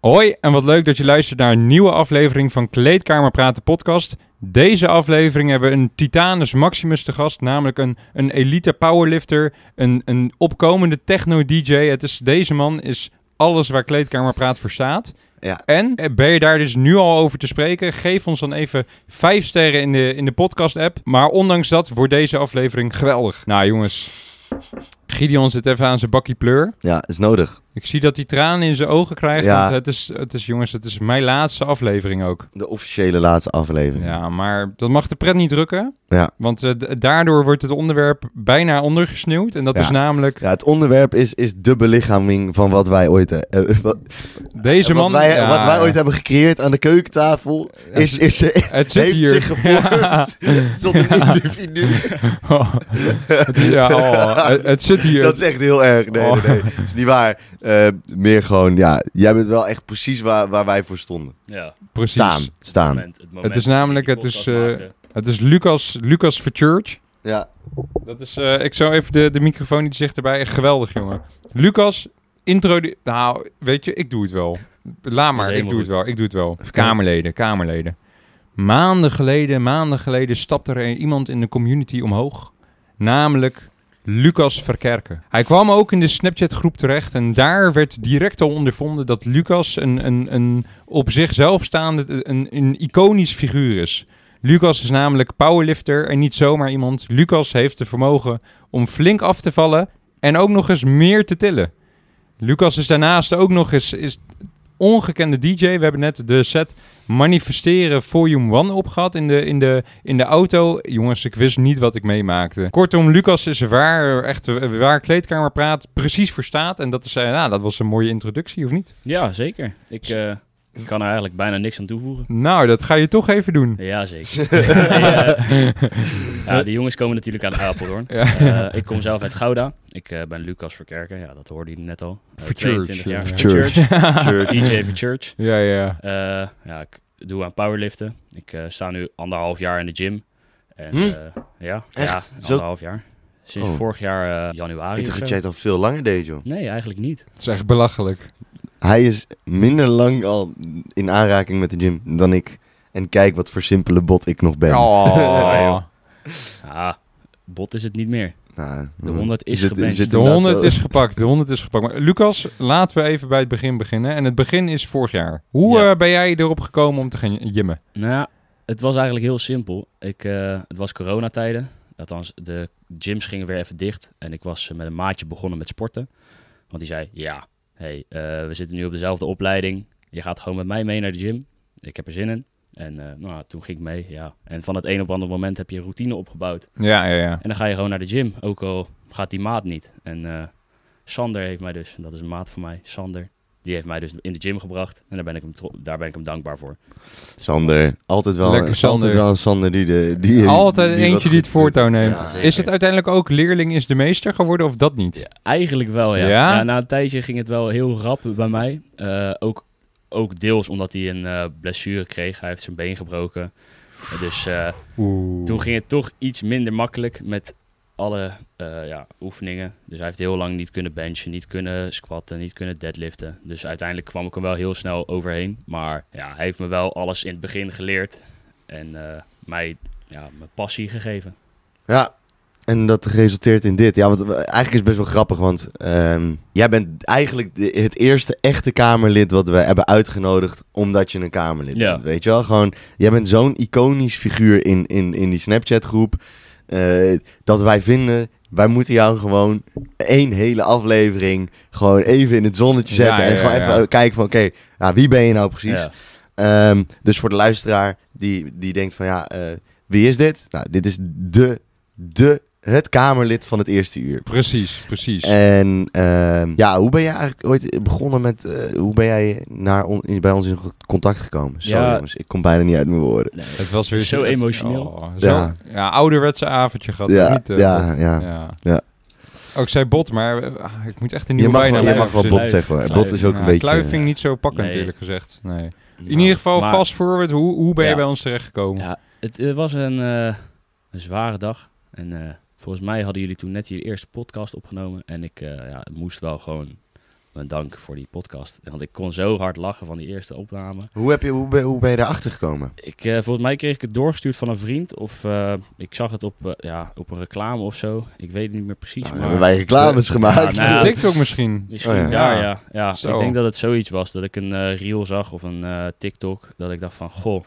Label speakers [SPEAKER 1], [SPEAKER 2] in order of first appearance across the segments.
[SPEAKER 1] Hoi en wat leuk dat je luistert naar een nieuwe aflevering van Kleedkamer Praten podcast. Deze aflevering hebben we een Titanus Maximus te gast, namelijk een, een elite powerlifter, een, een opkomende techno-dj. Het is, deze man is alles waar Kleedkamer Praat voor staat.
[SPEAKER 2] Ja.
[SPEAKER 1] En eh, ben je daar dus nu al over te spreken? Geef ons dan even vijf sterren in de, in de podcast-app. Maar ondanks dat wordt deze aflevering geweldig. Nou jongens, Gideon zit even aan zijn bakkie pleur.
[SPEAKER 2] Ja, is nodig.
[SPEAKER 1] Ik zie dat hij tranen in zijn ogen krijgt.
[SPEAKER 2] Ja.
[SPEAKER 1] Want het is, het is, jongens, het is mijn laatste aflevering ook.
[SPEAKER 2] De officiële laatste aflevering.
[SPEAKER 1] Ja, maar dat mag de pret niet drukken.
[SPEAKER 2] Ja.
[SPEAKER 1] Want eh, d- daardoor wordt het onderwerp bijna ondergesneeuwd. En dat
[SPEAKER 2] Ja.
[SPEAKER 1] is namelijk
[SPEAKER 2] Ja, het onderwerp is, is de belichaming van wat wij ooit, he- eh, wat,
[SPEAKER 1] deze man.
[SPEAKER 2] wat, wij,
[SPEAKER 1] ja.
[SPEAKER 2] wat wij ooit hebben gecreëerd aan de keukentafel. Is, is, eh,
[SPEAKER 1] Het zit
[SPEAKER 2] heeft
[SPEAKER 1] hier.
[SPEAKER 2] zich gevormd tot een
[SPEAKER 1] Ja.
[SPEAKER 2] individu.
[SPEAKER 1] Oh. Het is- ja, oh, het, het zit hier.
[SPEAKER 2] Dat is echt heel erg. Nee,
[SPEAKER 1] Oh.
[SPEAKER 2] nee, nee. Dat is niet waar. Eh, meer gewoon, ja, jij bent wel echt precies waar, waar wij voor stonden.
[SPEAKER 3] Ja,
[SPEAKER 1] Precies.
[SPEAKER 2] Staan, staan.
[SPEAKER 3] moment, het,
[SPEAKER 1] Het is namelijk-
[SPEAKER 3] dat we
[SPEAKER 1] het
[SPEAKER 3] die
[SPEAKER 1] is,
[SPEAKER 3] podcast
[SPEAKER 1] eh,
[SPEAKER 3] maken.
[SPEAKER 1] Het is Lucas, Lucas Verchurch.
[SPEAKER 2] Ja,
[SPEAKER 1] Dat is, eh, ik zou even de, de microfoon iets dichterbij. Echt geweldig, jongen. Lucas, intro... Nou, weet je, ik doe het wel. Laat maar, ik
[SPEAKER 3] helemaal
[SPEAKER 1] doe het
[SPEAKER 3] goed.
[SPEAKER 1] wel. Ik doe het wel.
[SPEAKER 2] kijken.
[SPEAKER 1] Kamerleden, kamerleden. Maanden geleden, maanden geleden stapte er iemand in de community omhoog. Namelijk Lucas Verkerken. Hij kwam ook in de Snapchat-groep terecht en daar werd direct al ondervonden dat Lucas een, een, een op zichzelf staande, een, een iconisch figuur is. Lucas is namelijk powerlifter en niet zomaar iemand. Lucas heeft de vermogen om flink af te vallen en ook nog eens meer te tillen. Lucas is daarnaast ook nog eens is ongekende DJ. We hebben net de set Manifesteren Volume 1 opgehad in de, in, de, in de auto. Jongens, ik wist niet wat ik meemaakte. Kortom, Lucas is waar, echt waar kleedkamer praat, precies voor staat. En dat is, eh, nou, dat was een mooie introductie, of niet?
[SPEAKER 3] Ja, zeker. Ik eh, kan er eigenlijk bijna niks aan toevoegen.
[SPEAKER 1] Nou, dat ga je toch even doen.
[SPEAKER 3] Ja, zeker. Nee, eh, ja, die jongens komen natuurlijk uit Apeldoorn.
[SPEAKER 1] Ja.
[SPEAKER 3] Eh, ik kom zelf uit Gouda. Ik eh, ben Lucas Verkerken. Ja, dat hoorde je net al. Eh,
[SPEAKER 1] Verchurch,
[SPEAKER 3] 22
[SPEAKER 1] ja.
[SPEAKER 3] jaar.
[SPEAKER 2] Verchurch.
[SPEAKER 3] Verchurch.
[SPEAKER 2] church.
[SPEAKER 3] DJ Verchurch.
[SPEAKER 1] Ja, ja.
[SPEAKER 3] Eh ja, ik doe aan powerliften. Ik eh, sta nu anderhalf jaar in de gym. En,
[SPEAKER 2] Hm?
[SPEAKER 3] eh, ja,
[SPEAKER 2] Echt?
[SPEAKER 3] ja,
[SPEAKER 2] Zo-
[SPEAKER 3] anderhalf jaar. Sinds
[SPEAKER 2] Oh.
[SPEAKER 3] vorig jaar eh, januari.
[SPEAKER 2] Ik dacht
[SPEAKER 3] of
[SPEAKER 2] dat
[SPEAKER 3] zo.
[SPEAKER 2] jij het al veel langer deed, joh.
[SPEAKER 3] Nee, eigenlijk niet.
[SPEAKER 1] Het is echt belachelijk.
[SPEAKER 2] Hij is minder lang al in aanraking met de gym dan ik. En kijk wat voor simpele bot ik nog ben.
[SPEAKER 1] Oh.
[SPEAKER 3] Ah, bot is het niet meer.
[SPEAKER 2] Nou,
[SPEAKER 3] De
[SPEAKER 2] mm.
[SPEAKER 3] 100 is
[SPEAKER 2] Je zit- je
[SPEAKER 3] gebenched.
[SPEAKER 2] zit
[SPEAKER 1] De
[SPEAKER 2] inderdaad
[SPEAKER 1] 100
[SPEAKER 2] wel-
[SPEAKER 1] is gepakt, de 100 is gepakt. Maar Lucas, laten we even bij het begin beginnen. En het begin is vorig jaar. Hoe
[SPEAKER 3] Ja.
[SPEAKER 1] eh, ben jij erop gekomen om te gaan jimmen?
[SPEAKER 3] Nou ja, het was eigenlijk heel simpel. Ik, eh, het was coronatijden. Althans, de gyms gingen weer even dicht. En ik was eh, met een maatje begonnen met sporten. Want die zei, ja, hey, eh, we zitten nu op dezelfde opleiding. Je gaat gewoon met mij mee naar de gym. Ik heb er zin in. En eh, nou, toen ging ik mee, ja. En van het een op ander moment heb je een routine opgebouwd.
[SPEAKER 1] Ja, ja, ja.
[SPEAKER 3] En dan ga je gewoon naar de gym, ook al gaat die maat niet. En eh, Sander heeft mij dus, en dat is een maat van mij, Sander. Die heeft mij dus in de gym gebracht. En daar ben ik hem, tro- daar ben ik hem dankbaar voor.
[SPEAKER 2] Sander, altijd wel,
[SPEAKER 1] Lekker Sander.
[SPEAKER 2] altijd wel een Sander die de... Die,
[SPEAKER 1] Altijd
[SPEAKER 2] wat
[SPEAKER 1] eentje die het
[SPEAKER 2] goed
[SPEAKER 1] voortouw
[SPEAKER 2] doet.
[SPEAKER 1] neemt.
[SPEAKER 2] Ja.
[SPEAKER 1] Is het uiteindelijk ook leerling is de meester geworden of dat niet?
[SPEAKER 3] Eigenlijk wel, ja.
[SPEAKER 1] Ja?
[SPEAKER 3] Ja, Na een tijdje ging het wel heel rap bij mij. Eh, ook, ook deels omdat hij een eh, blessure kreeg. Hij heeft zijn been gebroken. Dus eh,
[SPEAKER 1] Oeh.
[SPEAKER 3] toen ging het toch iets minder makkelijk met alle eh, ja, oefeningen. Dus hij heeft heel lang niet kunnen benchen, niet kunnen squatten, niet kunnen deadliften. Dus uiteindelijk kwam ik er wel heel snel overheen. Maar ja, hij heeft me wel alles in het begin geleerd. En eh, mij ja, mijn passie gegeven.
[SPEAKER 2] Ja, en dat resulteert in dit. Ja, want eh, eigenlijk is het best wel grappig, want ehm, jij bent eigenlijk de- het eerste echte Kamerlid wat we hebben uitgenodigd, omdat je een Kamerlid
[SPEAKER 3] Ja.
[SPEAKER 2] bent, weet je wel? Gewoon, jij bent zo'n iconisch figuur in, in, in die Snapchat-groep, eh, dat wij vinden, wij moeten jou gewoon één hele aflevering gewoon even in het zonnetje
[SPEAKER 1] Ja,
[SPEAKER 2] zetten en
[SPEAKER 1] ja,
[SPEAKER 2] gewoon
[SPEAKER 1] ja.
[SPEAKER 2] even eh, kijken van, oké, nou, wie ben je nou precies?
[SPEAKER 3] Ja.
[SPEAKER 2] Ehm, dus voor de luisteraar die, die denkt van ja, eh, wie is dit? Nou, dit is de, de, het Kamerlid van het eerste uur.
[SPEAKER 1] Precies, precies.
[SPEAKER 2] Eh, En ehm, ja, hoe ben jij eigenlijk ooit begonnen met, eh, hoe ben jij naar on- in- bij ons in contact gekomen? Sorry
[SPEAKER 3] Ja.
[SPEAKER 2] jongens, ik kom bijna niet uit mijn woorden.
[SPEAKER 3] Nee.
[SPEAKER 1] het was weer
[SPEAKER 3] Zo
[SPEAKER 1] het-
[SPEAKER 3] emotioneel.
[SPEAKER 1] Oh, zo, ja.
[SPEAKER 2] Ja.
[SPEAKER 1] ouderwetse avondje gehad.
[SPEAKER 2] Ja,
[SPEAKER 1] of niet, eh,
[SPEAKER 2] ja,
[SPEAKER 1] Bot?
[SPEAKER 2] ja. Ja.
[SPEAKER 1] Ook zei Bot, maar eh, ah, ik moet echt een
[SPEAKER 2] Je
[SPEAKER 1] nieuwe
[SPEAKER 2] mag,
[SPEAKER 1] bijnaam
[SPEAKER 2] wel, je mag wel
[SPEAKER 1] hebben.
[SPEAKER 2] bot zeggen hoor. Bot is ook een
[SPEAKER 1] Ja,
[SPEAKER 2] beetje...
[SPEAKER 1] Kluif vind ik niet zo pakkend,
[SPEAKER 3] Nee.
[SPEAKER 1] eerlijk gezegd. Nee.
[SPEAKER 2] Nou,
[SPEAKER 1] In ieder geval,
[SPEAKER 3] maar-
[SPEAKER 1] fast forward, hoe, hoe ben je
[SPEAKER 3] Ja.
[SPEAKER 1] bij ons terechtgekomen?
[SPEAKER 3] Ja, het, eh, was een, eh, een zware dag. En eh, volgens mij hadden jullie toen net jullie eerste podcast opgenomen. En ik eh, ja, moest wel gewoon mijn dank voor die podcast. Want ik kon zo hard lachen van die eerste opname.
[SPEAKER 2] eh, Hoe, heb je, hoe, ben, hoe ben je daarachter gekomen?
[SPEAKER 3] Ik, eh, volgens mij kreeg ik het doorgestuurd van een vriend. Of eh, ik zag het op, eh, ja, op een reclame of zo. Ik weet het niet meer precies.
[SPEAKER 2] Nou,
[SPEAKER 3] maar...
[SPEAKER 2] hebben wij reclames gemaakt?
[SPEAKER 3] nou ja.
[SPEAKER 1] TikTok misschien.
[SPEAKER 3] Misschien
[SPEAKER 2] Oh ja.
[SPEAKER 3] daar,
[SPEAKER 1] Ja.
[SPEAKER 3] ja. ja.
[SPEAKER 1] Zo.
[SPEAKER 3] Ik denk dat het zoiets was. Dat ik een eh, reel zag of een eh, TikTok. Dat ik dacht van, goh,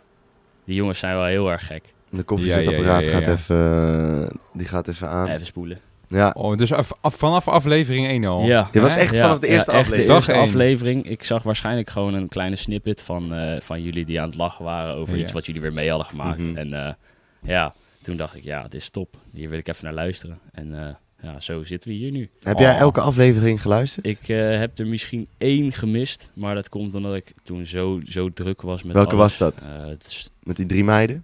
[SPEAKER 3] die jongens zijn wel heel erg gek.
[SPEAKER 2] De
[SPEAKER 1] Ja, ja,
[SPEAKER 2] koffiezetapparaat
[SPEAKER 1] ja, ja, ja.
[SPEAKER 2] gaat even... eh, die gaat even aan.
[SPEAKER 3] Even spoelen.
[SPEAKER 2] Ja.
[SPEAKER 1] Oh, dus af- af- vanaf aflevering 1 al.
[SPEAKER 3] Ja.
[SPEAKER 2] Dit was
[SPEAKER 1] Ja,
[SPEAKER 2] echt
[SPEAKER 3] Ja,
[SPEAKER 2] vanaf de
[SPEAKER 3] ja,
[SPEAKER 2] eerste
[SPEAKER 3] echt
[SPEAKER 2] aflevering.
[SPEAKER 1] Dag
[SPEAKER 3] De eerste
[SPEAKER 1] één.
[SPEAKER 3] aflevering. Ik zag waarschijnlijk gewoon een kleine snippet van, eh, van jullie die aan het lachen waren over
[SPEAKER 1] Ja.
[SPEAKER 3] iets wat jullie weer mee hadden gemaakt.
[SPEAKER 2] Mhm.
[SPEAKER 3] En eh, ja, toen dacht ik, ja, dit is top. Hier wil ik even naar luisteren. En eh, ja, zo zitten we hier nu.
[SPEAKER 2] Heb jij
[SPEAKER 1] Oh.
[SPEAKER 2] elke aflevering geluisterd?
[SPEAKER 3] Ik eh, heb er misschien één gemist, maar dat komt omdat ik toen zo, zo druk was met
[SPEAKER 2] Welke was
[SPEAKER 3] alles.
[SPEAKER 2] dat?
[SPEAKER 3] Eh, het is-
[SPEAKER 2] Met die drie meiden?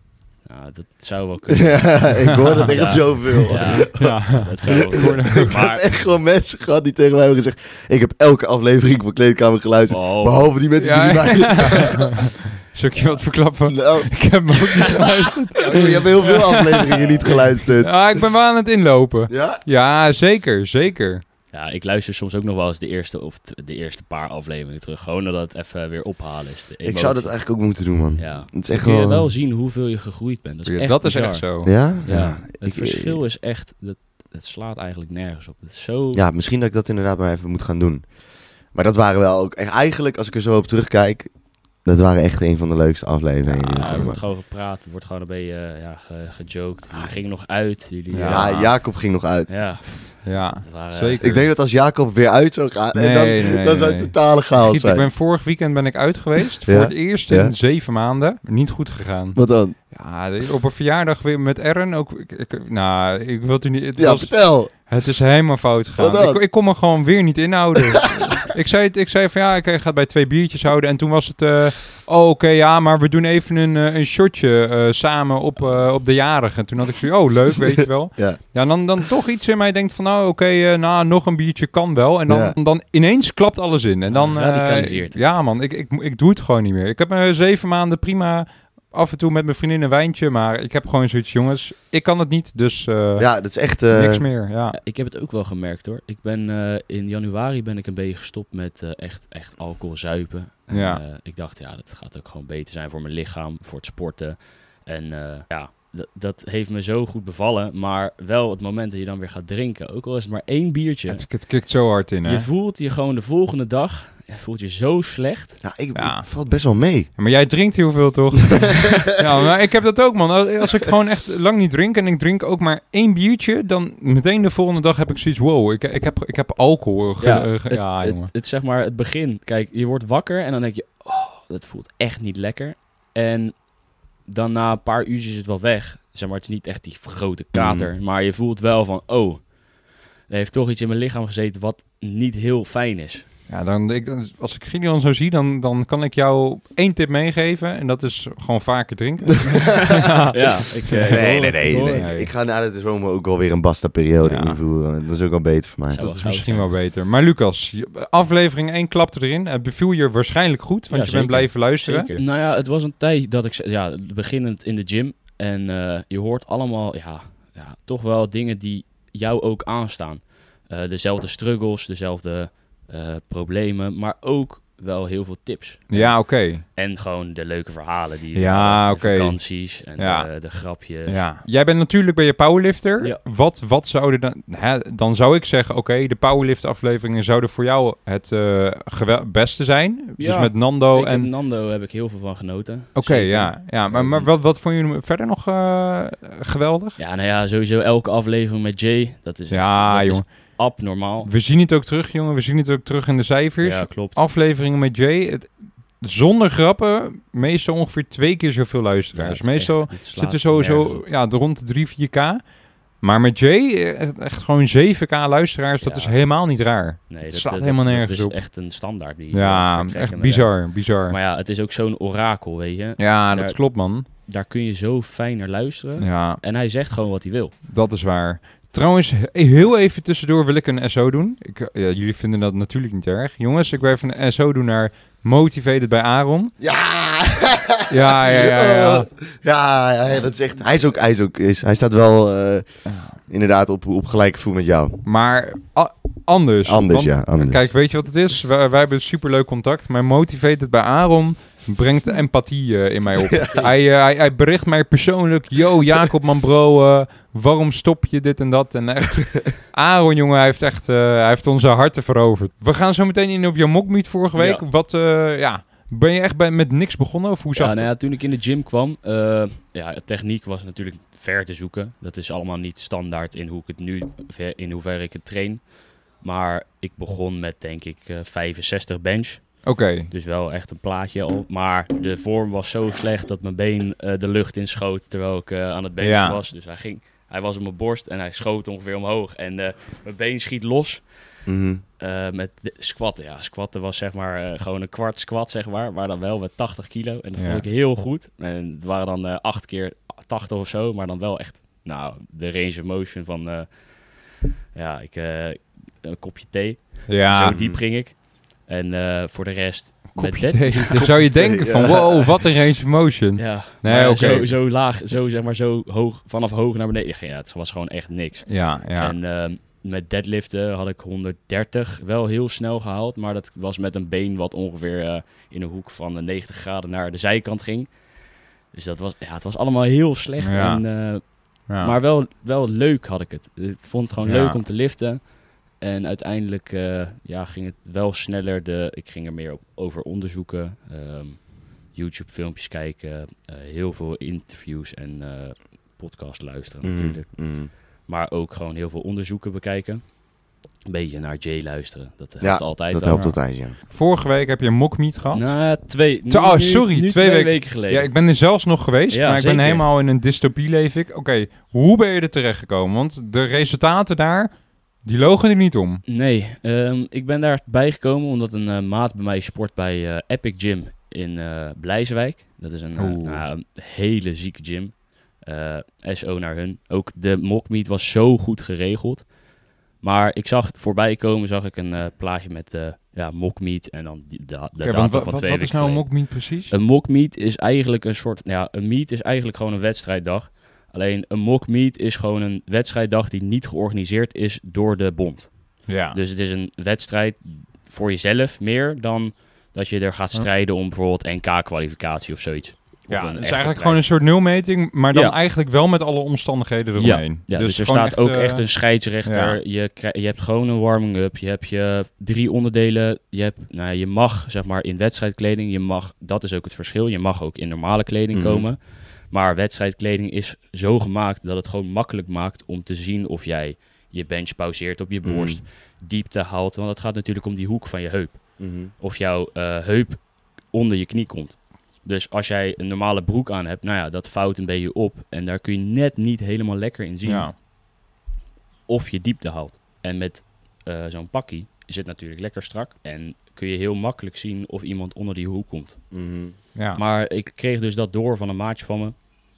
[SPEAKER 3] nou, dat zou wel kunnen.
[SPEAKER 2] ja, ik hoorde het echt
[SPEAKER 3] Ja.
[SPEAKER 2] zoveel.
[SPEAKER 3] Ja,
[SPEAKER 1] Ja.
[SPEAKER 3] dat zou wel kunnen.
[SPEAKER 2] Ik heb
[SPEAKER 3] Maar,
[SPEAKER 2] echt gewoon mensen gehad die tegen mij hebben gezegd... Ik heb elke aflevering van Kleedkamer geluisterd.
[SPEAKER 3] wow.
[SPEAKER 2] Behalve die met die
[SPEAKER 1] Ja.
[SPEAKER 2] drie meiden.
[SPEAKER 1] Zal ik je wat verklappen?
[SPEAKER 2] Nou,
[SPEAKER 1] Ik heb hem ook niet geluisterd.
[SPEAKER 2] je hebt heel veel afleveringen niet geluisterd.
[SPEAKER 1] Ah, ik ben wel aan het inlopen.
[SPEAKER 2] Ja?
[SPEAKER 1] Ja, zeker, zeker.
[SPEAKER 3] Ja, ik luister soms ook nog wel eens de eerste of t- de eerste paar afleveringen terug. Gewoon omdat het even weer ophalen is. de
[SPEAKER 2] Ik zou dat
[SPEAKER 3] emotie.
[SPEAKER 2] eigenlijk ook moeten doen, man.
[SPEAKER 3] Ja.
[SPEAKER 2] Het is
[SPEAKER 3] Dan
[SPEAKER 2] echt
[SPEAKER 3] kun je
[SPEAKER 2] wel-
[SPEAKER 3] wel zien hoeveel je gegroeid bent. Dat is echt,
[SPEAKER 1] dat is echt
[SPEAKER 3] bizar.
[SPEAKER 1] zo.
[SPEAKER 2] Ja?
[SPEAKER 3] Ja. Het
[SPEAKER 2] Ik-
[SPEAKER 3] verschil is echt... Dat, het slaat eigenlijk nergens op. Het is zo...
[SPEAKER 2] Ja, misschien dat ik dat inderdaad maar even moet gaan doen. Maar dat waren wel ook... echt- Eigenlijk, als ik er zo op terugkijk... Dat waren echt een van de leukste afleveringen. die we
[SPEAKER 3] Ja, er
[SPEAKER 2] hebben
[SPEAKER 3] wordt
[SPEAKER 2] gemaakt.
[SPEAKER 3] gewoon gepraat. Er wordt gewoon een beetje eh, ja, ge- gejoked. Jullie gingen nog uit. Jullie,
[SPEAKER 1] Ja.
[SPEAKER 3] eh,
[SPEAKER 2] ja, Jacob ging nog uit.
[SPEAKER 3] ja,
[SPEAKER 1] Ja.
[SPEAKER 3] dat waren,
[SPEAKER 1] Zeker.
[SPEAKER 2] Ik denk dat als Jacob weer uit zou gaan, en
[SPEAKER 1] Nee,
[SPEAKER 2] dan,
[SPEAKER 1] nee,
[SPEAKER 2] dan zou het
[SPEAKER 1] nee.
[SPEAKER 2] totale chaos
[SPEAKER 1] Giet, ik
[SPEAKER 2] zijn.
[SPEAKER 1] ben vorig weekend ben ik uit geweest.
[SPEAKER 2] Ja?
[SPEAKER 1] Voor het eerst in
[SPEAKER 2] Ja?
[SPEAKER 1] zeven maanden. Niet goed gegaan.
[SPEAKER 2] Wat dan?
[SPEAKER 1] Ja, dit- op een verjaardag weer met Ern. Ook, ik, ik- nou, ik wil het u niet. Het,
[SPEAKER 2] Ja,
[SPEAKER 1] was-
[SPEAKER 2] vertel.
[SPEAKER 1] het is helemaal fout
[SPEAKER 2] Wat
[SPEAKER 1] gegaan.
[SPEAKER 2] dan?
[SPEAKER 1] Ik, ik kon me gewoon weer niet inhouden. ik, zei het, ik zei van ja, ik eh, ga het bij twee biertjes houden. En toen was het. eh, oh, oké, ja, maar we doen even een, eh, een shotje eh, samen op, eh, op de jarige. En toen had ik zoiets. Oh, leuk, weet je wel.
[SPEAKER 2] Ja.
[SPEAKER 1] Ja, dan, dan toch iets in mij denkt van, nou oké, eh, nou, nog een biertje kan wel. En dan,
[SPEAKER 2] Ja.
[SPEAKER 1] dan ineens klapt alles in. En dan, eh,
[SPEAKER 3] Radicaliseert het.
[SPEAKER 1] ja man, ik, ik, ik doe het gewoon niet meer. Ik heb eh zeven maanden prima af en toe met mijn vriendin een wijntje. Maar ik heb gewoon zoiets, jongens, ik kan het niet. Dus eh,
[SPEAKER 2] Ja, dat is echt... eh,
[SPEAKER 1] niks meer, ja.
[SPEAKER 3] Ja, ik heb het ook wel gemerkt hoor. Ik ben eh, in januari ben ik een beetje gestopt met eh, echt, echt alcohol zuipen. En,
[SPEAKER 1] Ja.
[SPEAKER 3] eh, ik dacht, ja, dat gaat ook gewoon beter zijn voor mijn lichaam, voor het sporten. En eh, ja, d- dat heeft me zo goed bevallen. Maar wel het moment dat je dan weer gaat drinken, ook al is het maar één biertje.
[SPEAKER 1] Het, het kikt zo hard in, hè.
[SPEAKER 3] Je voelt je gewoon de volgende dag, je voelt je zo slecht.
[SPEAKER 2] ja, ik,
[SPEAKER 1] Ja.
[SPEAKER 2] ik valt best wel mee.
[SPEAKER 1] Ja, Maar jij drinkt heel veel, toch? ja, maar ik heb dat ook, man. Als- Als ik gewoon echt lang niet drink en ik drink ook maar één biertje... dan meteen de volgende dag heb ik zoiets... wow, ik, ik, heb, ik heb alcohol. ge- eh, ge-
[SPEAKER 3] het,
[SPEAKER 1] ja
[SPEAKER 3] het,
[SPEAKER 1] jongen.
[SPEAKER 3] het- zeg maar het begin. Kijk, je wordt wakker en dan denk je, oh, dat voelt echt niet lekker. En dan na een paar uurtjes is het wel weg. Zeg maar, het is niet echt die grote kater.
[SPEAKER 1] Mm.
[SPEAKER 3] Maar je voelt wel van, oh, er heeft toch iets in mijn lichaam gezeten wat niet heel fijn is.
[SPEAKER 1] Ja, dan, ik, als ik Gideon zo zie, dan, dan kan ik jou één tip meegeven. En dat is gewoon vaker drinken. ja.
[SPEAKER 3] ja, ik, eh,
[SPEAKER 2] Nee, nee,
[SPEAKER 3] ik hoor het, ik
[SPEAKER 2] nee.
[SPEAKER 3] hoor
[SPEAKER 2] nee.
[SPEAKER 3] het.
[SPEAKER 1] het.
[SPEAKER 2] Ik ga na de zomer ook alweer een basta-periode
[SPEAKER 1] Ja.
[SPEAKER 2] invoeren. Dat is ook al beter voor mij.
[SPEAKER 3] Zo.
[SPEAKER 1] Dat is
[SPEAKER 3] goud
[SPEAKER 1] misschien
[SPEAKER 3] zijn.
[SPEAKER 1] wel beter. Maar Lucas, je- aflevering 1 klapte erin. Het beviel je waarschijnlijk goed, want
[SPEAKER 3] Ja,
[SPEAKER 1] je
[SPEAKER 3] zeker.
[SPEAKER 1] bent blijven luisteren.
[SPEAKER 3] Zeker. Nou ja, het was een tijd dat ik... ze- Ja, beginnend in de gym. En eh, je hoort allemaal, ja, ja, toch wel dingen die jou ook aanstaan. Eh, dezelfde struggles, dezelfde eh, problemen. Maar ook wel heel veel tips.
[SPEAKER 1] Ja, oké.
[SPEAKER 3] En gewoon de leuke verhalen. Die, eh,
[SPEAKER 1] Ja,
[SPEAKER 3] de
[SPEAKER 1] oké.
[SPEAKER 3] vakanties en
[SPEAKER 1] Ja.
[SPEAKER 3] de, de grapjes.
[SPEAKER 1] Ja. Jij bent natuurlijk bij je powerlifter.
[SPEAKER 3] Dus. Ja.
[SPEAKER 1] Wat, wat zouden dan... Hè, dan zou ik zeggen, oké, de powerlift afleveringen zouden voor jou het eh, gewel- beste zijn. Dus
[SPEAKER 3] Ja.
[SPEAKER 1] met Nando
[SPEAKER 3] Oh, ik
[SPEAKER 1] en...
[SPEAKER 3] en Nando heb ik heel veel van genoten.
[SPEAKER 1] Oké,
[SPEAKER 3] Zeker.
[SPEAKER 1] ja. ja. Maar, maar wat, wat vond je verder nog eh, geweldig?
[SPEAKER 3] Ja, nou ja, sowieso elke aflevering met Jay. Dat is,
[SPEAKER 1] Ja,
[SPEAKER 3] echt, dat
[SPEAKER 1] jongen.
[SPEAKER 3] is abnormaal.
[SPEAKER 1] We zien het ook terug, jongen. We zien het ook terug in de cijfers.
[SPEAKER 3] Ja, klopt.
[SPEAKER 1] Afleveringen met Jay. Het, zonder grappen, meestal ongeveer twee keer zoveel
[SPEAKER 3] Ja,
[SPEAKER 1] luisteraars.
[SPEAKER 3] het is
[SPEAKER 1] meestal
[SPEAKER 3] echt- het slaat
[SPEAKER 1] zitten we
[SPEAKER 3] nergens
[SPEAKER 1] sowieso
[SPEAKER 3] op.
[SPEAKER 1] ja, rond de 3, 4k. Maar met Jay, eh, echt gewoon 7k luisteraars. Dat
[SPEAKER 3] Ja.
[SPEAKER 1] is helemaal niet raar.
[SPEAKER 3] Nee,
[SPEAKER 1] Het slaat helemaal nergens
[SPEAKER 3] dat
[SPEAKER 1] op.
[SPEAKER 3] is echt een standaard. Die
[SPEAKER 1] Ja,
[SPEAKER 3] eh,
[SPEAKER 1] echt
[SPEAKER 3] vertrekkende
[SPEAKER 1] bizar, bizar.
[SPEAKER 3] weg. Maar ja, het is ook zo'n orakel, weet je.
[SPEAKER 1] Ja, dat
[SPEAKER 3] Daar-
[SPEAKER 1] klopt, man.
[SPEAKER 3] Daar kun je zo fijn naar luisteren.
[SPEAKER 1] Ja,
[SPEAKER 3] En hij zegt gewoon wat hij wil.
[SPEAKER 1] Dat is waar. Trouwens, he- heel even tussendoor wil ik een SO doen. Ik, eh, ja, jullie vinden dat natuurlijk niet erg. Jongens, ik wil even een SO doen naar Motivated bij Aaron.
[SPEAKER 2] Ja!
[SPEAKER 1] Ja, ja, ja, ja, ja.
[SPEAKER 2] Oh, ja, ja, ja, dat is echt... Hij is ook... Hij, is ook, is, hij staat wel eh, inderdaad op, op gelijke voet met jou.
[SPEAKER 1] Maar a- anders.
[SPEAKER 2] Anders,
[SPEAKER 1] Want-
[SPEAKER 2] ja. Anders.
[SPEAKER 1] Kijk, weet je wat het is? Wij, wij hebben superleuk contact, maar motivated bij Aaron brengt empathie eh, in mij op. hij, eh, hij, hij bericht mij persoonlijk, yo Jacob man bro, eh, waarom stop je dit en dat? En echt, Aaron jongen, hij heeft echt, eh, hij heeft onze harten veroverd. We gaan zo meteen in op jouw mockmeet vorige
[SPEAKER 3] Ja.
[SPEAKER 1] week. Wat, eh, ja, ben je echt bij, met niks begonnen of hoe
[SPEAKER 3] Ja,
[SPEAKER 1] zag het?
[SPEAKER 3] nou ja, toen ik in de gym kwam, eh, ja, techniek was natuurlijk ver te zoeken. Dat is allemaal niet standaard in hoe ik het nu, in hoeverre ik het train. Maar ik begon met denk ik eh, 65 bench.
[SPEAKER 1] Oké,
[SPEAKER 3] Dus wel echt een plaatje al. Maar de vorm was zo slecht dat mijn been eh, de lucht inschoot terwijl ik eh, aan het benchen
[SPEAKER 1] Ja.
[SPEAKER 3] was. Dus hij ging, hij was op mijn borst en hij schoot ongeveer omhoog. En eh, mijn been schiet los
[SPEAKER 2] Mhm.
[SPEAKER 3] eh, met de- squatten. Ja, squatten was zeg maar eh, gewoon een kwart squat, zeg maar. Maar dan wel met 80 kilo. En dat
[SPEAKER 1] Ja.
[SPEAKER 3] vond ik heel goed. En het waren dan eh, acht keer 80 of zo. Maar dan wel echt, nou, de range of motion van, eh, ja, ik, eh, een kopje thee.
[SPEAKER 1] ja.
[SPEAKER 3] Zo diep ging ik. En eh, voor de rest... met
[SPEAKER 1] Kopje
[SPEAKER 3] dead-
[SPEAKER 1] thee. Dan zou je
[SPEAKER 2] thee,
[SPEAKER 1] denken
[SPEAKER 2] ja.
[SPEAKER 1] van, wow, wat een range of motion.
[SPEAKER 3] Ja,
[SPEAKER 1] Nee,
[SPEAKER 3] maar
[SPEAKER 1] oké.
[SPEAKER 3] zo, zo laag, zo zeg maar zo hoog, vanaf hoog naar beneden. Ja, het was gewoon echt niks.
[SPEAKER 1] Ja, ja.
[SPEAKER 3] En ehm, met deadliften had ik 130 wel heel snel gehaald, maar dat was met een been wat ongeveer eh, in een hoek van de 90 graden naar de zijkant ging. Dus dat was, ja, het was allemaal heel slecht.
[SPEAKER 1] Ja.
[SPEAKER 3] En, eh,
[SPEAKER 1] ja.
[SPEAKER 3] Maar wel, wel leuk had ik het. Ik vond het gewoon
[SPEAKER 1] Ja.
[SPEAKER 3] leuk om te liften. En uiteindelijk eh, ja, ging het wel sneller. De, ik ging er meer op, over onderzoeken. ehm, YouTube-filmpjes kijken. eh, heel veel interviews en eh podcast luisteren
[SPEAKER 2] Mhm.
[SPEAKER 3] natuurlijk.
[SPEAKER 2] Mhm.
[SPEAKER 3] Maar ook gewoon heel veel onderzoeken bekijken. Een beetje naar Jay luisteren. Dat helpt
[SPEAKER 2] Ja,
[SPEAKER 3] altijd
[SPEAKER 2] Dat
[SPEAKER 3] wel.
[SPEAKER 2] helpt altijd, ja.
[SPEAKER 1] Vorige week heb je een mockmeet gehad.
[SPEAKER 3] Nou, twee,
[SPEAKER 1] Te- oh,
[SPEAKER 3] nu-
[SPEAKER 1] sorry,
[SPEAKER 3] nu
[SPEAKER 1] twee
[SPEAKER 3] twee
[SPEAKER 1] weken-
[SPEAKER 3] weken geleden.
[SPEAKER 1] Ja, ik ben er zelfs nog geweest,
[SPEAKER 3] Ja,
[SPEAKER 1] maar ik ben
[SPEAKER 3] zeker.
[SPEAKER 1] helemaal in een dystopie leef ik. Oké, hoe ben je er terecht gekomen? Want de resultaten daar, die logen er niet om.
[SPEAKER 3] Nee, ehm, ik ben daar bijgekomen omdat een eh, maat bij mij sport bij eh, Epic Gym in eh Blijswijk. Dat is een, eh,
[SPEAKER 1] Oeh.
[SPEAKER 3] nou, een hele zieke gym. Eh, SO naar hun. Ook de mockmeet was zo goed geregeld. Maar ik zag het voorbij komen, zag ik een eh, plaatje met eh ja, mockmeet en dan die- de, de
[SPEAKER 1] Oké,
[SPEAKER 3] datum
[SPEAKER 1] want
[SPEAKER 3] van
[SPEAKER 1] wa- wat,
[SPEAKER 3] twee
[SPEAKER 1] wat is nou
[SPEAKER 3] weken
[SPEAKER 1] een
[SPEAKER 3] geleden.
[SPEAKER 1] mockmeet precies?
[SPEAKER 3] Een mockmeet is eigenlijk een soort. Nou ja, een meet is eigenlijk gewoon een wedstrijddag. Alleen een mockmeet is gewoon een wedstrijddag die niet georganiseerd is door de bond.
[SPEAKER 1] Ja.
[SPEAKER 3] Dus het is een wedstrijd voor jezelf meer dan dat je er gaat
[SPEAKER 1] Ja.
[SPEAKER 3] strijden om bijvoorbeeld NK-kwalificatie of zoiets. Of
[SPEAKER 1] ja,
[SPEAKER 3] een
[SPEAKER 1] het is
[SPEAKER 3] echte
[SPEAKER 1] eigenlijk gewoon een soort nulmeting, maar dan
[SPEAKER 3] Ja.
[SPEAKER 1] eigenlijk wel met alle omstandigheden eromheen.
[SPEAKER 3] Ja, dus, er
[SPEAKER 1] gewoon
[SPEAKER 3] staat ook
[SPEAKER 1] eh,
[SPEAKER 3] echt een scheidsrechter. Je, krij- je hebt gewoon een warming-up. Je hebt je drie onderdelen. Je, hebt, nou, je mag zeg maar in wedstrijdkleding. Je mag, dat is ook het verschil. Je mag ook in normale kleding
[SPEAKER 2] Mhm.
[SPEAKER 3] komen. Maar wedstrijdkleding is zo gemaakt dat het gewoon makkelijk maakt om te zien of jij je bench pauzeert op je
[SPEAKER 2] Mhm.
[SPEAKER 3] borst. Diepte haalt. Want het gaat natuurlijk om die hoek van je heup
[SPEAKER 2] Mhm.
[SPEAKER 3] of jouw eh, heup onder je knie komt. Dus als jij een normale broek aan hebt, nou ja, dat fout een beetje op. En daar kun je net niet helemaal lekker in zien
[SPEAKER 1] Ja.
[SPEAKER 3] of je diepte haalt. En met eh, zo'n pakkie is het natuurlijk lekker strak. En kun je heel makkelijk zien of iemand onder die hoek komt.
[SPEAKER 2] Mhm.
[SPEAKER 1] Ja.
[SPEAKER 3] Maar ik kreeg dus dat door van een maatje van me.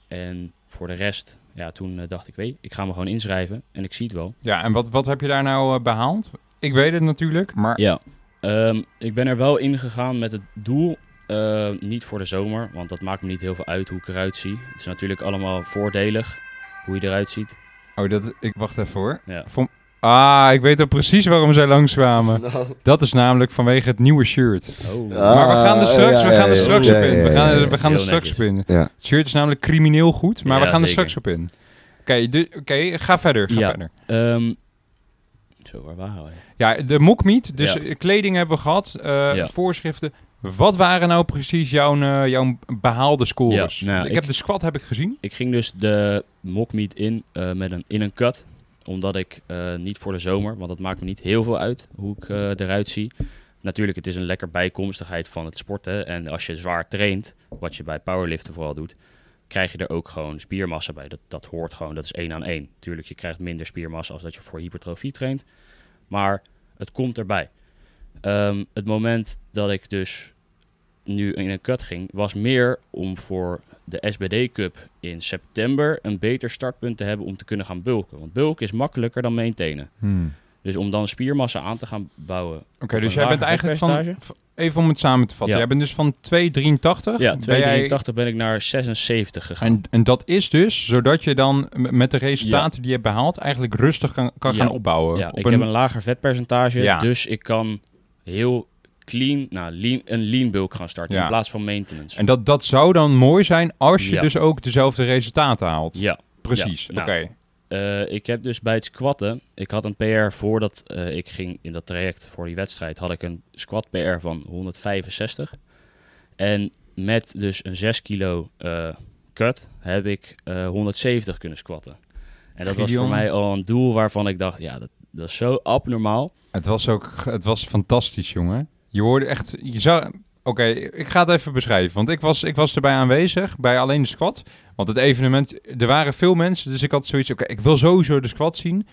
[SPEAKER 3] En voor de rest, ja, toen eh, dacht ik, weet, je, ik ga me gewoon inschrijven. En ik zie het wel.
[SPEAKER 1] ja, en wat, wat heb je daar nou eh, behaald? Ik weet het natuurlijk, maar...
[SPEAKER 3] Ja, ehm, ik ben er wel ingegaan met het doel. eh, niet voor de zomer, want dat maakt me niet heel veel uit hoe ik eruit zie. Het is natuurlijk allemaal voordelig hoe je eruit ziet.
[SPEAKER 1] Oh, dat, ik wacht even hoor.
[SPEAKER 3] Ja.
[SPEAKER 1] Vom- Ah, ik weet al precies waarom zij langskwamen.
[SPEAKER 2] Nou.
[SPEAKER 1] Dat is namelijk vanwege het nieuwe shirt.
[SPEAKER 3] Oh.
[SPEAKER 2] Ah,
[SPEAKER 1] maar we gaan er straks,
[SPEAKER 2] ja,
[SPEAKER 1] we gaan
[SPEAKER 2] ja,
[SPEAKER 1] er
[SPEAKER 2] ja,
[SPEAKER 1] straks
[SPEAKER 2] ja,
[SPEAKER 1] op in.
[SPEAKER 2] ja,
[SPEAKER 1] We
[SPEAKER 2] ja,
[SPEAKER 1] gaan,
[SPEAKER 2] ja,
[SPEAKER 1] er-
[SPEAKER 2] ja.
[SPEAKER 1] we gaan er
[SPEAKER 3] Heel
[SPEAKER 1] straks op
[SPEAKER 3] netjes.
[SPEAKER 1] in.
[SPEAKER 2] Ja.
[SPEAKER 1] Het shirt is namelijk crimineel goed, maar
[SPEAKER 3] Ja,
[SPEAKER 1] we gaan er
[SPEAKER 3] zeker.
[SPEAKER 1] straks op in. Oké, du- oké, ga verder, ga
[SPEAKER 3] Ja.
[SPEAKER 1] verder.
[SPEAKER 3] Ehm, zo, waar waren wij?
[SPEAKER 1] Ja, de mockmeet, dus
[SPEAKER 3] Ja.
[SPEAKER 1] eh, kleding hebben we gehad, eh,
[SPEAKER 3] Ja.
[SPEAKER 1] voorschriften. Wat waren nou precies jouw, eh, jouw behaalde scores? Dus
[SPEAKER 3] Ja, nou,
[SPEAKER 1] ik,
[SPEAKER 3] ik-
[SPEAKER 1] heb de squat heb ik gezien.
[SPEAKER 3] Ik ging dus de mockmeet in eh, met een, in een cut. Omdat ik eh, niet voor de zomer, want dat maakt me niet heel veel uit hoe ik eh, eruit zie. Natuurlijk, het is een lekker bijkomstigheid van het sporten. En als je zwaar traint, wat je bij powerliften vooral doet, krijg je er ook gewoon spiermassa bij. Dat, dat hoort gewoon, dat is één aan één. Tuurlijk, je krijgt minder spiermassa als dat je voor hypertrofie traint. Maar het komt erbij. Ehm, het moment dat ik dus nu in een cut ging, was meer om voor de SBD Cup in september een beter startpunt te hebben om te kunnen gaan bulken. Want bulken is makkelijker
[SPEAKER 2] Hmm.
[SPEAKER 3] dan maintainen. Dus om dan spiermassa aan te gaan bouwen.
[SPEAKER 1] Oké, dus
[SPEAKER 3] Op een
[SPEAKER 1] jij bent
[SPEAKER 3] lager
[SPEAKER 1] eigenlijk van,
[SPEAKER 3] vetpercentage?
[SPEAKER 1] v- even om het samen te vatten.
[SPEAKER 3] Ja.
[SPEAKER 1] Jij bent dus van 283.
[SPEAKER 3] Ja,
[SPEAKER 1] ben jij-
[SPEAKER 3] 283 ben ik naar 76 gegaan.
[SPEAKER 1] En, en dat is dus zodat je dan m- met de resultaten die je hebt behaald eigenlijk rustig kan, kan
[SPEAKER 3] Ja.
[SPEAKER 1] gaan opbouwen.
[SPEAKER 3] Ja,
[SPEAKER 1] Op
[SPEAKER 3] ik
[SPEAKER 1] een-
[SPEAKER 3] heb een lager vetpercentage,
[SPEAKER 1] Ja.
[SPEAKER 3] dus ik kan heel clean, nou, lean, een lean bulk gaan starten
[SPEAKER 1] Ja.
[SPEAKER 3] in plaats van maintenance.
[SPEAKER 1] En dat, dat zou dan mooi zijn als je
[SPEAKER 3] Ja.
[SPEAKER 1] dus ook dezelfde resultaten haalt.
[SPEAKER 3] ja,
[SPEAKER 1] Precies,
[SPEAKER 3] Ja. Nou,
[SPEAKER 1] oké.
[SPEAKER 3] eh, ik heb dus bij het squatten, ik had een PR voordat eh, ik ging in dat traject voor die wedstrijd, had ik een squat PR van 165. En met dus een 6 kilo eh cut heb ik eh, 170 kunnen squatten. En dat was
[SPEAKER 1] Gideon.
[SPEAKER 3] voor mij al een doel waarvan ik dacht, ja, dat, dat is zo abnormaal.
[SPEAKER 1] Het was ook, het was fantastisch, jongen. Je hoorde echt, je zou, oké, ik ga het even beschrijven. Want ik was, ik was erbij aanwezig, bij alleen de squat. Want het evenement, er waren veel mensen, dus ik had zoiets, oké, ik wil sowieso de squat zien.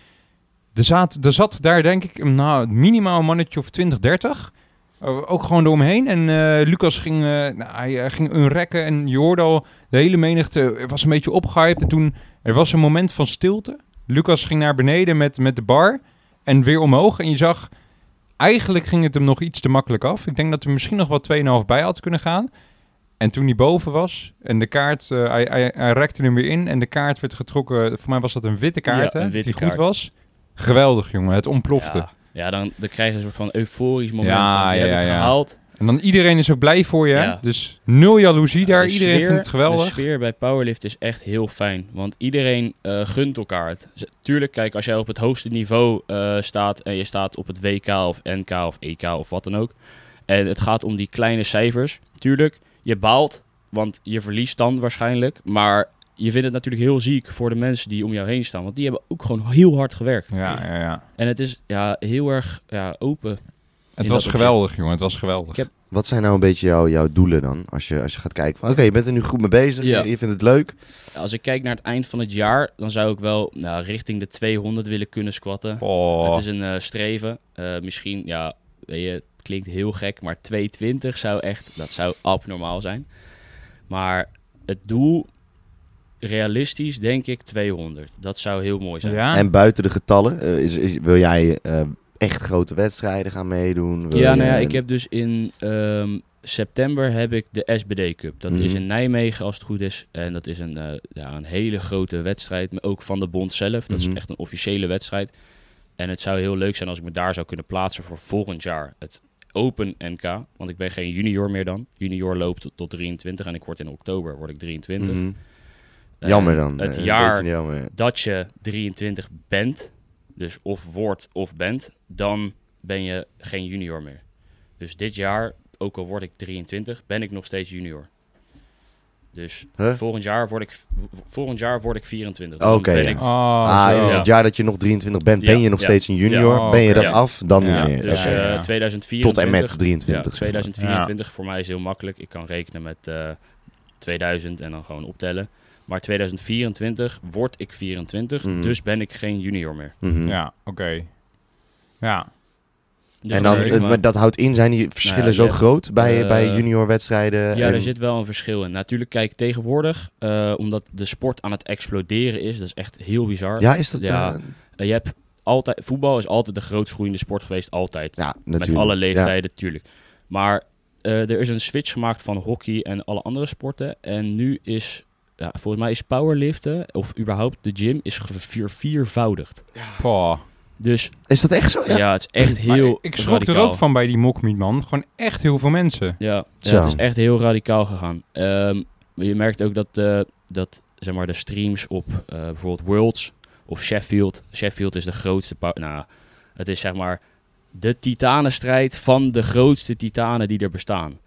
[SPEAKER 1] Er zat, er zat daar denk ik, nou, minimaal een mannetje of 20, 30. Eh, ook gewoon eromheen. En eh, Lucas ging, eh nou, hij eh, ging unrekken en je hoorde al, de hele menigte eh, was een beetje opgehyped. En toen, er was een moment van stilte. Lucas ging naar beneden met, met de bar en weer omhoog. En je zag, eigenlijk ging het hem nog iets te makkelijk af. Ik denk dat er misschien nog wat 2,5 bij had kunnen gaan. En toen hij boven was en de kaart, eh, hij, hij, hij rekte hem weer in en de kaart werd getrokken. Voor mij was dat een witte kaart,
[SPEAKER 3] Ja,
[SPEAKER 1] hè,
[SPEAKER 3] een witte
[SPEAKER 1] die
[SPEAKER 3] kaart.
[SPEAKER 1] goed was. Geweldig, jongen. Het ontplofte.
[SPEAKER 3] Ja, ja dan, dan krijg je een soort van euforisch moment.
[SPEAKER 1] Ja,
[SPEAKER 3] Ja,
[SPEAKER 1] ja,
[SPEAKER 3] ja,
[SPEAKER 1] ja, ja.
[SPEAKER 3] gehaald.
[SPEAKER 1] En dan iedereen is ook blij voor je. hè?
[SPEAKER 3] Ja.
[SPEAKER 1] Dus nul jaloezie daar.
[SPEAKER 3] De
[SPEAKER 1] iedereen
[SPEAKER 3] sfeer-
[SPEAKER 1] vindt het
[SPEAKER 3] De
[SPEAKER 1] geweldig.
[SPEAKER 3] sfeer bij powerlift is echt heel fijn. Want iedereen eh, gunt elkaar het. Z- Tuurlijk, kijk, als jij op het hoogste niveau eh, staat... en je staat op het WK of NK of EK of wat dan ook... en het gaat om die kleine cijfers. Tuurlijk, je baalt, want je verliest dan waarschijnlijk. Maar je vindt het natuurlijk heel ziek voor de mensen die om jou heen staan. Want die hebben ook gewoon heel hard gewerkt.
[SPEAKER 1] Ja, ja, ja.
[SPEAKER 3] En het is ja, heel erg ja, open. In
[SPEAKER 1] Het
[SPEAKER 3] dat
[SPEAKER 1] was
[SPEAKER 3] opzicht.
[SPEAKER 1] geweldig, jongen. Het was geweldig.
[SPEAKER 3] Ik heb-
[SPEAKER 2] Wat zijn nou een beetje jouw, jouw doelen dan? Als je, als je gaat kijken van, oké, je bent er nu goed mee bezig,
[SPEAKER 3] Ja.
[SPEAKER 2] je, je vindt het leuk.
[SPEAKER 3] Als ik kijk naar het eind van het jaar, dan zou ik wel nou, richting de 200 willen kunnen squatten.
[SPEAKER 1] Oh,
[SPEAKER 3] Het is een eh, streven. Eh, misschien, ja, weet je, het klinkt heel gek, maar 220 zou echt, dat zou abnormaal zijn. Maar het doel, realistisch denk ik 200. Dat zou heel mooi zijn.
[SPEAKER 1] ja.
[SPEAKER 2] En buiten de getallen, eh, is, is, wil jij eh, echt grote wedstrijden gaan meedoen? Wil
[SPEAKER 3] Ja,
[SPEAKER 2] je-
[SPEAKER 3] nou ja, ik heb dus in ehm, september heb ik de SBD Cup. Dat is
[SPEAKER 2] Mhm.
[SPEAKER 3] in Nijmegen als het goed is. En dat is een, eh, ja, een hele grote wedstrijd, maar ook van de bond zelf. Dat
[SPEAKER 2] Mhm.
[SPEAKER 3] is echt een officiële wedstrijd. En het zou heel leuk zijn als ik me daar zou kunnen plaatsen voor volgend jaar. Het Open NK, want ik ben geen junior meer dan. Junior loopt tot, tot 23 en ik word in oktober word ik 23.
[SPEAKER 2] Mhm. Jammer
[SPEAKER 3] Eh,
[SPEAKER 2] dan.
[SPEAKER 3] het
[SPEAKER 2] eh, een
[SPEAKER 3] jaar-
[SPEAKER 2] beetje jammer.
[SPEAKER 3] dat je 23 bent, dus of wordt of bent, dan ben je geen junior meer. Dus dit jaar, ook al word ik 23, ben ik nog steeds junior. Dus
[SPEAKER 2] Huh?
[SPEAKER 3] volgend jaar word ik, v- volgend jaar word ik 24.
[SPEAKER 2] Eh. Oké,
[SPEAKER 3] Dan ben
[SPEAKER 2] ja.
[SPEAKER 3] ik-
[SPEAKER 1] Oh,
[SPEAKER 2] ah,
[SPEAKER 1] zo.
[SPEAKER 2] dus
[SPEAKER 3] ja.
[SPEAKER 2] het jaar dat je nog 23 bent,
[SPEAKER 3] Ja,
[SPEAKER 2] ben je nog
[SPEAKER 3] ja.
[SPEAKER 2] steeds een junior.
[SPEAKER 1] Ja.
[SPEAKER 2] ben je dat
[SPEAKER 3] Ja.
[SPEAKER 2] af, dan
[SPEAKER 1] Ja.
[SPEAKER 2] niet meer.
[SPEAKER 3] Dus
[SPEAKER 2] Oké.
[SPEAKER 1] ja.
[SPEAKER 3] eh 2024.
[SPEAKER 2] Tot en met 23.
[SPEAKER 3] Ja,
[SPEAKER 2] zeg maar.
[SPEAKER 3] 2024 voor mij is heel makkelijk. Ik kan rekenen met eh, 2000 en dan gewoon optellen. Maar 2024 word ik 24,
[SPEAKER 2] Mhm.
[SPEAKER 3] dus ben ik geen junior meer.
[SPEAKER 2] Mhm.
[SPEAKER 1] Ja, oké. Ja.
[SPEAKER 3] Dus
[SPEAKER 2] En dan,
[SPEAKER 1] oké,
[SPEAKER 3] leuk,
[SPEAKER 2] eh,
[SPEAKER 3] maar-
[SPEAKER 2] maar dat houdt in, zijn die verschillen
[SPEAKER 3] Nou ja,
[SPEAKER 2] zo
[SPEAKER 3] je-
[SPEAKER 2] groot bij,
[SPEAKER 3] eh,
[SPEAKER 2] bij juniorwedstrijden?
[SPEAKER 3] Ja,
[SPEAKER 2] Eh, en-
[SPEAKER 3] er zit wel een verschil in. Natuurlijk, kijk, tegenwoordig, eh, omdat de sport aan het exploderen is, dat is echt heel bizar.
[SPEAKER 2] Ja, is dat...
[SPEAKER 3] Ja.
[SPEAKER 2] eh,
[SPEAKER 3] Eh, je hebt altijd, voetbal is altijd de grootst groeiende sport geweest, altijd.
[SPEAKER 2] ja, natuurlijk.
[SPEAKER 3] Met alle
[SPEAKER 2] Ja.
[SPEAKER 3] leeftijden, tuurlijk. Maar eh, er is een switch gemaakt van hockey en alle andere sporten. En nu is, ja, volgens mij is powerliften, of überhaupt de gym, is geviervoudigd.
[SPEAKER 1] Poh.
[SPEAKER 3] Dus
[SPEAKER 2] Is dat echt zo?
[SPEAKER 3] ja.
[SPEAKER 2] Ja.
[SPEAKER 3] het is echt
[SPEAKER 1] Maar
[SPEAKER 3] heel
[SPEAKER 1] ik- ik schrok er
[SPEAKER 3] radicaal.
[SPEAKER 1] ook van bij die mokmiet, man. Gewoon echt heel veel mensen.
[SPEAKER 3] Ja,
[SPEAKER 2] Zo.
[SPEAKER 3] ja, het is echt heel radicaal gegaan. Ehm, je merkt ook dat, eh, dat zeg maar, de streams op eh, bijvoorbeeld Worlds of Sheffield. Sheffield is de grootste. pa- Nou, het is zeg maar de titanenstrijd van de grootste titanen die er bestaan.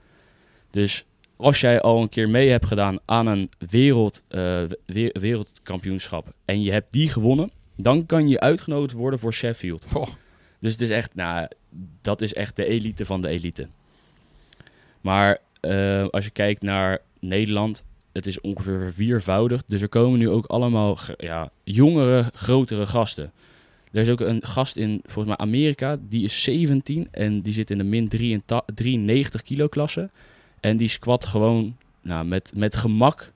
[SPEAKER 3] Dus als jij al een keer mee hebt gedaan aan een wereld, eh, we- wereldkampioenschap en je hebt die gewonnen, dan kan je uitgenodigd worden voor Sheffield.
[SPEAKER 1] Poh.
[SPEAKER 3] Dus het is echt, nou, dat is echt de elite van de elite. Maar eh, als je kijkt naar Nederland, het is ongeveer verviervoudigd. Dus er komen nu ook allemaal ge- ja, jongere, grotere gasten. Er is ook een gast in, volgens mij, Amerika. Die is 17 en die zit in de min 83 93 kilo klasse. En die squat gewoon nou, met, met gemak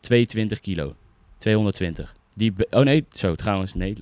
[SPEAKER 3] 22 kilo. 220. Die, be- oh nee, zo trouwens, nee.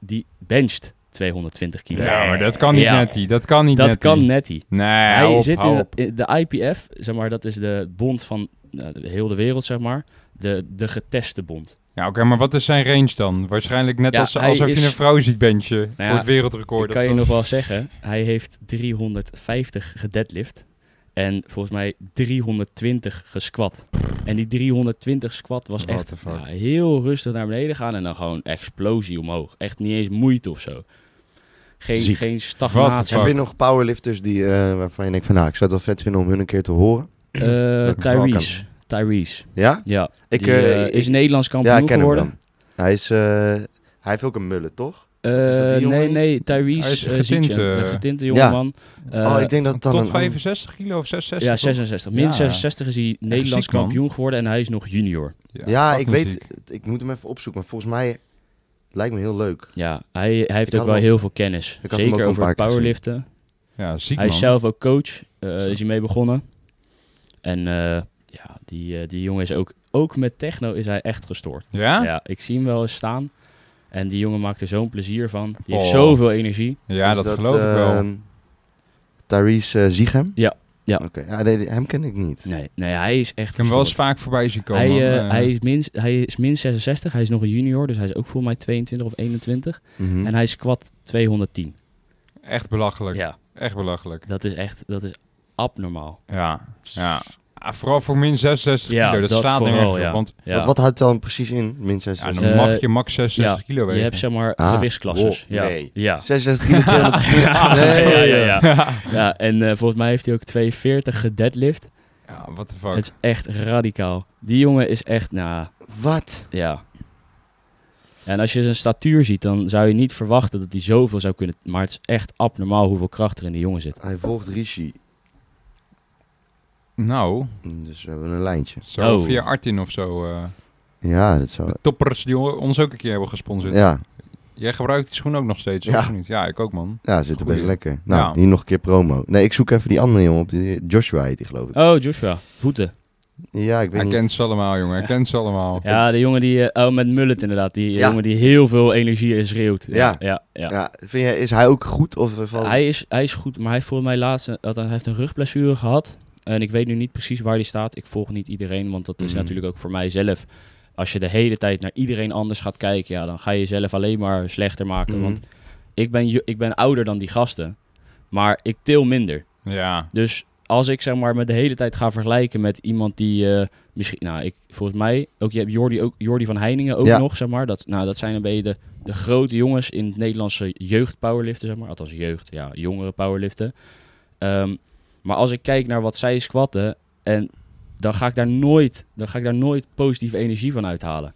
[SPEAKER 3] Die bencht 220 kilo.
[SPEAKER 1] Ja, maar dat kan niet
[SPEAKER 3] Ja.
[SPEAKER 1] netty. Dat kan niet
[SPEAKER 3] dat
[SPEAKER 1] netty.
[SPEAKER 3] kan netty.
[SPEAKER 1] Nee,
[SPEAKER 3] Hij
[SPEAKER 1] hou op,
[SPEAKER 3] zit in
[SPEAKER 1] hou
[SPEAKER 3] de,
[SPEAKER 1] op.
[SPEAKER 3] in de IPF, zeg maar, dat is de bond van nou, de- heel de wereld, zeg maar. De, de geteste bond.
[SPEAKER 1] Ja, oké, maar wat is zijn range dan? Waarschijnlijk net
[SPEAKER 3] Ja,
[SPEAKER 1] als,
[SPEAKER 3] hij
[SPEAKER 1] alsof je
[SPEAKER 3] is-
[SPEAKER 1] een vrouw ziet, bent je.
[SPEAKER 3] ja,
[SPEAKER 1] voor het wereldrecord.
[SPEAKER 3] Ik kan
[SPEAKER 1] of
[SPEAKER 3] je
[SPEAKER 1] zo.
[SPEAKER 3] nog wel zeggen, hij heeft 350 gedeadlift en volgens mij 320 gesquat. En die 320 squat was
[SPEAKER 1] What
[SPEAKER 3] echt
[SPEAKER 1] the fuck?
[SPEAKER 3] ja, heel rustig naar beneden gaan en dan gewoon explosie omhoog. Echt niet eens moeite of zo. Geen,
[SPEAKER 2] Ziek.
[SPEAKER 3] geen Eh,
[SPEAKER 1] What the
[SPEAKER 3] stagnatie.
[SPEAKER 1] fuck?
[SPEAKER 2] Heb je nog powerlifters die, eh, waarvan je denkt van, nou, ik zou het wel vet vinden om hun een keer te horen?
[SPEAKER 3] Eh,
[SPEAKER 1] Dat ik wel
[SPEAKER 3] Tyrese. Tyrese,
[SPEAKER 2] Ja?
[SPEAKER 3] ja.
[SPEAKER 2] Ik,
[SPEAKER 3] die,
[SPEAKER 2] eh,
[SPEAKER 3] eh,
[SPEAKER 2] ik-
[SPEAKER 3] is Nederlands
[SPEAKER 2] ja,
[SPEAKER 3] kampioen
[SPEAKER 2] ik ken hem
[SPEAKER 3] geworden.
[SPEAKER 2] dan. Hij, is, eh, hij heeft ook een mullet, toch? Is dat die
[SPEAKER 3] Eh,
[SPEAKER 2] jongen
[SPEAKER 3] nee,
[SPEAKER 2] niet?
[SPEAKER 3] nee,
[SPEAKER 1] Hij is
[SPEAKER 3] Tyrese eh,
[SPEAKER 1] getint,
[SPEAKER 3] Zietjen,
[SPEAKER 1] eh,
[SPEAKER 3] een getinte jongeman. Eh,
[SPEAKER 2] oh, ik denk dat het dan
[SPEAKER 1] Tot
[SPEAKER 2] een-
[SPEAKER 1] 65 kilo of 66?
[SPEAKER 3] ja,
[SPEAKER 1] toch?
[SPEAKER 3] 66. Min
[SPEAKER 1] Ja.
[SPEAKER 3] 66 is hij Nederlands
[SPEAKER 1] ziek, man.
[SPEAKER 3] kampioen geworden en hij is nog junior.
[SPEAKER 2] Ja, ik
[SPEAKER 1] fucking
[SPEAKER 2] weet,
[SPEAKER 1] ziek.
[SPEAKER 2] ik moet hem even opzoeken, maar volgens mij lijkt me heel leuk.
[SPEAKER 3] Ja, hij, hij heeft
[SPEAKER 2] had
[SPEAKER 3] ook wel
[SPEAKER 2] hem-
[SPEAKER 3] heel veel kennis.
[SPEAKER 2] ik had hem ook
[SPEAKER 3] Zeker
[SPEAKER 2] al een
[SPEAKER 3] over
[SPEAKER 2] paar keer gezien.
[SPEAKER 3] powerliften.
[SPEAKER 1] Ja, ziek
[SPEAKER 3] Hij
[SPEAKER 1] man.
[SPEAKER 3] is zelf ook coach, eh,
[SPEAKER 1] Zo.
[SPEAKER 3] is hij mee begonnen. En eh, ja, die, eh, die jongen is ook, ook met techno is hij echt gestoord.
[SPEAKER 1] Ja? Ja,
[SPEAKER 3] Ja, ik zie hem wel eens staan. En die jongen maakt er zo'n plezier van. Die heeft
[SPEAKER 1] Oh.
[SPEAKER 3] zoveel energie.
[SPEAKER 2] Is
[SPEAKER 1] dat, geloof ik wel.
[SPEAKER 2] ehm, Tyrese eh, Ziegem?
[SPEAKER 3] Ja, ja.
[SPEAKER 2] Oké, ja, nee, die- hem ken ik niet.
[SPEAKER 3] Nee, nee hij is echt
[SPEAKER 1] Ik heb hem wel eens
[SPEAKER 3] gestoord.
[SPEAKER 1] vaak voorbij zien komen.
[SPEAKER 3] Hij, eh,
[SPEAKER 1] eh,
[SPEAKER 3] hij, is min, hij is min 66, hij is nog een junior, dus hij is ook voor mij 22 of 21.
[SPEAKER 2] Mhm.
[SPEAKER 3] En hij squat 210.
[SPEAKER 1] Eh, Echt belachelijk.
[SPEAKER 3] Ja,
[SPEAKER 1] Echt belachelijk.
[SPEAKER 3] dat is echt, dat is abnormaal.
[SPEAKER 1] Ja, ja. Ah, vooral voor min 66
[SPEAKER 3] Ja,
[SPEAKER 1] kilo. Dat,
[SPEAKER 3] dat
[SPEAKER 1] slaat
[SPEAKER 3] vooral,
[SPEAKER 1] nergens op.
[SPEAKER 3] ja.
[SPEAKER 1] Want
[SPEAKER 3] Ja.
[SPEAKER 2] Wat, wat houdt dan precies in, min
[SPEAKER 1] ja,
[SPEAKER 2] 66?
[SPEAKER 1] dan
[SPEAKER 3] Eh,
[SPEAKER 1] mag je max 66 kilo
[SPEAKER 3] Je
[SPEAKER 1] wegen.
[SPEAKER 3] hebt zeg maar
[SPEAKER 2] Ah,
[SPEAKER 3] gewichtsklassers.
[SPEAKER 1] Oh,
[SPEAKER 2] wow,
[SPEAKER 3] ja.
[SPEAKER 2] nee.
[SPEAKER 3] Ja.
[SPEAKER 2] 66 kilo, 200 Nee,
[SPEAKER 3] ja, ja,
[SPEAKER 2] ja, ja.
[SPEAKER 3] ja. Ja, en eh, volgens mij heeft hij ook 240 gedeadlift.
[SPEAKER 1] Ja, what the fuck.
[SPEAKER 3] Het is echt radicaal. Die jongen is echt, nou,
[SPEAKER 2] Wat?
[SPEAKER 3] ja. En als je zijn statuur ziet, dan zou je niet verwachten dat hij zoveel zou kunnen. Maar het is echt abnormaal hoeveel kracht er in die jongen zit.
[SPEAKER 2] Hij volgt Rishi,
[SPEAKER 1] Nou,
[SPEAKER 2] dus we hebben een lijntje.
[SPEAKER 1] zo
[SPEAKER 3] Oh.
[SPEAKER 1] via Artin of zo. eh,
[SPEAKER 2] Ja, dat zou...
[SPEAKER 1] de toppers die o- ons ook een keer hebben gesponsord.
[SPEAKER 2] Ja,
[SPEAKER 1] Jij gebruikt die schoen ook nog steeds,
[SPEAKER 2] Ja.
[SPEAKER 1] of niet? Ja, ik ook, man.
[SPEAKER 2] ja zit er
[SPEAKER 1] Goeie.
[SPEAKER 2] best lekker. Nou,
[SPEAKER 1] Ja.
[SPEAKER 2] hier nog een keer promo. Nee, ik zoek even die andere jongen op. Die Joshua heet die, geloof ik.
[SPEAKER 3] Oh, Joshua, voeten.
[SPEAKER 2] Ja, ik weet
[SPEAKER 1] Hij
[SPEAKER 2] niet.
[SPEAKER 1] kent ze allemaal, jongen. Hij kent ze allemaal.
[SPEAKER 3] Ja, de jongen die, eh, oh, met Mullet inderdaad. Die
[SPEAKER 2] Ja.
[SPEAKER 3] jongen die heel veel energie is schreeuwt.
[SPEAKER 2] Ja.
[SPEAKER 3] ja, ja.
[SPEAKER 2] Ja, vind jij, is hij ook goed? Of eh, valt...
[SPEAKER 3] Hij, is, hij is goed, maar hij heeft volgens mij laatst een, had- hij heeft een rugblessure gehad. En ik weet nu niet precies waar die staat. Ik volg niet iedereen, want dat is
[SPEAKER 2] Mhm.
[SPEAKER 3] natuurlijk ook voor mij zelf. Als je de hele tijd naar iedereen anders gaat kijken, ja, dan ga je jezelf alleen maar slechter maken.
[SPEAKER 2] Mhm.
[SPEAKER 3] Want ik ben, jo- ik ben ouder dan die gasten, maar ik til minder.
[SPEAKER 1] Ja.
[SPEAKER 3] Dus als ik zeg maar me de hele tijd ga vergelijken met iemand die eh, misschien, nou, ik volgens mij ook je hebt Jordi, ook, Jordi van Heiningen ook
[SPEAKER 2] Ja.
[SPEAKER 3] nog, zeg maar. Dat, nou, dat zijn een beetje de, de grote jongens in het Nederlandse jeugdpowerliften, zeg maar. Althans jeugd, ja, jongere powerliften. Ehm, maar als ik kijk naar wat zij squatten en dan ga ik daar nooit, dan ga ik daar nooit positieve energie van uithalen.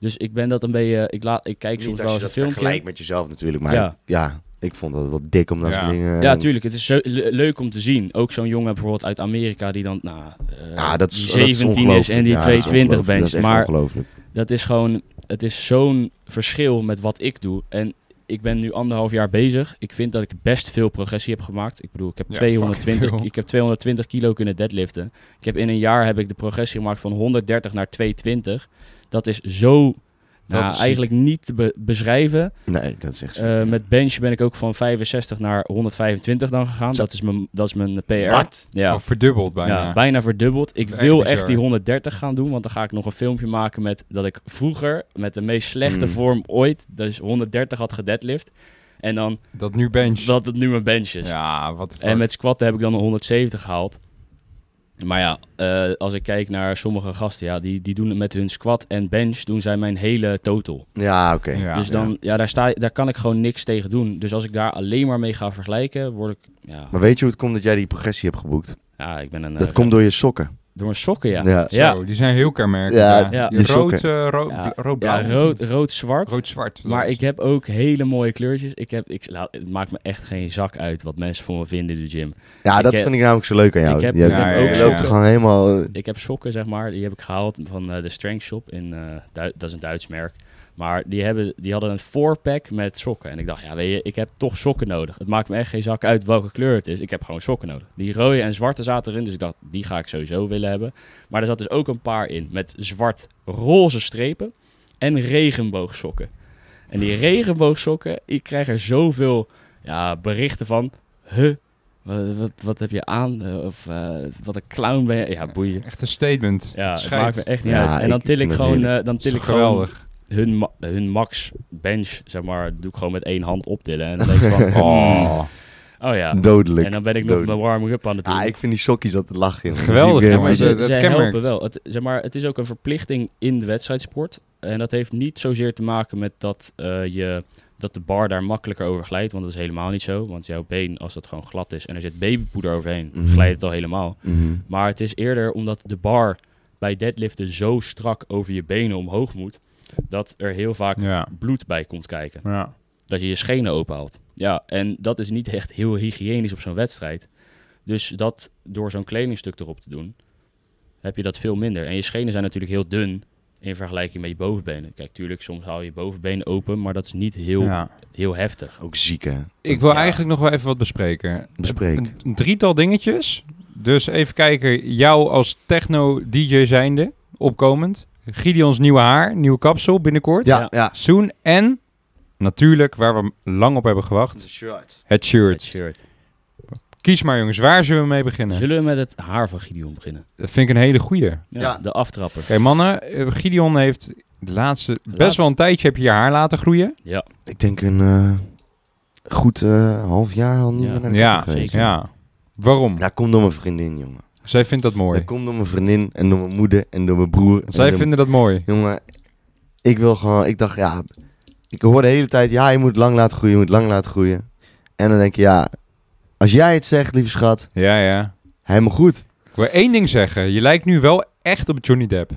[SPEAKER 3] Dus ik ben dat een beetje, ik laat, ik kijk soms
[SPEAKER 2] Niet
[SPEAKER 3] wel
[SPEAKER 2] als je
[SPEAKER 3] eens een
[SPEAKER 2] dat
[SPEAKER 3] filmpje.
[SPEAKER 2] vergelijkt met jezelf natuurlijk, maar
[SPEAKER 3] Ja.
[SPEAKER 2] ja. ik vond dat wel dik om dat
[SPEAKER 1] Ja.
[SPEAKER 2] soort dingen...
[SPEAKER 3] Ja, tuurlijk. Het is zo le- leuk om te zien. Ook zo'n jongen bijvoorbeeld uit Amerika die dan nou, eh,
[SPEAKER 2] Ja, Ah, dat is,
[SPEAKER 3] die
[SPEAKER 2] dat is
[SPEAKER 3] 17 is
[SPEAKER 2] ongelooflijk.
[SPEAKER 3] en die
[SPEAKER 2] Ja, dat is
[SPEAKER 3] 22
[SPEAKER 2] ongelooflijk.
[SPEAKER 3] bencht.
[SPEAKER 2] Dat is echt
[SPEAKER 3] Maar
[SPEAKER 2] ongelooflijk.
[SPEAKER 3] dat is gewoon, het is zo'n verschil met wat ik doe. En ik ben nu anderhalf jaar bezig. Ik vind dat ik best veel progressie heb gemaakt. Ik bedoel, ik heb,
[SPEAKER 1] Ja,
[SPEAKER 3] 220,
[SPEAKER 1] fucking
[SPEAKER 3] ik heb 220 kilo kunnen deadliften. Ik heb in een jaar heb ik de progressie gemaakt van 130 naar 220. Dat is zo,
[SPEAKER 1] Dat
[SPEAKER 3] nou,
[SPEAKER 1] is ziek.
[SPEAKER 3] eigenlijk niet te be- beschrijven.
[SPEAKER 2] Nee, dat is echt... zo.
[SPEAKER 3] Eh, met bench ben ik ook van 65 naar 125 dan gegaan.
[SPEAKER 2] Zo.
[SPEAKER 3] Dat is mijn, dat is mijn PR.
[SPEAKER 2] Wat?
[SPEAKER 3] Ja.
[SPEAKER 1] Of verdubbeld bijna.
[SPEAKER 3] ja, bijna verdubbeld. Ik
[SPEAKER 1] Echt
[SPEAKER 3] wil
[SPEAKER 1] bizar.
[SPEAKER 3] echt die 130 gaan doen, want dan ga ik nog een filmpje maken met dat ik vroeger met de meest slechte
[SPEAKER 2] Mm.
[SPEAKER 3] vorm ooit, dus 130 had gedeadlift. En dan
[SPEAKER 1] Dat nu bench.
[SPEAKER 3] dat het nu mijn bench is.
[SPEAKER 1] Ja, wat
[SPEAKER 3] En met squatten heb ik dan een 170 gehaald. Maar ja, eh, als ik kijk naar sommige gasten, ja, die, die doen het met hun squat en bench, doen zij mijn hele total
[SPEAKER 2] Ja, oké.
[SPEAKER 1] Ja.
[SPEAKER 3] dus dan, ja, daar, sta, daar kan ik gewoon niks tegen doen. Dus als ik daar alleen maar mee ga vergelijken, word ik, ja,
[SPEAKER 2] Maar weet je hoe het komt dat jij die progressie hebt geboekt?
[SPEAKER 3] ja ik ben een...
[SPEAKER 2] dat
[SPEAKER 3] eh,
[SPEAKER 2] komt door je sokken.
[SPEAKER 3] Door mijn sokken, ja.
[SPEAKER 2] Ja.
[SPEAKER 3] Ja,
[SPEAKER 1] Zo,
[SPEAKER 3] ja.
[SPEAKER 1] die zijn heel kenmerkend.
[SPEAKER 2] Ja,
[SPEAKER 1] Ja,
[SPEAKER 3] ja.
[SPEAKER 1] Die
[SPEAKER 2] die
[SPEAKER 1] rood,
[SPEAKER 2] sokken.
[SPEAKER 1] eh, rood,
[SPEAKER 3] Ja,
[SPEAKER 1] rood, blauw.
[SPEAKER 3] rood, rood, zwart.
[SPEAKER 1] rood, zwart.
[SPEAKER 3] maar ik heb ook hele mooie kleurtjes. Ik heb, ik, nou, het maakt me echt geen zak uit wat mensen van me vinden in de gym.
[SPEAKER 2] Ja,
[SPEAKER 3] Ik
[SPEAKER 2] dat
[SPEAKER 3] heb-
[SPEAKER 2] vind ik namelijk zo leuk aan jou.
[SPEAKER 3] ik heb-
[SPEAKER 2] je hebt-
[SPEAKER 1] ik heb
[SPEAKER 2] je
[SPEAKER 1] ook
[SPEAKER 2] loopt
[SPEAKER 1] sokken.
[SPEAKER 2] gewoon helemaal... eh,
[SPEAKER 3] Ik heb sokken, zeg maar, die heb ik gehaald van eh, de Strength Shop. In, eh, Du- dat is een Duits merk. Maar die, hebben, die hadden een four-pack met sokken. En ik dacht, ja, weet je, ik heb toch sokken nodig. Het maakt me echt geen zak uit welke kleur het is. Ik heb gewoon sokken nodig. Die rode en zwarte zaten erin, dus ik dacht, die ga ik sowieso willen hebben. Maar er zat dus ook een paar in met zwart-roze strepen en regenboogsokken. En die regenboogsokken, ik krijg er zoveel ja, berichten van. Huh, wat, wat, wat heb je aan? Eh, Of eh, wat een clown ben je. Ja, boeien.
[SPEAKER 1] Echt een statement.
[SPEAKER 3] Ja, het
[SPEAKER 1] Schijt.
[SPEAKER 3] maakt me echt niet
[SPEAKER 2] Ja,
[SPEAKER 3] uit. En dan
[SPEAKER 2] ik
[SPEAKER 3] til ik
[SPEAKER 2] vind het
[SPEAKER 3] gewoon,
[SPEAKER 2] heerlijk.
[SPEAKER 3] eh, dan til ik
[SPEAKER 1] Is
[SPEAKER 3] gewoon
[SPEAKER 1] geweldig.
[SPEAKER 3] hun, ma- hun max bench, zeg maar, doe ik gewoon met één hand optillen. En dan denk ik van, oh,
[SPEAKER 1] Oh.
[SPEAKER 3] oh ja.
[SPEAKER 2] Dodelijk.
[SPEAKER 3] En dan ben ik nog
[SPEAKER 2] Dood.
[SPEAKER 3] mijn warming-up aan het doen.
[SPEAKER 2] Ah, ik vind die sokjes altijd lachen. jongen.
[SPEAKER 1] Geweldig,
[SPEAKER 2] Die-
[SPEAKER 1] ja,
[SPEAKER 2] eh,
[SPEAKER 1] maar
[SPEAKER 3] Maar
[SPEAKER 1] ze-
[SPEAKER 3] ze,
[SPEAKER 1] dat
[SPEAKER 3] ze
[SPEAKER 1] kenmerkt.
[SPEAKER 3] helpen wel. Het, zeg maar, het is ook een verplichting in de wedstrijdsport. En dat heeft niet zozeer te maken met dat, eh, je, dat de bar daar makkelijker over glijdt. Want dat is helemaal niet zo. Want jouw been, als dat gewoon glad is en er zit babypoeder overheen,
[SPEAKER 2] Mhm.
[SPEAKER 3] glijdt het al helemaal.
[SPEAKER 2] Mhm.
[SPEAKER 3] Maar het is eerder omdat de bar bij deadliften zo strak over je benen omhoog moet. Dat er heel vaak
[SPEAKER 1] Ja.
[SPEAKER 3] bloed bij komt kijken.
[SPEAKER 1] Ja.
[SPEAKER 3] Dat je je schenen openhaalt. Ja, en dat is niet echt heel hygiënisch op zo'n wedstrijd. Dus dat door zo'n kledingstuk erop te doen, heb je dat veel minder. En je schenen zijn natuurlijk heel dun in vergelijking met je bovenbenen. Kijk, tuurlijk, soms haal je je bovenbeen open, maar dat is niet heel,
[SPEAKER 1] Ja.
[SPEAKER 3] heel heftig.
[SPEAKER 2] Ook ziek, hè?
[SPEAKER 1] Ik wil
[SPEAKER 3] Ja.
[SPEAKER 1] eigenlijk nog wel even wat bespreken.
[SPEAKER 2] Bespreek.
[SPEAKER 1] Een, een drietal dingetjes. Dus even kijken, jou als techno-dj zijnde, opkomend. Gideon's nieuwe haar, nieuwe kapsel binnenkort.
[SPEAKER 2] Ja,
[SPEAKER 3] Ja.
[SPEAKER 2] ja.
[SPEAKER 1] Soon en, natuurlijk, waar we lang op hebben gewacht, het
[SPEAKER 3] Het
[SPEAKER 1] shirt.
[SPEAKER 3] shirt.
[SPEAKER 1] Kies maar jongens, waar zullen we mee beginnen?
[SPEAKER 3] Zullen we met het haar van Gideon beginnen?
[SPEAKER 1] Dat vind ik een hele goeie. Oké
[SPEAKER 3] Ja,
[SPEAKER 2] Ja.
[SPEAKER 3] De aftrapper.
[SPEAKER 1] mannen, eh, Gideon heeft de laatste, best
[SPEAKER 3] Laatste-
[SPEAKER 1] wel een tijdje heb je je haar laten groeien.
[SPEAKER 2] Ik denk een eh, goed eh, half jaar al niet
[SPEAKER 3] Ja.
[SPEAKER 2] meer naar de
[SPEAKER 1] Ja,
[SPEAKER 2] kapper geweest.
[SPEAKER 3] zeker.
[SPEAKER 1] ja. Waarom?
[SPEAKER 2] Ja, komt door mijn vriendin, jongen.
[SPEAKER 1] Zij vindt dat mooi.
[SPEAKER 2] Dat komt door mijn vriendin en door mijn moeder en door mijn broer. en
[SPEAKER 1] Zij
[SPEAKER 2] door
[SPEAKER 1] vinden dat mooi.
[SPEAKER 2] Jongen, ik wil gewoon... Ik dacht, ja... Ik hoor de hele tijd, ja, je moet lang laten groeien, je moet lang laten groeien. En dan denk je, ja... Als jij het zegt, lieve schat,
[SPEAKER 1] Ja, ja.
[SPEAKER 2] helemaal goed.
[SPEAKER 1] Ik wil één ding zeggen. Je lijkt nu wel echt op Johnny Depp.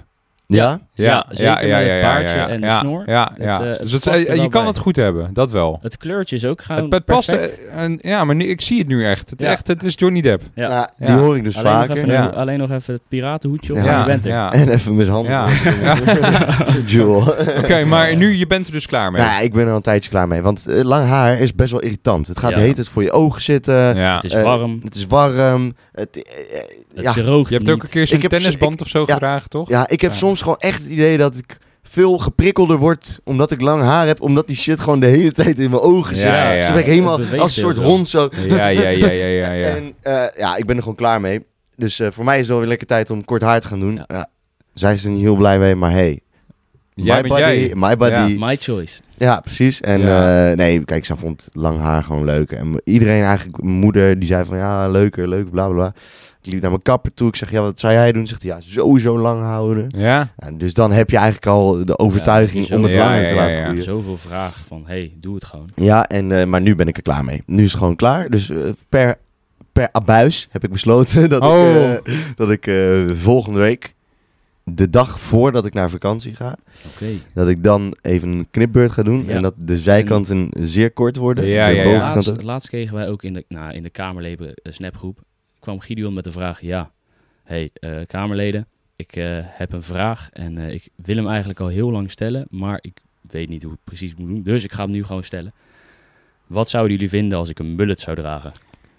[SPEAKER 2] Ja?
[SPEAKER 3] Ja, zeker met het baardje en de
[SPEAKER 1] ja,
[SPEAKER 3] snor.
[SPEAKER 1] Ja,
[SPEAKER 3] Het,
[SPEAKER 1] ja.
[SPEAKER 3] eh, het
[SPEAKER 1] dus het-
[SPEAKER 3] past er
[SPEAKER 1] eh, je
[SPEAKER 3] wel
[SPEAKER 1] kan
[SPEAKER 3] bij.
[SPEAKER 1] het goed hebben, dat wel.
[SPEAKER 3] Het kleurtje is ook
[SPEAKER 1] Het,
[SPEAKER 3] gewoon
[SPEAKER 1] het past,
[SPEAKER 3] perfect.
[SPEAKER 1] eh, en, ja, maar nu, ik zie het nu echt. Het,
[SPEAKER 3] Ja.
[SPEAKER 1] echt, het is Johnny Depp.
[SPEAKER 3] Ja.
[SPEAKER 2] Nou, die
[SPEAKER 1] Ja.
[SPEAKER 2] hoor ik dus
[SPEAKER 3] alleen, nog
[SPEAKER 2] vaker.
[SPEAKER 3] even,
[SPEAKER 1] Ja.
[SPEAKER 3] een- alleen nog even het piratenhoedje op
[SPEAKER 2] Ja.
[SPEAKER 3] en je bent er.
[SPEAKER 1] ja.
[SPEAKER 2] En even mishandelen. Jewel. Oké,
[SPEAKER 1] Oké, maar nu, je bent er dus klaar mee.
[SPEAKER 2] Nou, ik ben er al een tijdje klaar mee. Want eh, lang haar is best wel irritant. Het gaat
[SPEAKER 3] Ja.
[SPEAKER 2] de hele tijd voor je ogen zitten.
[SPEAKER 1] ja.
[SPEAKER 3] Het is
[SPEAKER 2] Eh,
[SPEAKER 3] warm,
[SPEAKER 2] Het is warm. Het, eh, eh,
[SPEAKER 3] het
[SPEAKER 2] ja.
[SPEAKER 3] droogt
[SPEAKER 1] Je hebt ook een
[SPEAKER 3] niet.
[SPEAKER 1] keer zo'n
[SPEAKER 2] Ik heb-
[SPEAKER 1] tennisband of zo
[SPEAKER 2] ja.
[SPEAKER 1] gedragen, toch?
[SPEAKER 2] ja, ik heb
[SPEAKER 1] Ja.
[SPEAKER 2] soms gewoon echt het idee dat ik veel geprikkelder word omdat ik lang haar heb. Omdat die shit gewoon de hele tijd in mijn ogen zit.
[SPEAKER 1] Ja, ja,
[SPEAKER 2] Dus
[SPEAKER 1] ja.
[SPEAKER 2] dan ben ik helemaal
[SPEAKER 3] Het
[SPEAKER 2] als
[SPEAKER 3] beweegt
[SPEAKER 2] een soort
[SPEAKER 3] heel veel.
[SPEAKER 2] hond zo.
[SPEAKER 1] Ja, ja, ja, ja, ja. ja.
[SPEAKER 2] En eh, ja, ik ben er gewoon klaar mee. Dus eh, voor mij is het wel weer lekker tijd om kort haar te gaan doen.
[SPEAKER 3] Ja.
[SPEAKER 2] Ja, zij is er niet heel blij mee, maar hey.
[SPEAKER 1] Jij
[SPEAKER 2] my
[SPEAKER 1] bent
[SPEAKER 2] body,
[SPEAKER 1] jij.
[SPEAKER 2] my body.
[SPEAKER 1] Ja.
[SPEAKER 3] My choice.
[SPEAKER 2] Ja, precies. En
[SPEAKER 1] Ja.
[SPEAKER 2] eh, nee, kijk, zij vond lang haar gewoon leuk. En iedereen eigenlijk, mijn moeder, die zei van ja, leuker, leuk, bla bla bla. Ik liep naar mijn kapper toe. Ik zeg, ja, wat zou jij doen? Zegt hij, ja, sowieso lang houden.
[SPEAKER 1] Ja,
[SPEAKER 2] Ja, dus dan heb je eigenlijk al de overtuiging
[SPEAKER 3] Ja,
[SPEAKER 2] om het
[SPEAKER 1] sowieso.
[SPEAKER 2] langer
[SPEAKER 1] Ja,
[SPEAKER 2] te
[SPEAKER 1] ja,
[SPEAKER 2] laten
[SPEAKER 1] ja, ja.
[SPEAKER 2] groeien.
[SPEAKER 3] Zoveel vragen van, hey, doe het gewoon.
[SPEAKER 2] Ja, en, eh, maar nu ben ik er klaar mee. Nu is het gewoon klaar. Dus eh, per, per abuis heb ik besloten dat ik,
[SPEAKER 1] Oh.
[SPEAKER 2] eh, dat ik eh, volgende week, de dag voordat ik naar vakantie ga,
[SPEAKER 3] Oké.
[SPEAKER 2] dat ik dan even een knipbeurt ga doen.
[SPEAKER 3] Ja.
[SPEAKER 2] En dat de zijkanten zeer kort worden.
[SPEAKER 1] Ja,
[SPEAKER 2] de
[SPEAKER 1] ja, ja.
[SPEAKER 2] bovenkanten-
[SPEAKER 3] Laatst, laatst kregen wij ook in de, nou, in de Kamerleden eh, snapgroep, kwam Gideon met de vraag, ja, hey, eh, Kamerleden, ik eh, heb een vraag en eh, ik wil hem eigenlijk al heel lang stellen, maar ik weet niet hoe ik het precies moet doen, dus ik ga hem nu gewoon stellen. Wat zouden jullie vinden als ik een mullet zou dragen?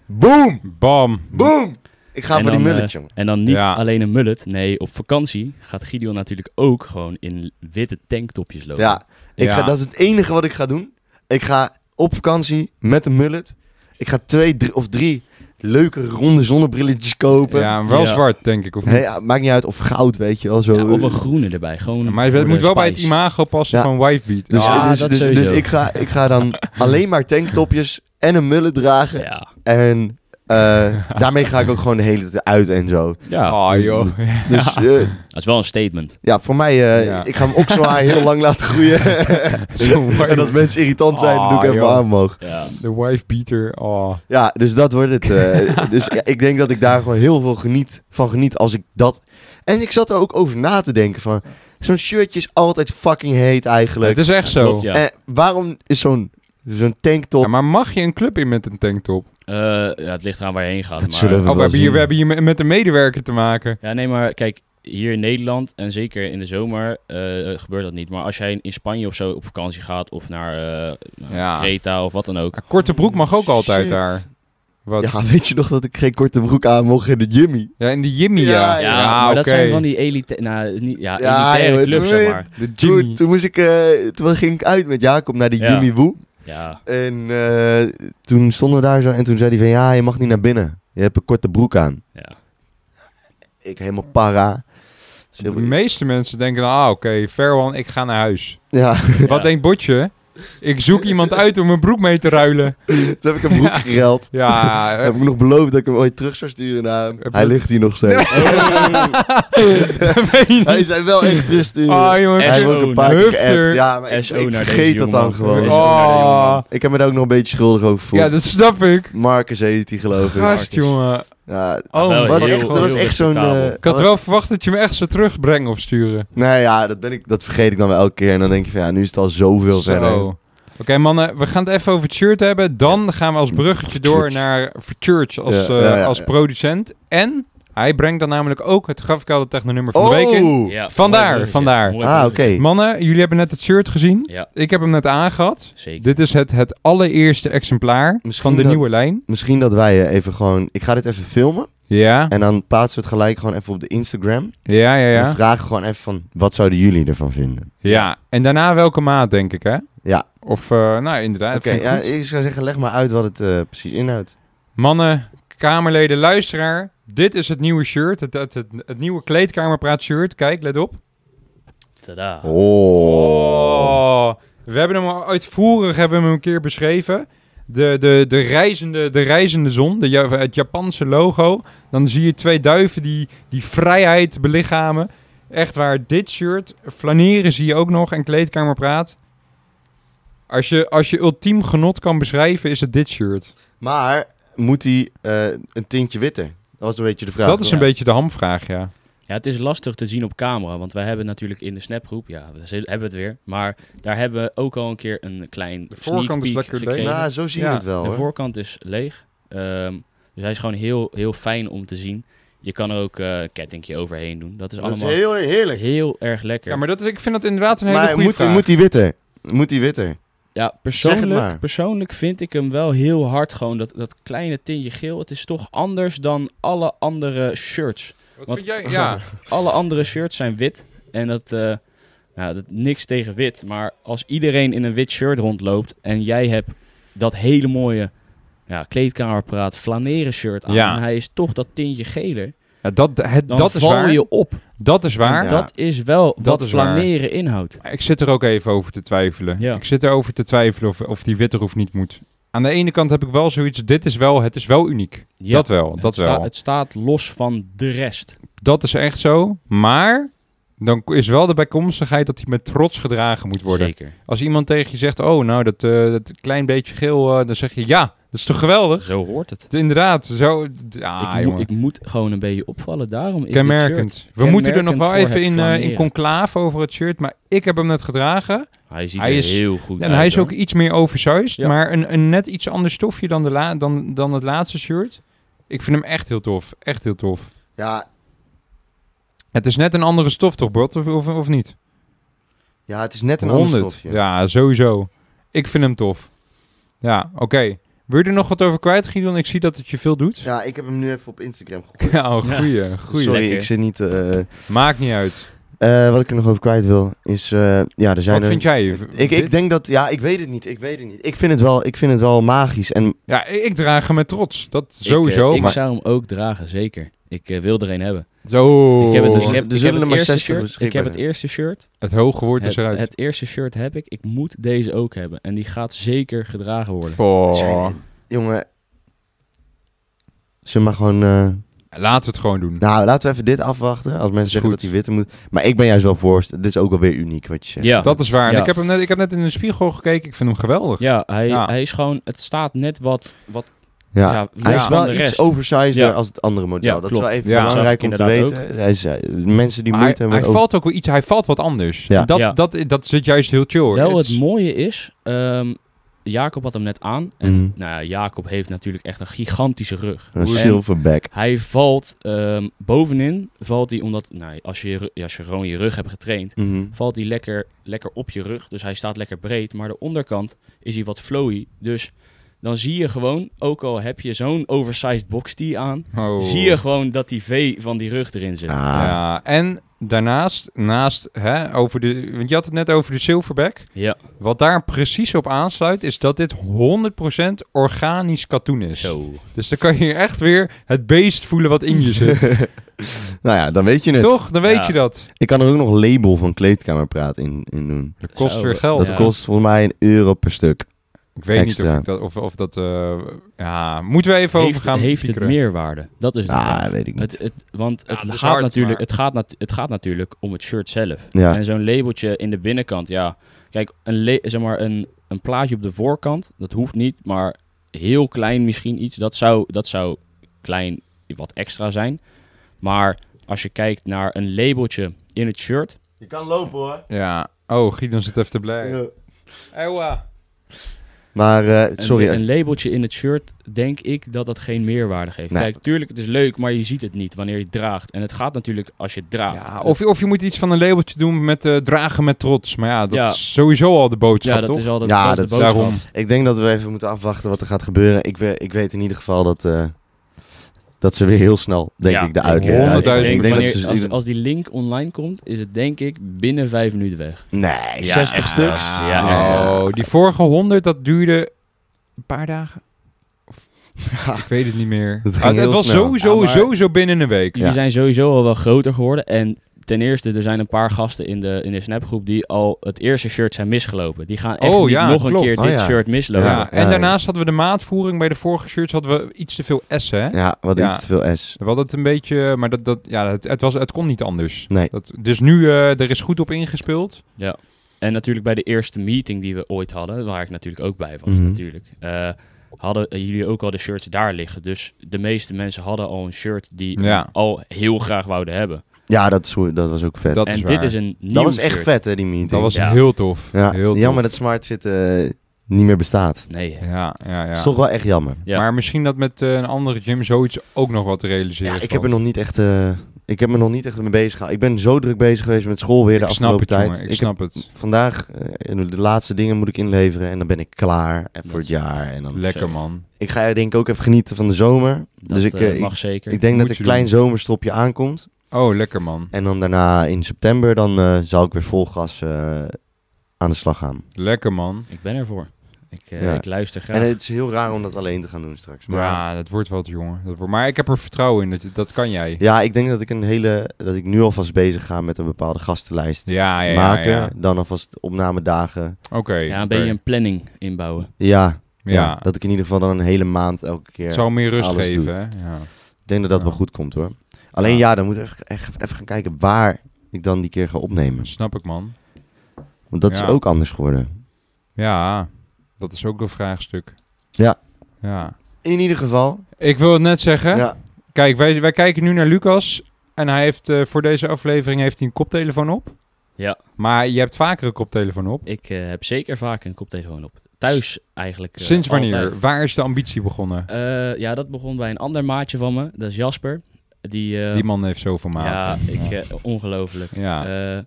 [SPEAKER 2] Boom!
[SPEAKER 1] bam.
[SPEAKER 2] Boom! Ik ga
[SPEAKER 3] En
[SPEAKER 2] voor
[SPEAKER 3] dan,
[SPEAKER 2] die mullet,
[SPEAKER 3] eh,
[SPEAKER 2] jongen.
[SPEAKER 3] En dan niet
[SPEAKER 1] Ja.
[SPEAKER 3] alleen een mullet, nee, op vakantie gaat Gideon natuurlijk ook gewoon in witte tanktopjes lopen.
[SPEAKER 2] Ja, ik
[SPEAKER 1] Ja.
[SPEAKER 2] Ga, dat is het enige wat ik ga doen. Ik ga op vakantie met een mullet. Ik ga twee drie, of drie leuke ronde zonnebrilletjes kopen.
[SPEAKER 1] Ja, wel
[SPEAKER 3] Ja.
[SPEAKER 1] zwart, denk ik. Of niet?
[SPEAKER 2] Hey, ja, maakt niet uit of goud, weet je wel. Zo.
[SPEAKER 3] Ja, of een groene erbij, gewoon
[SPEAKER 1] Ja, maar het
[SPEAKER 3] voor
[SPEAKER 1] moet
[SPEAKER 3] de
[SPEAKER 1] wel bij het
[SPEAKER 3] spice.
[SPEAKER 1] imago passen
[SPEAKER 2] Ja.
[SPEAKER 1] van Wifebeat.
[SPEAKER 2] dus,
[SPEAKER 1] Ah,
[SPEAKER 2] dus,
[SPEAKER 3] dat
[SPEAKER 2] dus, dus
[SPEAKER 3] sowieso.
[SPEAKER 2] ik, ga, ik ga dan alleen maar tanktopjes en een mullet dragen.
[SPEAKER 3] Ja,
[SPEAKER 2] En eh, daarmee ga ik ook gewoon de hele tijd uit en zo.
[SPEAKER 3] ja.
[SPEAKER 1] ah,
[SPEAKER 2] dus-
[SPEAKER 1] joh.
[SPEAKER 2] Dus eh,
[SPEAKER 3] dat is wel een statement.
[SPEAKER 2] ja, voor mij, eh,
[SPEAKER 1] Ja.
[SPEAKER 2] ik ga hem ook zo haar heel lang laten groeien.
[SPEAKER 1] Zo'n
[SPEAKER 2] en als
[SPEAKER 1] wife-
[SPEAKER 2] mensen irritant zijn, dan doe
[SPEAKER 1] Ah,
[SPEAKER 2] ik even
[SPEAKER 1] joh.
[SPEAKER 2] mijn arm omhoog.
[SPEAKER 3] Ja.
[SPEAKER 1] De wifebeater. Oh.
[SPEAKER 2] Ja, dus dat wordt het. eh. dus ja, ik denk dat ik daar gewoon heel veel geniet, van geniet als ik dat... En ik zat er ook over na te denken van... Zo'n shirtje is altijd fucking heet eigenlijk.
[SPEAKER 1] Het is echt zo.
[SPEAKER 3] Klopt, ja.
[SPEAKER 2] Eh, waarom is zo'n zo'n tanktop...
[SPEAKER 1] Ja, maar mag je een club in met een tanktop?
[SPEAKER 3] Eh, ja, het ligt eraan waar je heen gaat.
[SPEAKER 2] Dat
[SPEAKER 3] maar...
[SPEAKER 2] zullen
[SPEAKER 1] Oh, we,
[SPEAKER 2] wel
[SPEAKER 1] hebben hier,
[SPEAKER 2] zien.
[SPEAKER 1] we hebben hier me- met een medewerker te maken.
[SPEAKER 3] Ja, nee, maar kijk, hier in Nederland en zeker in de zomer eh, gebeurt dat niet. Maar als jij in Spanje of zo op vakantie gaat of naar eh
[SPEAKER 1] Ja.
[SPEAKER 2] Ah.
[SPEAKER 3] Creta of wat dan ook.
[SPEAKER 1] Ja, korte broek mag ook altijd
[SPEAKER 2] Shit.
[SPEAKER 1] daar. Wat? Ja.
[SPEAKER 2] Ja, weet je nog dat ik geen korte broek aan mocht in de Jimmy?
[SPEAKER 1] in de Jimmy, ja.
[SPEAKER 2] Ja,
[SPEAKER 3] Ja,
[SPEAKER 2] ja.
[SPEAKER 3] maar dat zijn
[SPEAKER 1] oké.
[SPEAKER 3] van die elite... Nou, niet, ja,
[SPEAKER 2] Ja,
[SPEAKER 3] elitaire
[SPEAKER 2] joh,
[SPEAKER 3] clubs,
[SPEAKER 2] doe
[SPEAKER 3] zeg
[SPEAKER 2] het.
[SPEAKER 3] maar.
[SPEAKER 1] De
[SPEAKER 2] Toen,
[SPEAKER 1] Jimmy.
[SPEAKER 2] toen, moest ik, eh, toen ging ik uit met Jacob naar de
[SPEAKER 3] Ja.
[SPEAKER 2] Jimmy Woo.
[SPEAKER 3] Ja,
[SPEAKER 2] En eh, toen stonden we daar zo en toen zei hij van ja, je mag niet naar binnen. Je hebt een korte broek aan.
[SPEAKER 3] ja.
[SPEAKER 2] Ik helemaal para. Dus
[SPEAKER 1] De
[SPEAKER 2] helemaal-
[SPEAKER 1] meeste mensen denken, ah oké, fair one, ik ga naar huis.
[SPEAKER 2] ja,
[SPEAKER 1] Wat denkt Botje? Ik zoek iemand uit om mijn broek mee te ruilen.
[SPEAKER 2] toen heb ik een broek gereld.
[SPEAKER 1] Ja, eh,
[SPEAKER 2] Heb ik nog beloofd dat ik hem ooit terug zou sturen naar hem.
[SPEAKER 1] Heb
[SPEAKER 2] Hij
[SPEAKER 1] je-
[SPEAKER 2] ligt hier nog steeds.
[SPEAKER 1] dat weet je
[SPEAKER 2] Hij
[SPEAKER 1] niet.
[SPEAKER 2] zei wel echt terugsturen.
[SPEAKER 1] Ah, jongen.
[SPEAKER 2] Hij heeft
[SPEAKER 3] SO
[SPEAKER 2] ook een paar
[SPEAKER 1] naar-
[SPEAKER 2] keer geappt. Ja, maar ik,
[SPEAKER 3] SO
[SPEAKER 2] ik
[SPEAKER 3] naar
[SPEAKER 2] vergeet
[SPEAKER 3] deze
[SPEAKER 2] dat
[SPEAKER 3] jongen.
[SPEAKER 2] dan gewoon.
[SPEAKER 3] SO.
[SPEAKER 1] Ah,
[SPEAKER 2] Ik heb me daar ook nog een beetje schuldig over gevoeld.
[SPEAKER 1] ja, dat snap ik.
[SPEAKER 2] Marcus heet die geloof ik.
[SPEAKER 1] Gast, jongen.
[SPEAKER 2] Ja,
[SPEAKER 1] Oh,
[SPEAKER 3] Ah, Wel
[SPEAKER 1] man.
[SPEAKER 2] dat was
[SPEAKER 3] heel-
[SPEAKER 2] echt, dat was
[SPEAKER 3] heel
[SPEAKER 2] echt zo'n...
[SPEAKER 3] respectabel.
[SPEAKER 2] eh,
[SPEAKER 1] ik had wel verwacht dat je me echt zou terugbrengen of sturen.
[SPEAKER 2] Nee, ja, dat, ben ik, dat vergeet ik dan wel elke keer. En dan denk je van, ja, nu is het al zoveel
[SPEAKER 1] Zo.
[SPEAKER 2] verder.
[SPEAKER 1] Oké, mannen, we gaan het even over het shirt hebben. Dan gaan we als bruggetje door
[SPEAKER 2] Church.
[SPEAKER 1] naar Church als,
[SPEAKER 2] Ja,
[SPEAKER 1] eh,
[SPEAKER 2] ja, ja,
[SPEAKER 1] als
[SPEAKER 2] ja.
[SPEAKER 1] producent. En hij brengt dan namelijk ook het grafikale technonummer van
[SPEAKER 2] Oh!
[SPEAKER 1] de week in.
[SPEAKER 3] Ja,
[SPEAKER 1] Vandaar,
[SPEAKER 3] mooi bruggetje.
[SPEAKER 1] vandaar.
[SPEAKER 3] Mooi
[SPEAKER 2] Ah, oké.
[SPEAKER 3] bruggetje.
[SPEAKER 1] Mannen, jullie hebben net het shirt gezien.
[SPEAKER 3] Ja,
[SPEAKER 1] Ik heb hem net aangehad.
[SPEAKER 3] zeker.
[SPEAKER 1] Dit is het, het allereerste exemplaar
[SPEAKER 2] Misschien
[SPEAKER 1] van de
[SPEAKER 2] dat-
[SPEAKER 1] nieuwe lijn.
[SPEAKER 2] Misschien dat wij eh, even gewoon... Ik ga dit even filmen.
[SPEAKER 1] Ja,
[SPEAKER 2] En dan plaatsen we het gelijk gewoon even op de Instagram.
[SPEAKER 1] ja, ja,
[SPEAKER 2] En we
[SPEAKER 1] ja.
[SPEAKER 2] vragen gewoon even van, wat zouden jullie ervan vinden?
[SPEAKER 1] Ja, en daarna welke maat, denk ik, hè?
[SPEAKER 2] Ja.
[SPEAKER 1] Of, eh, nou, inderdaad.
[SPEAKER 2] Oké,
[SPEAKER 1] vind ik
[SPEAKER 2] ja,
[SPEAKER 1] goed.
[SPEAKER 2] ik zou zeggen, leg maar uit wat het eh, precies inhoudt.
[SPEAKER 1] Mannen, kamerleden, luisteraar. Dit is het nieuwe shirt, het, het, het, het nieuwe kleedkamerpraat shirt. Kijk, let op.
[SPEAKER 3] Tadaa.
[SPEAKER 2] Oh.
[SPEAKER 1] Ah. Oh. We hebben hem al uitvoerig hebben we hem een keer beschreven. De, de, de, reizende, de reizende zon, de, Ja- het Japanse logo. Dan zie je twee duiven die, die vrijheid belichamen. Echt waar, dit shirt, flaneren zie je ook nog en kleedkamerpraat. Als je, als je ultiem genot kan beschrijven, is het dit shirt.
[SPEAKER 2] Maar moet hij eh, een tintje witter? Dat was een beetje de vraag.
[SPEAKER 1] Dat is een
[SPEAKER 2] toch?
[SPEAKER 1] beetje de hamvraag, ja.
[SPEAKER 3] Ja, het is lastig te zien op camera, want wij hebben natuurlijk in de snapgroep, ja, we ze- hebben het weer, maar daar hebben we ook al een keer een klein
[SPEAKER 1] De voorkant
[SPEAKER 3] sneak
[SPEAKER 1] is
[SPEAKER 3] peek
[SPEAKER 1] lekker leeg.
[SPEAKER 3] gekregen.
[SPEAKER 2] Nou, zo zie je
[SPEAKER 1] Ja,
[SPEAKER 2] het wel,
[SPEAKER 3] de
[SPEAKER 2] hoor.
[SPEAKER 3] voorkant is leeg, ehm, dus hij is gewoon heel, heel fijn om te zien. Je kan er ook eh, een kettingje overheen doen, dat is
[SPEAKER 2] Dat is
[SPEAKER 3] allemaal
[SPEAKER 2] heel heerlijk.
[SPEAKER 3] heel erg lekker.
[SPEAKER 1] Ja, maar dat is, ik vind dat inderdaad een hele
[SPEAKER 2] Maar
[SPEAKER 1] goede
[SPEAKER 2] moet,
[SPEAKER 1] vraag.
[SPEAKER 2] moet die witter? Moet die witter?
[SPEAKER 3] Ja,
[SPEAKER 2] maar.
[SPEAKER 3] persoonlijk, persoonlijk vind ik hem wel heel hard gewoon, dat, dat kleine tintje geel, het is toch anders dan alle andere shirts.
[SPEAKER 1] Wat
[SPEAKER 3] Want-
[SPEAKER 1] vind jij? Ja.
[SPEAKER 3] Alle andere shirts zijn wit. En dat, eh, nou, dat niks tegen wit. Maar als iedereen in een wit shirt rondloopt en jij hebt dat hele mooie ja, kleedkamerapparaat, flaneren shirt aan.
[SPEAKER 1] Ja.
[SPEAKER 3] En hij is toch dat tintje geler.
[SPEAKER 1] Ja, dat, het,
[SPEAKER 3] Dan
[SPEAKER 1] dat is
[SPEAKER 3] val
[SPEAKER 1] waar.
[SPEAKER 3] je op.
[SPEAKER 1] Dat is waar.
[SPEAKER 3] En
[SPEAKER 2] Ja.
[SPEAKER 3] dat is wel
[SPEAKER 1] Dat
[SPEAKER 3] wat
[SPEAKER 1] is waar.
[SPEAKER 3] flaneren inhoudt.
[SPEAKER 1] Maar Ik zit er ook even over te twijfelen.
[SPEAKER 3] Ja.
[SPEAKER 1] Ik zit erover te twijfelen of, of die witter of niet moet. Aan de ene kant heb ik wel zoiets. Dit is wel, het is wel uniek.
[SPEAKER 3] Ja.
[SPEAKER 1] Dat wel, dat
[SPEAKER 3] het, sta-
[SPEAKER 1] wel.
[SPEAKER 3] het staat los van de rest.
[SPEAKER 1] Dat is echt zo. Maar dan is wel de bijkomstigheid dat hij met trots gedragen moet worden.
[SPEAKER 3] Zeker.
[SPEAKER 1] Als iemand tegen je zegt, oh nou, dat, eh, dat klein beetje geel, eh, dan zeg je ja, dat is toch geweldig?
[SPEAKER 3] Zo hoort het.
[SPEAKER 1] Inderdaad, zo. d- Ja,
[SPEAKER 3] ik, moet
[SPEAKER 1] Ah, jongen.
[SPEAKER 3] ik moet gewoon een beetje opvallen. Daarom is dit
[SPEAKER 1] Kenmerkend.
[SPEAKER 3] shirt-
[SPEAKER 1] We moeten er nog wel
[SPEAKER 3] Kenmerkend voor
[SPEAKER 1] even in, eh,
[SPEAKER 3] het
[SPEAKER 1] in
[SPEAKER 3] flaneren.
[SPEAKER 1] conclave over het shirt. Maar ik heb hem net gedragen.
[SPEAKER 3] Hij ziet
[SPEAKER 1] Hij
[SPEAKER 3] er
[SPEAKER 1] is-
[SPEAKER 3] heel goed
[SPEAKER 1] En
[SPEAKER 3] uit,
[SPEAKER 1] hij is
[SPEAKER 3] hoor.
[SPEAKER 1] ook iets meer oversized,
[SPEAKER 3] Ja.
[SPEAKER 1] maar een, een net iets ander stofje dan, de la dan, dan het laatste shirt. Ik vind hem echt heel tof. Echt heel tof.
[SPEAKER 2] Ja,
[SPEAKER 1] Het is net een andere stof toch, Bot? Of, of, of niet?
[SPEAKER 2] ja, het is net een ander stofje.
[SPEAKER 1] Ja, sowieso. Ik vind hem tof. Ja, oké. Wil je er nog wat over kwijt, Gideon? Ik zie dat het je veel doet.
[SPEAKER 2] Ja, ik heb hem nu even op Instagram gegooid.
[SPEAKER 1] Ja, oh, goeie. goeie.
[SPEAKER 2] Sorry,
[SPEAKER 3] lekker.
[SPEAKER 2] ik zit niet... eh, eh,
[SPEAKER 1] Maakt niet uit.
[SPEAKER 2] wat ik er nog over kwijt wil, is... eh, ja, er zijn
[SPEAKER 1] wat
[SPEAKER 2] er...
[SPEAKER 1] vind jij?
[SPEAKER 2] Ik,
[SPEAKER 1] Dit-
[SPEAKER 2] ik denk dat... Ja, ik weet het niet. Ik weet het niet. Ik vind het wel, ik vind het wel magisch. En
[SPEAKER 1] Ja, ik, ik draag hem met trots. Dat
[SPEAKER 3] Ik, eh,
[SPEAKER 1] sowieso.
[SPEAKER 3] Ik,
[SPEAKER 1] Oh, maar...
[SPEAKER 3] zou hem ook dragen, zeker. Ik eh, wil er een hebben.
[SPEAKER 1] Zo.
[SPEAKER 3] Ik heb het, dus, ik
[SPEAKER 2] Er
[SPEAKER 3] heb, ik
[SPEAKER 2] zullen
[SPEAKER 3] heb
[SPEAKER 2] er
[SPEAKER 3] het
[SPEAKER 2] maar
[SPEAKER 3] eerste
[SPEAKER 2] 60
[SPEAKER 3] shirt. Ik heb
[SPEAKER 2] beschikbaar
[SPEAKER 3] het
[SPEAKER 2] zijn.
[SPEAKER 3] eerste shirt.
[SPEAKER 1] Oh, Het hoge woord
[SPEAKER 3] Het,
[SPEAKER 1] is eruit.
[SPEAKER 3] het eerste shirt heb ik. Ik moet deze ook hebben. En die gaat zeker gedragen worden.
[SPEAKER 1] Boah.
[SPEAKER 2] Zijn- jongen... Zullen we maar gewoon... eh,
[SPEAKER 1] Laten we het gewoon doen.
[SPEAKER 2] nou, laten we even dit afwachten. Als mensen zeggen
[SPEAKER 1] goed.
[SPEAKER 2] dat hij witte moet. Maar ik ben juist wel voorst. Dit is ook alweer uniek wat je zegt.
[SPEAKER 3] Ja,
[SPEAKER 1] Dat is waar. En
[SPEAKER 3] Ah. Ja.
[SPEAKER 1] Ik, heb hem net, ik heb net in de spiegel gekeken. Ik vind hem geweldig.
[SPEAKER 3] ja, hij,
[SPEAKER 1] Ja.
[SPEAKER 3] hij is gewoon. Het staat net wat. wat
[SPEAKER 2] Ja.
[SPEAKER 3] ja,
[SPEAKER 2] Hij
[SPEAKER 3] los
[SPEAKER 2] is
[SPEAKER 3] van
[SPEAKER 2] wel
[SPEAKER 3] de
[SPEAKER 2] iets
[SPEAKER 3] rest.
[SPEAKER 2] oversized
[SPEAKER 3] Ja.
[SPEAKER 2] als het andere model.
[SPEAKER 3] Ja,
[SPEAKER 2] dat is
[SPEAKER 3] klopt.
[SPEAKER 2] wel even
[SPEAKER 1] Ja.
[SPEAKER 2] belangrijk om
[SPEAKER 3] Zag ik
[SPEAKER 2] te weten.
[SPEAKER 3] inderdaad
[SPEAKER 2] Hij is, eh, mensen die
[SPEAKER 1] Maar
[SPEAKER 2] moeite
[SPEAKER 1] hij,
[SPEAKER 2] hebben
[SPEAKER 1] hij
[SPEAKER 2] over-
[SPEAKER 1] valt ook wel iets, hij valt wat anders.
[SPEAKER 2] Ja.
[SPEAKER 1] En Dat,
[SPEAKER 3] Ja.
[SPEAKER 1] Dat, dat zit juist heel chill. hoor.
[SPEAKER 3] Wel,
[SPEAKER 1] Het
[SPEAKER 3] het
[SPEAKER 1] is-
[SPEAKER 3] mooie is. ehm, Jacob had hem net aan. En
[SPEAKER 2] Mhm.
[SPEAKER 3] nou, ja, Jacob heeft natuurlijk echt een gigantische rug.
[SPEAKER 2] Een silverback.
[SPEAKER 3] Hij valt ehm, bovenin. Valt hij omdat. Nou, als je, je ru- als je gewoon je rug hebt getraind.
[SPEAKER 2] Mhm.
[SPEAKER 3] valt hij lekker, lekker op je rug. Dus hij staat lekker breed. Maar de onderkant is hij wat flowy. Dus Dan zie je gewoon, ook al heb je zo'n oversized box tee aan,
[SPEAKER 1] Oh.
[SPEAKER 3] zie je gewoon dat die V van die rug erin zit.
[SPEAKER 2] Ah,
[SPEAKER 1] Ja, en daarnaast, naast, hè, over de, want je had het net over de silverback.
[SPEAKER 3] Ja,
[SPEAKER 1] Wat daar precies op aansluit, is dat dit 100% organisch katoen is.
[SPEAKER 3] zo.
[SPEAKER 1] Dus dan kan je echt weer het beest voelen wat in je zit.
[SPEAKER 2] nou ja, dan weet je het.
[SPEAKER 1] Toch? Dan weet
[SPEAKER 3] Ja.
[SPEAKER 1] je dat.
[SPEAKER 2] Ik kan er ook nog label van kleedkamerpraat in, in doen.
[SPEAKER 1] Dat kost
[SPEAKER 3] Zo,
[SPEAKER 1] weer geld.
[SPEAKER 2] Dat
[SPEAKER 3] Oh, Ja.
[SPEAKER 2] kost volgens mij een euro per stuk.
[SPEAKER 1] Ik weet niet of,
[SPEAKER 2] Extra.
[SPEAKER 1] ik dat, of, of dat... eh, ja, moeten we even over
[SPEAKER 3] Heeft,
[SPEAKER 1] gaan
[SPEAKER 3] heeft het
[SPEAKER 1] piekeren.
[SPEAKER 3] meerwaarde? Dat is de vraag.
[SPEAKER 2] Ah, weet ik niet.
[SPEAKER 3] Het, het, want
[SPEAKER 1] Ja,
[SPEAKER 3] het,
[SPEAKER 1] het is
[SPEAKER 3] gaat
[SPEAKER 1] hard,
[SPEAKER 3] natuurlijk,
[SPEAKER 1] maar-
[SPEAKER 3] het, gaat nat- het gaat natuurlijk om het shirt zelf.
[SPEAKER 2] Ja.
[SPEAKER 3] En zo'n labeltje in de binnenkant, ja. Kijk, een, le- zeg maar een, een plaatje op de voorkant, dat hoeft niet, maar heel klein misschien iets. Dat zou, dat zou klein wat extra zijn. Maar als je kijkt naar een labeltje in het shirt,
[SPEAKER 2] Je kan lopen hoor.
[SPEAKER 1] Ja. Oh, Gideon zit even te blij. Ewa.
[SPEAKER 2] Maar, eh,
[SPEAKER 3] een-
[SPEAKER 2] sorry.
[SPEAKER 3] een, labeltje in het shirt, denk ik dat dat geen meerwaarde geeft.
[SPEAKER 2] Nee.
[SPEAKER 3] Kijk, tuurlijk, het is leuk, maar je ziet het niet wanneer je het draagt. En het gaat natuurlijk als je het draagt.
[SPEAKER 1] Ja, of, je- of je moet iets van een labeltje doen met eh, dragen met trots. Maar ja, dat
[SPEAKER 3] Ja.
[SPEAKER 1] is sowieso al de boodschap,
[SPEAKER 3] ja, dat
[SPEAKER 1] toch?
[SPEAKER 3] is altijd
[SPEAKER 2] Ja,
[SPEAKER 3] dat
[SPEAKER 2] dat
[SPEAKER 3] is de
[SPEAKER 2] is
[SPEAKER 3] boodschap.
[SPEAKER 1] Daarom.
[SPEAKER 2] Ik denk dat we even moeten afwachten wat er gaat gebeuren. Ik, we- ik weet in ieder geval dat, eh, dat ze weer heel snel, denk
[SPEAKER 3] Ja,
[SPEAKER 2] ik, de
[SPEAKER 3] ik
[SPEAKER 2] uitleg
[SPEAKER 1] denk
[SPEAKER 2] uitzenden.
[SPEAKER 1] dat
[SPEAKER 2] Ik denk dat
[SPEAKER 3] wanneer-
[SPEAKER 2] ze...
[SPEAKER 3] als, als die link online komt, is het denk ik binnen vijf minuten weg.
[SPEAKER 2] nee,
[SPEAKER 3] Ja,
[SPEAKER 2] 60
[SPEAKER 3] echt.
[SPEAKER 2] stuks.
[SPEAKER 3] Ja,
[SPEAKER 2] echt.
[SPEAKER 1] Oh, die vorige 100, dat duurde een paar dagen. Of, Ik weet het niet meer.
[SPEAKER 2] Dat ging
[SPEAKER 1] Ah,
[SPEAKER 2] heel
[SPEAKER 1] was
[SPEAKER 2] snel.
[SPEAKER 1] sowieso,
[SPEAKER 3] Ja, maar-
[SPEAKER 1] sowieso binnen een week.
[SPEAKER 3] Die
[SPEAKER 2] Ja.
[SPEAKER 3] zijn sowieso al wel groter geworden. En ten eerste, er zijn een paar gasten in de, in de snapgroep die al het eerste shirt zijn misgelopen. Die gaan echt
[SPEAKER 1] Oh,
[SPEAKER 3] niet
[SPEAKER 1] ja,
[SPEAKER 3] nog een
[SPEAKER 1] klopt.
[SPEAKER 3] keer
[SPEAKER 2] Oh,
[SPEAKER 3] dit
[SPEAKER 2] ja.
[SPEAKER 3] shirt mislopen.
[SPEAKER 1] Ja,
[SPEAKER 2] Ja,
[SPEAKER 1] en
[SPEAKER 2] ja,
[SPEAKER 1] daarnaast hadden we de maatvoering bij de vorige shirts hadden we iets te veel S'en. Hè?
[SPEAKER 2] Ja, wat
[SPEAKER 1] Ja.
[SPEAKER 2] iets te veel S.
[SPEAKER 1] We hadden het een beetje, maar dat, dat, ja, het, het, was, het kon niet anders.
[SPEAKER 2] Nee.
[SPEAKER 1] Dat, dus nu, eh, er is goed op ingespeeld.
[SPEAKER 3] En natuurlijk bij de eerste meeting die we ooit hadden, waar ik natuurlijk ook bij was
[SPEAKER 2] Mhm.
[SPEAKER 3] natuurlijk, eh, hadden jullie ook al de shirts daar liggen. Dus de meeste mensen hadden al een shirt die
[SPEAKER 1] Ja.
[SPEAKER 3] al heel graag wouden hebben.
[SPEAKER 2] Ja, dat, is, hoe- dat was ook vet.
[SPEAKER 1] Dat
[SPEAKER 2] Dat,
[SPEAKER 1] is
[SPEAKER 3] en dit
[SPEAKER 1] waar.
[SPEAKER 3] is een nieuw
[SPEAKER 2] was echt
[SPEAKER 3] shirt.
[SPEAKER 2] vet, hè, die meeting.
[SPEAKER 1] Dat was
[SPEAKER 3] Ja.
[SPEAKER 1] heel tof.
[SPEAKER 2] ja,
[SPEAKER 1] heel tof.
[SPEAKER 2] jammer dat SmartFit eh niet meer bestaat.
[SPEAKER 3] Nee, hè.
[SPEAKER 1] Ja, ja, ja.
[SPEAKER 2] is toch wel echt jammer.
[SPEAKER 3] Ja.
[SPEAKER 1] Maar misschien dat met eh, een andere gym zoiets ook nog wat te realiseren
[SPEAKER 2] Ja, ik
[SPEAKER 1] valt.
[SPEAKER 2] heb er nog niet echt... eh, ik heb me nog niet echt mee bezig gehouden. Ik ben zo druk bezig geweest met school weer de
[SPEAKER 1] Ik snap
[SPEAKER 2] afgelopen
[SPEAKER 1] het,
[SPEAKER 2] tijd.
[SPEAKER 1] jongen. Ik,
[SPEAKER 2] heb
[SPEAKER 1] snap het.
[SPEAKER 2] vandaag eh, de laatste dingen moet ik inleveren en dan ben ik klaar en voor het jaar. En dan...
[SPEAKER 1] Lekker, man.
[SPEAKER 2] Ik ga denk ik ook even genieten van de zomer.
[SPEAKER 3] dat
[SPEAKER 2] dus ik,
[SPEAKER 3] eh,
[SPEAKER 2] eh,
[SPEAKER 3] mag
[SPEAKER 2] ik,
[SPEAKER 3] zeker.
[SPEAKER 2] ik denk
[SPEAKER 1] Moet
[SPEAKER 2] dat een
[SPEAKER 1] je
[SPEAKER 2] klein
[SPEAKER 1] doen.
[SPEAKER 2] zomerstopje aankomt.
[SPEAKER 1] Oh, lekker, man.
[SPEAKER 2] En dan daarna in september dan eh zal ik weer vol gas eh, aan de slag gaan.
[SPEAKER 1] Lekker, man.
[SPEAKER 3] Ik ben ervoor. Ik, eh,
[SPEAKER 2] Ja.
[SPEAKER 3] ik luister graag.
[SPEAKER 2] En het is heel raar om dat alleen te gaan doen straks. Maar ja.
[SPEAKER 1] Ja, dat wordt wat, jongen. Dat wordt... Maar ik heb er vertrouwen in. Dat, je- dat kan jij.
[SPEAKER 2] ik denk dat ik een hele dat ik nu alvast bezig ga met een bepaalde gastenlijst
[SPEAKER 1] Ja, ja, ja.
[SPEAKER 2] maken.
[SPEAKER 1] ja.
[SPEAKER 2] Dan alvast opnamedagen.
[SPEAKER 1] Oké.
[SPEAKER 3] ja,
[SPEAKER 1] oké.
[SPEAKER 3] een beetje een planning inbouwen.
[SPEAKER 2] Ja,
[SPEAKER 1] Ja.
[SPEAKER 2] ja. dat ik in ieder geval dan een hele maand elke keer.
[SPEAKER 1] Het zal meer rust
[SPEAKER 2] alles
[SPEAKER 1] geven,
[SPEAKER 2] doen.
[SPEAKER 1] hè? Ja.
[SPEAKER 2] Ik denk dat dat
[SPEAKER 1] Ja.
[SPEAKER 2] wel goed komt hoor. Alleen ja, dan moeten we echt, echt even gaan kijken waar ik dan die keer ga opnemen.
[SPEAKER 1] Snap ik, man.
[SPEAKER 2] Want dat
[SPEAKER 1] Ja.
[SPEAKER 2] is ook anders geworden.
[SPEAKER 1] Ja, dat is ook een vraagstuk.
[SPEAKER 2] Ja.
[SPEAKER 1] Ja.
[SPEAKER 2] In ieder geval.
[SPEAKER 1] Ik wil het net zeggen.
[SPEAKER 2] Ja.
[SPEAKER 1] Kijk, wij, wij kijken nu naar Lucas. En hij heeft eh, voor deze aflevering heeft hij een koptelefoon op.
[SPEAKER 3] Ja.
[SPEAKER 1] Maar je hebt vaker een koptelefoon op.
[SPEAKER 3] Ik eh, heb zeker vaak een koptelefoon op. Thuis eigenlijk. eh,
[SPEAKER 1] Sinds wanneer?
[SPEAKER 3] altijd.
[SPEAKER 1] Waar is de ambitie begonnen?
[SPEAKER 3] Eh, ja, dat begon bij een ander maatje van me. Dat is Jasper. Die, eh,
[SPEAKER 1] Die man heeft zoveel maat.
[SPEAKER 3] Ja, ik, eh, ongelooflijk.
[SPEAKER 1] Ja.
[SPEAKER 3] Eh,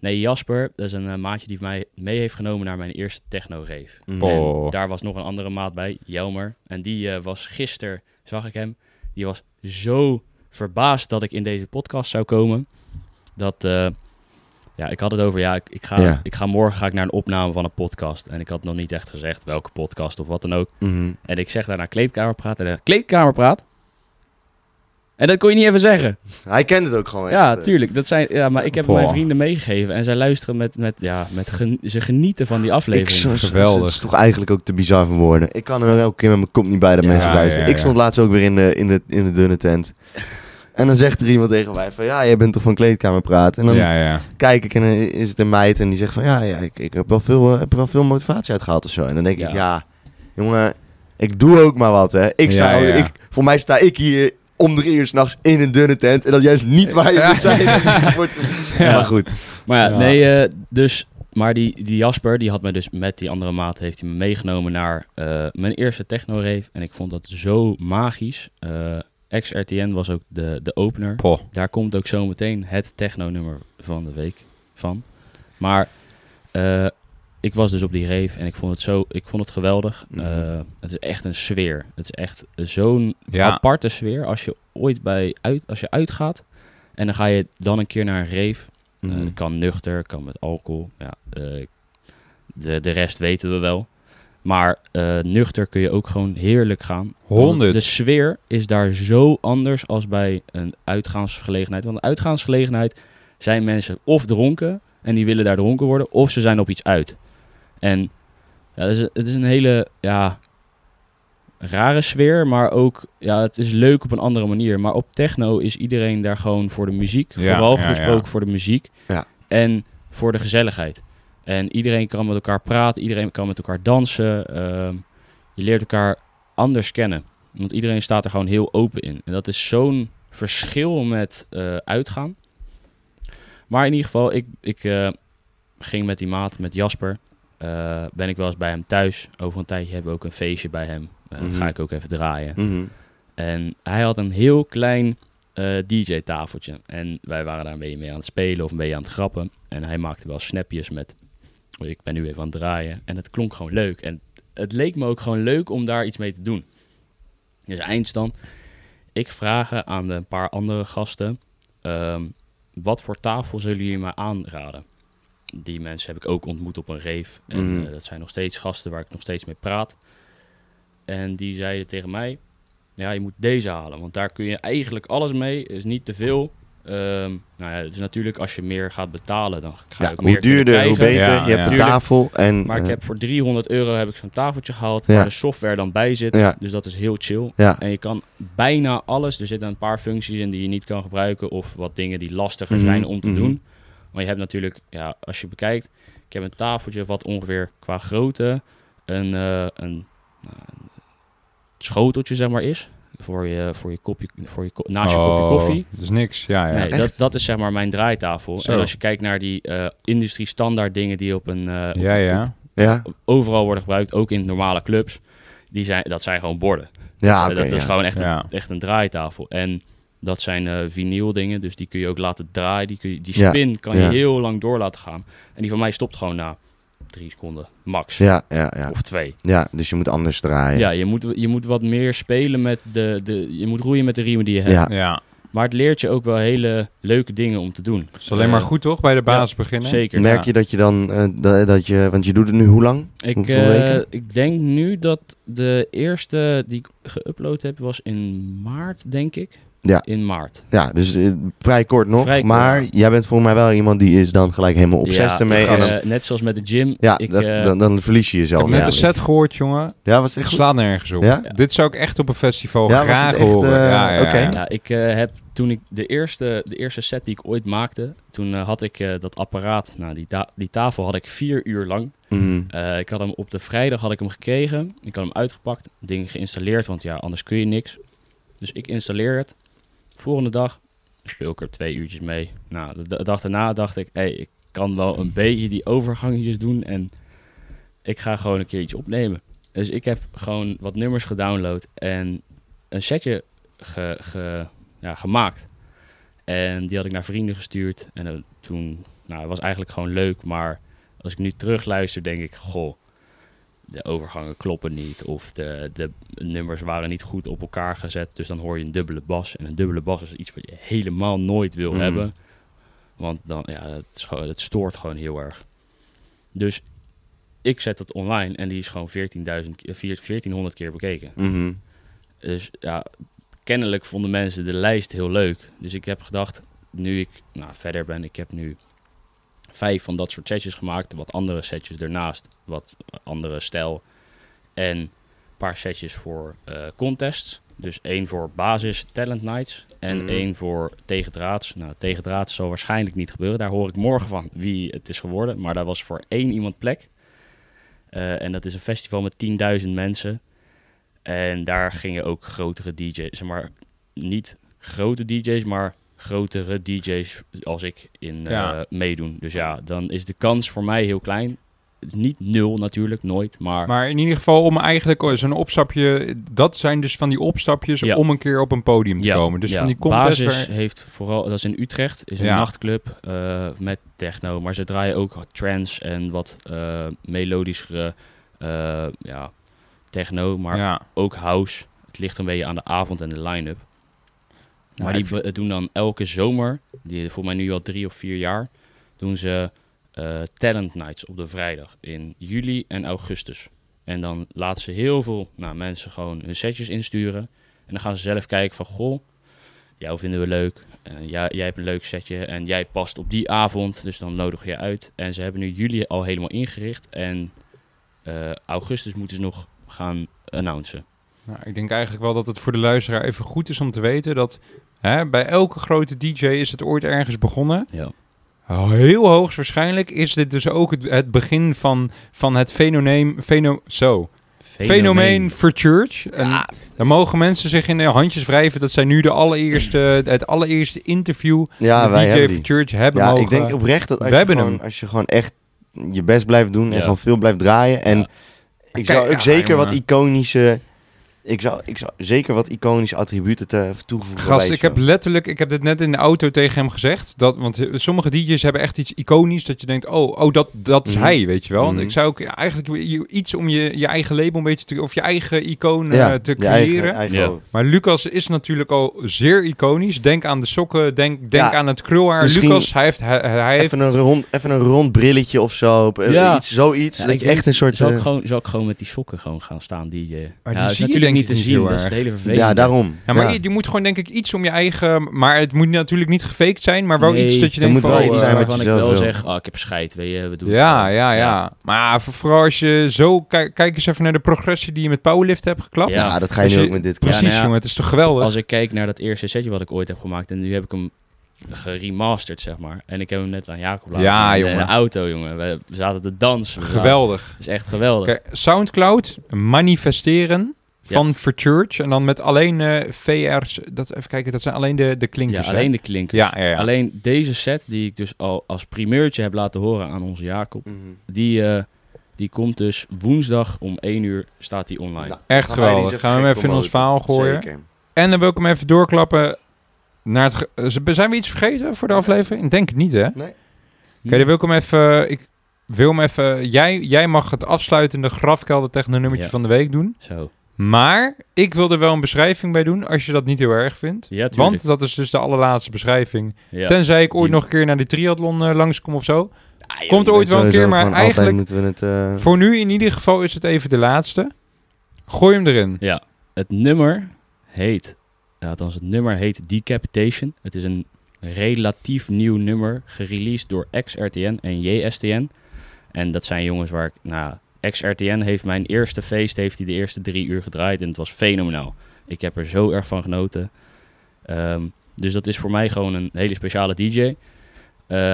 [SPEAKER 3] nee, Jasper, dat is een eh, maatje die mij mee heeft genomen naar mijn eerste techno-rave.
[SPEAKER 1] Paul. Oh.
[SPEAKER 3] En daar was nog een andere maat bij, Jelmer. En die eh, was gisteren, zag ik hem, die was zo verbaasd dat ik in deze podcast zou komen. Dat, eh, ja, ik had het over, ja, ik, ik, ga,
[SPEAKER 2] Ja.
[SPEAKER 3] ik ga morgen ga ik naar een opname van een podcast. En ik had nog niet echt gezegd welke podcast of wat dan ook.
[SPEAKER 2] Mhm.
[SPEAKER 3] En ik zeg daarna kleedkamerpraat en hij, kleedkamerpraat? En dat kon je niet even zeggen.
[SPEAKER 2] Hij kent het ook gewoon echt.
[SPEAKER 3] Ja,
[SPEAKER 2] eh.
[SPEAKER 3] tuurlijk. Dat zijn, ja, maar ik heb
[SPEAKER 1] Boah.
[SPEAKER 3] mijn vrienden meegegeven en zij luisteren met, met, ja, met gen- ze genieten van die
[SPEAKER 2] Ik,
[SPEAKER 3] aflevering.
[SPEAKER 2] zo,
[SPEAKER 1] Geweldig.
[SPEAKER 2] geweldig. Het is toch eigenlijk ook te bizar voor woorden. Ik kan er elke keer met mijn kop niet bij dat
[SPEAKER 3] Ja,
[SPEAKER 2] mensen luisteren.
[SPEAKER 1] ja, ja.
[SPEAKER 2] Ik stond laatst ook weer in de, in, de, in de dunne tent. En dan zegt er iemand tegen mij van... Ja, jij bent toch van kleedkamer praten? En dan
[SPEAKER 1] ja, ja.
[SPEAKER 2] kijk ik en dan is het een meid en die zegt van... Ja, ja ik, ik heb, wel veel, eh, heb er wel veel motivatie uit gehaald of zo. En dan denk
[SPEAKER 3] Ja.
[SPEAKER 2] ik, ja... Jongen, ik doe ook maar wat, hè. Ik sta,
[SPEAKER 1] Ja, ja.
[SPEAKER 2] Ik, voor mij sta ik hier om drie uur s'nachts in een dunne tent. En dat juist niet waar je
[SPEAKER 1] Ja.
[SPEAKER 2] moet zijn.
[SPEAKER 3] Ja.
[SPEAKER 2] Maar goed.
[SPEAKER 3] Maar ja,
[SPEAKER 1] Ja.
[SPEAKER 3] nee, eh, dus... Maar die, die Jasper, die had me dus met die andere maat... heeft hij me meegenomen naar eh, mijn eerste techno-rave. En ik vond dat zo magisch. Eh XRTN was ook de, de opener.
[SPEAKER 1] Poh.
[SPEAKER 3] Daar komt ook zometeen het techno-nummer van de week van. Maar eh, ik was dus op die rave en ik vond het, zo, ik vond het geweldig.
[SPEAKER 2] Mhm.
[SPEAKER 3] Eh, het is echt een sfeer. Het is echt zo'n
[SPEAKER 1] Ja.
[SPEAKER 3] aparte sfeer. Als je ooit bij uit, als je uitgaat en dan ga je dan een keer naar een rave. Eh,
[SPEAKER 2] Mhm.
[SPEAKER 3] dat kan nuchter, dat kan met alcohol. Ja, eh, de, de rest weten we wel. Maar eh, nuchter kun je ook gewoon heerlijk gaan. Want
[SPEAKER 1] 100.
[SPEAKER 3] De sfeer is daar zo anders als bij een uitgaansgelegenheid. Want een uitgaansgelegenheid zijn mensen of dronken en die willen daar dronken worden, of ze zijn op iets uit. En ja, het, is, het is een hele ja, rare sfeer, maar ook ja, het is leuk op een andere manier. Maar op techno is iedereen daar gewoon voor de muziek,
[SPEAKER 1] Ja,
[SPEAKER 3] vooral
[SPEAKER 1] ja,
[SPEAKER 3] gesproken
[SPEAKER 1] ja.
[SPEAKER 3] voor de muziek
[SPEAKER 2] Ja.
[SPEAKER 3] en voor de gezelligheid. En iedereen kan met elkaar praten, iedereen kan met elkaar dansen. ehm, je leert elkaar anders kennen. Want iedereen staat er gewoon heel open in. En dat is zo'n verschil met eh, uitgaan. Maar in ieder geval, ik, ik eh, ging met die maat, met Jasper. eh, ben ik wel eens bij hem thuis. Over een tijdje hebben we ook een feestje bij hem. Eh,
[SPEAKER 2] Mhm.
[SPEAKER 3] Ga ik ook even draaien.
[SPEAKER 2] Mhm.
[SPEAKER 3] En hij had een heel klein eh, DJ-tafeltje. En wij waren daar een beetje mee aan het spelen of een beetje aan het grappen. En hij maakte wel snapjes met... "Oh, Ik ben nu even aan het draaien. En het klonk gewoon leuk. En het leek me ook gewoon leuk om daar iets mee te doen. Dus eindstand. Ik vraag aan een paar andere gasten... ehm, wat voor tafel zullen jullie mij aanraden? Die mensen heb ik ook ontmoet op een rave. En
[SPEAKER 2] Mhm.
[SPEAKER 3] eh, dat zijn nog steeds gasten waar ik nog steeds mee praat. En die zeiden tegen mij... Ja, je moet deze halen, want daar kun je eigenlijk alles mee. Is niet te veel. Ehm nou ja, het is natuurlijk als je meer gaat betalen, dan ga je
[SPEAKER 2] Ja,
[SPEAKER 3] ook meer
[SPEAKER 2] hoe
[SPEAKER 3] kunnen
[SPEAKER 2] duurder, hoe
[SPEAKER 3] krijgen.
[SPEAKER 2] beter.
[SPEAKER 1] Ja,
[SPEAKER 2] je hebt een
[SPEAKER 3] ja.
[SPEAKER 2] tafel en...
[SPEAKER 3] Maar ik
[SPEAKER 2] eh,
[SPEAKER 3] heb voor 300 euro heb ik zo'n tafeltje gehaald
[SPEAKER 2] Ja.
[SPEAKER 3] waar de software dan bij zit.
[SPEAKER 2] Ja.
[SPEAKER 3] Dus dat is heel chill.
[SPEAKER 2] ja.
[SPEAKER 3] En je kan bijna alles. Er zitten een paar functies in die je niet kan gebruiken of wat dingen die lastiger
[SPEAKER 2] Mhm,
[SPEAKER 3] zijn om te
[SPEAKER 2] mhm.
[SPEAKER 3] doen. Maar je hebt natuurlijk, ja, als je bekijkt, ik heb een tafeltje wat ongeveer qua grootte een, eh, een, nou, een schoteltje zeg maar is voor je voor je kopje voor je ko- naast je kopje
[SPEAKER 1] Oh,
[SPEAKER 3] koffie.
[SPEAKER 1] Dat is niks. Ja, ja.
[SPEAKER 3] Nee,
[SPEAKER 2] echt?
[SPEAKER 3] dat, dat is zeg maar mijn draaitafel.
[SPEAKER 1] Zo.
[SPEAKER 3] En als je kijkt naar die eh industrie standaard dingen die op een, eh, op
[SPEAKER 1] ja, ja.
[SPEAKER 2] Ja,
[SPEAKER 3] overal worden gebruikt, ook in normale clubs. Die zijn, dat zijn gewoon borden.
[SPEAKER 2] ja
[SPEAKER 3] Dus,
[SPEAKER 2] Ah, oké.
[SPEAKER 3] eh, dat is
[SPEAKER 2] ja.
[SPEAKER 3] gewoon echt,
[SPEAKER 1] Ja.
[SPEAKER 3] een, echt een draaitafel. En dat zijn eh vinyl dingen, dus die kun je ook laten draaien. Die, kun je, die
[SPEAKER 2] Ja.
[SPEAKER 3] spin kan je
[SPEAKER 2] Ja.
[SPEAKER 3] heel lang door laten gaan. En die van mij stopt gewoon na drie seconden, max.
[SPEAKER 2] Ja, ja, ja.
[SPEAKER 3] Of twee.
[SPEAKER 2] ja, dus je moet anders draaien.
[SPEAKER 3] Ja, je moet, je moet wat meer spelen met de, de... Je moet roeien met de riemen die je hebt.
[SPEAKER 2] Ja.
[SPEAKER 1] Ja.
[SPEAKER 3] Maar het leert je ook wel hele leuke dingen om te doen.
[SPEAKER 1] Dat is alleen maar goed, toch? Bij de basis beginnen.
[SPEAKER 3] Eh, Zeker.
[SPEAKER 2] Merk
[SPEAKER 3] ja.
[SPEAKER 2] je dat je dan, eh, da- dat je, want je doet het nu hoe lang?
[SPEAKER 3] Ik,
[SPEAKER 2] Hoeveel
[SPEAKER 3] eh,
[SPEAKER 2] weken?
[SPEAKER 3] ik denk nu dat de eerste die ik geüpload heb was in maart, denk ik.
[SPEAKER 2] Ja.
[SPEAKER 3] In maart.
[SPEAKER 2] Ja, dus eh, vrij kort nog.
[SPEAKER 3] Vrij kort.
[SPEAKER 2] maar jij bent volgens mij wel iemand die is dan gelijk helemaal obsessed
[SPEAKER 3] Ja,
[SPEAKER 2] ermee.
[SPEAKER 3] ik,
[SPEAKER 2] En dan,
[SPEAKER 3] eh, net zoals met de gym.
[SPEAKER 2] ja,
[SPEAKER 3] ik,
[SPEAKER 2] dat-
[SPEAKER 3] eh,
[SPEAKER 2] dan, dan verlies je
[SPEAKER 1] Ik
[SPEAKER 2] jezelf.
[SPEAKER 1] heb net
[SPEAKER 3] Ja.
[SPEAKER 1] een set gehoord, jongen.
[SPEAKER 2] Ja, was het
[SPEAKER 1] Het
[SPEAKER 2] echt goed?
[SPEAKER 1] slaat nergens op.
[SPEAKER 2] Ja?
[SPEAKER 1] Dit zou ik echt op een festival
[SPEAKER 2] Ja, was het
[SPEAKER 1] graag
[SPEAKER 2] echt,
[SPEAKER 1] horen.
[SPEAKER 2] eh,
[SPEAKER 1] ja, ja,
[SPEAKER 2] oké.
[SPEAKER 1] ja.
[SPEAKER 3] ja, ik eh, heb toen ik de eerste, de eerste set die ik ooit maakte, toen eh, had ik eh, dat apparaat, nou die, ta- die tafel had ik vier uur lang.
[SPEAKER 2] Mhm.
[SPEAKER 3] Eh, ik had hem op de vrijdag had ik hem gekregen. Ik had hem uitgepakt, dingen geïnstalleerd, want ja, anders kun je niks. Dus ik installeer het. Volgende dag speel ik er twee uurtjes mee. Nou, de, de dag daarna dacht ik, hé, hey, ik kan wel een beetje die overgangetjes doen en ik ga gewoon een keer iets opnemen. Dus ik heb gewoon wat nummers gedownload en een setje ge, ge- ja, gemaakt. En die had ik naar vrienden gestuurd. En eh, toen, nou, het was eigenlijk gewoon leuk, maar als ik nu terugluister, denk ik, goh, de overgangen kloppen niet. Of de, de nummers waren niet goed op elkaar gezet. Dus dan hoor je een dubbele bas. En een dubbele bas is iets wat je helemaal nooit wil
[SPEAKER 2] Mm.
[SPEAKER 3] hebben. Want dan, ja, het, is gewoon- het stoort gewoon heel erg. Dus ik zet dat online en die is gewoon 14.000, keer- 1400 keer bekeken.
[SPEAKER 2] Mhm.
[SPEAKER 3] Dus ja, kennelijk vonden mensen de lijst heel leuk. Dus ik heb gedacht, nu ik nou, verder ben, ik heb nu vijf van dat soort setjes gemaakt. Wat andere setjes daarnaast, wat andere stijl. En een paar setjes voor eh, contests. Dus één voor basis talent nights en
[SPEAKER 2] Mhm.
[SPEAKER 3] één voor tegendraads. Nou, tegendraads zal waarschijnlijk niet gebeuren. Daar hoor ik morgen van wie het is geworden. Maar daar was voor één iemand plek. Eh, en dat is een festival met 10.000 mensen. En daar gingen ook grotere DJ's, zeg maar niet grote DJ's, maar grotere DJ's als ik in eh,
[SPEAKER 1] Ja.
[SPEAKER 3] meedoen. Dus ja, dan is de kans voor mij heel klein. niet nul natuurlijk, nooit. Maar,
[SPEAKER 1] Maar in ieder geval om eigenlijk oh, zo'n opstapje... Dat zijn dus van die opstapjes
[SPEAKER 3] Ja.
[SPEAKER 1] om een keer op een podium te
[SPEAKER 3] Ja,
[SPEAKER 1] komen. Dus
[SPEAKER 3] ja,
[SPEAKER 1] van die contest...
[SPEAKER 3] Basis
[SPEAKER 1] waar-
[SPEAKER 3] heeft vooral, dat is in Utrecht, is een
[SPEAKER 1] Ja.
[SPEAKER 3] nachtclub eh, met techno. Maar ze draaien ook trance en wat eh, melodischere eh, ja, techno. Maar
[SPEAKER 1] ja.
[SPEAKER 3] ook house. Het ligt een beetje aan de avond en de line-up. maar
[SPEAKER 1] ik
[SPEAKER 3] die be- doen dan elke zomer, die, voor mij nu al drie of vier jaar, doen ze eh, talent nights op de vrijdag in juli en augustus. En dan laten ze heel veel nou, mensen gewoon hun setjes insturen. En dan gaan ze zelf kijken van, goh, jou vinden we leuk. En jij, jij hebt een leuk setje en jij past op die avond, dus dan nodig je uit. En ze hebben nu juli al helemaal ingericht en eh, augustus moeten ze nog gaan announcen.
[SPEAKER 1] Nou, ik denk eigenlijk wel dat het voor de luisteraar even goed is om te weten dat hè, bij elke grote DJ is het ooit ergens begonnen.
[SPEAKER 3] Ja.
[SPEAKER 1] Heel hoogstwaarschijnlijk is dit dus ook het, het begin van, van het fenomeen, feno, zo, fenomeen for church. En Daar mogen mensen zich in de handjes wrijven dat zij nu de allereerste, het allereerste interview
[SPEAKER 2] Ja,
[SPEAKER 1] met
[SPEAKER 2] wij
[SPEAKER 1] DJ
[SPEAKER 2] hebben
[SPEAKER 1] for
[SPEAKER 2] die.
[SPEAKER 1] church hebben
[SPEAKER 2] Ja,
[SPEAKER 1] mogen.
[SPEAKER 2] ik denk oprecht dat als
[SPEAKER 1] We
[SPEAKER 2] je,
[SPEAKER 1] hebben
[SPEAKER 2] gewoon,
[SPEAKER 1] hem.
[SPEAKER 2] als je gewoon echt je best blijft doen en
[SPEAKER 3] Ja.
[SPEAKER 2] gewoon veel blijft draaien. En
[SPEAKER 3] Ja.
[SPEAKER 2] ik
[SPEAKER 1] Kijk,
[SPEAKER 2] zou ook
[SPEAKER 1] ja,
[SPEAKER 2] zeker
[SPEAKER 1] jongen.
[SPEAKER 2] wat iconische... Ik zou, ik zou zeker wat iconische attributen te, toevoegen.
[SPEAKER 1] Gast,
[SPEAKER 2] bij
[SPEAKER 1] ik heb
[SPEAKER 2] jezelf.
[SPEAKER 1] letterlijk, ik heb dit net in de auto tegen hem gezegd. Dat, want eh, sommige DJ's hebben echt iets iconisch dat je denkt, oh, oh dat, dat is
[SPEAKER 2] Mhm.
[SPEAKER 1] hij, weet je wel.
[SPEAKER 2] Mhm.
[SPEAKER 1] Ik zou ook eigenlijk i- iets om je, je eigen label een beetje te, of je eigen icoon eh,
[SPEAKER 2] Ja,
[SPEAKER 1] te
[SPEAKER 2] je eigen-
[SPEAKER 1] creëren.
[SPEAKER 2] eigen
[SPEAKER 3] Ja.
[SPEAKER 2] hoofd.
[SPEAKER 1] Maar Lucas is natuurlijk al zeer iconisch. Denk aan de sokken, denk, denk
[SPEAKER 2] Ja,
[SPEAKER 1] aan het krulhaar.
[SPEAKER 2] misschien
[SPEAKER 1] Lucas, hij heeft, hij, hij heeft
[SPEAKER 2] Even een, rond, even een rond brilletje of zo. op, eh,
[SPEAKER 3] Ja.
[SPEAKER 2] Iets, zoiets.
[SPEAKER 3] Ja,
[SPEAKER 2] dat
[SPEAKER 3] ik
[SPEAKER 2] je
[SPEAKER 3] weet-
[SPEAKER 2] echt een soort...
[SPEAKER 3] Zal ik,
[SPEAKER 2] eh,
[SPEAKER 3] gewoon, zal ik gewoon met die sokken gewoon gaan staan, eh, DJ? Maar
[SPEAKER 1] die zie je denk ik niet heel
[SPEAKER 3] Dat is het
[SPEAKER 1] erg.
[SPEAKER 3] hele vervelende.
[SPEAKER 2] ja, daarom.
[SPEAKER 1] ja, maar Je, je moet gewoon denk ik iets om je eigen... Maar het moet natuurlijk niet gefaked zijn, maar wel
[SPEAKER 3] Nee,
[SPEAKER 1] iets dat je
[SPEAKER 2] er
[SPEAKER 1] denkt
[SPEAKER 2] moet
[SPEAKER 1] van...
[SPEAKER 2] wel
[SPEAKER 1] oh,
[SPEAKER 2] iets
[SPEAKER 1] eh,
[SPEAKER 2] zijn wat
[SPEAKER 3] waarvan
[SPEAKER 2] je
[SPEAKER 3] ik
[SPEAKER 2] zelf
[SPEAKER 3] wel
[SPEAKER 2] wil.
[SPEAKER 3] zeg, ah, ik heb scheid, weet je, we doen
[SPEAKER 1] Ja,
[SPEAKER 3] het.
[SPEAKER 1] ja, ja, Maar voor- vooral als je zo... Kijk, kijk eens even naar de progressie die je met Powerlift hebt geklapt.
[SPEAKER 2] Ja,
[SPEAKER 3] Ja.
[SPEAKER 2] dat ga je
[SPEAKER 1] Als
[SPEAKER 2] nu
[SPEAKER 1] je-
[SPEAKER 2] ook met dit.
[SPEAKER 1] Precies,
[SPEAKER 3] Ja, nou ja.
[SPEAKER 1] jongen. Het is toch geweldig?
[SPEAKER 3] Als ik kijk naar dat eerste setje wat ik ooit heb gemaakt en nu heb ik hem geremasterd, zeg maar. En ik heb hem net aan Jacob laten
[SPEAKER 1] Ja,
[SPEAKER 3] zien
[SPEAKER 1] jongen.
[SPEAKER 3] In de auto, jongen. We we zaten te dansen.
[SPEAKER 1] Geweldig.
[SPEAKER 3] Dat is echt geweldig.
[SPEAKER 1] Kijk, Soundcloud, manifesteren
[SPEAKER 3] Ja.
[SPEAKER 1] van For Church. En dan met alleen eh, VR's. Dat, even kijken, dat zijn alleen de, de
[SPEAKER 3] ja,
[SPEAKER 1] klinkers. hè?
[SPEAKER 3] alleen de klinkers.
[SPEAKER 1] Ja, ja, ja.
[SPEAKER 3] Alleen deze set die ik dus al als primeurtje heb laten horen aan onze Jacob.
[SPEAKER 2] Mhm.
[SPEAKER 3] Die, eh, die komt dus woensdag om 1 uur staat die online.
[SPEAKER 2] Nou,
[SPEAKER 1] Echt
[SPEAKER 2] gaan wij die
[SPEAKER 1] geweldig.
[SPEAKER 2] eens
[SPEAKER 1] Gaan we hem
[SPEAKER 2] gek
[SPEAKER 1] even in ons verhaal
[SPEAKER 2] promoten.
[SPEAKER 1] gooien.
[SPEAKER 2] Zeker.
[SPEAKER 1] En dan wil ik hem even doorklappen naar het... ge- eh, z- Zijn we iets vergeten voor de aflevering? Ik Denk het niet, hè? Oké,
[SPEAKER 3] Hm.
[SPEAKER 1] dan wil ik hem even... Ik wil hem even... Jij, jij mag het afsluitende grafkelder technonummertje
[SPEAKER 3] Ja.
[SPEAKER 1] van de week doen.
[SPEAKER 3] Hm. Zo.
[SPEAKER 1] Maar ik wil er wel een beschrijving bij doen, als je dat niet heel erg vindt.
[SPEAKER 3] Ja, tuurlijk.
[SPEAKER 1] Want dat is dus de allerlaatste beschrijving.
[SPEAKER 3] Ja.
[SPEAKER 1] Tenzij ik ooit
[SPEAKER 3] Die- Ah,
[SPEAKER 1] nog een keer naar de triathlon eh, langskom of zo. Komt er ooit
[SPEAKER 2] Weet
[SPEAKER 1] wel een
[SPEAKER 2] sowieso
[SPEAKER 1] keer, maar
[SPEAKER 2] gewoon altijd
[SPEAKER 1] eigenlijk-
[SPEAKER 2] moeten we het... eh,
[SPEAKER 1] Voor nu in ieder geval is het even de laatste. Gooi hem erin.
[SPEAKER 3] Ja, het nummer heet, ja, althans het nummer heet Decapitation. Het is een relatief nieuw nummer, gereleased door XRTN en JSTN. En dat zijn jongens waar ik, nou, XRTN heeft mijn eerste feest, heeft hij de eerste drie uur gedraaid en het was fenomenaal. Ik heb er zo erg van genoten. Ehm, dus dat is voor mij gewoon een hele speciale DJ. Eh,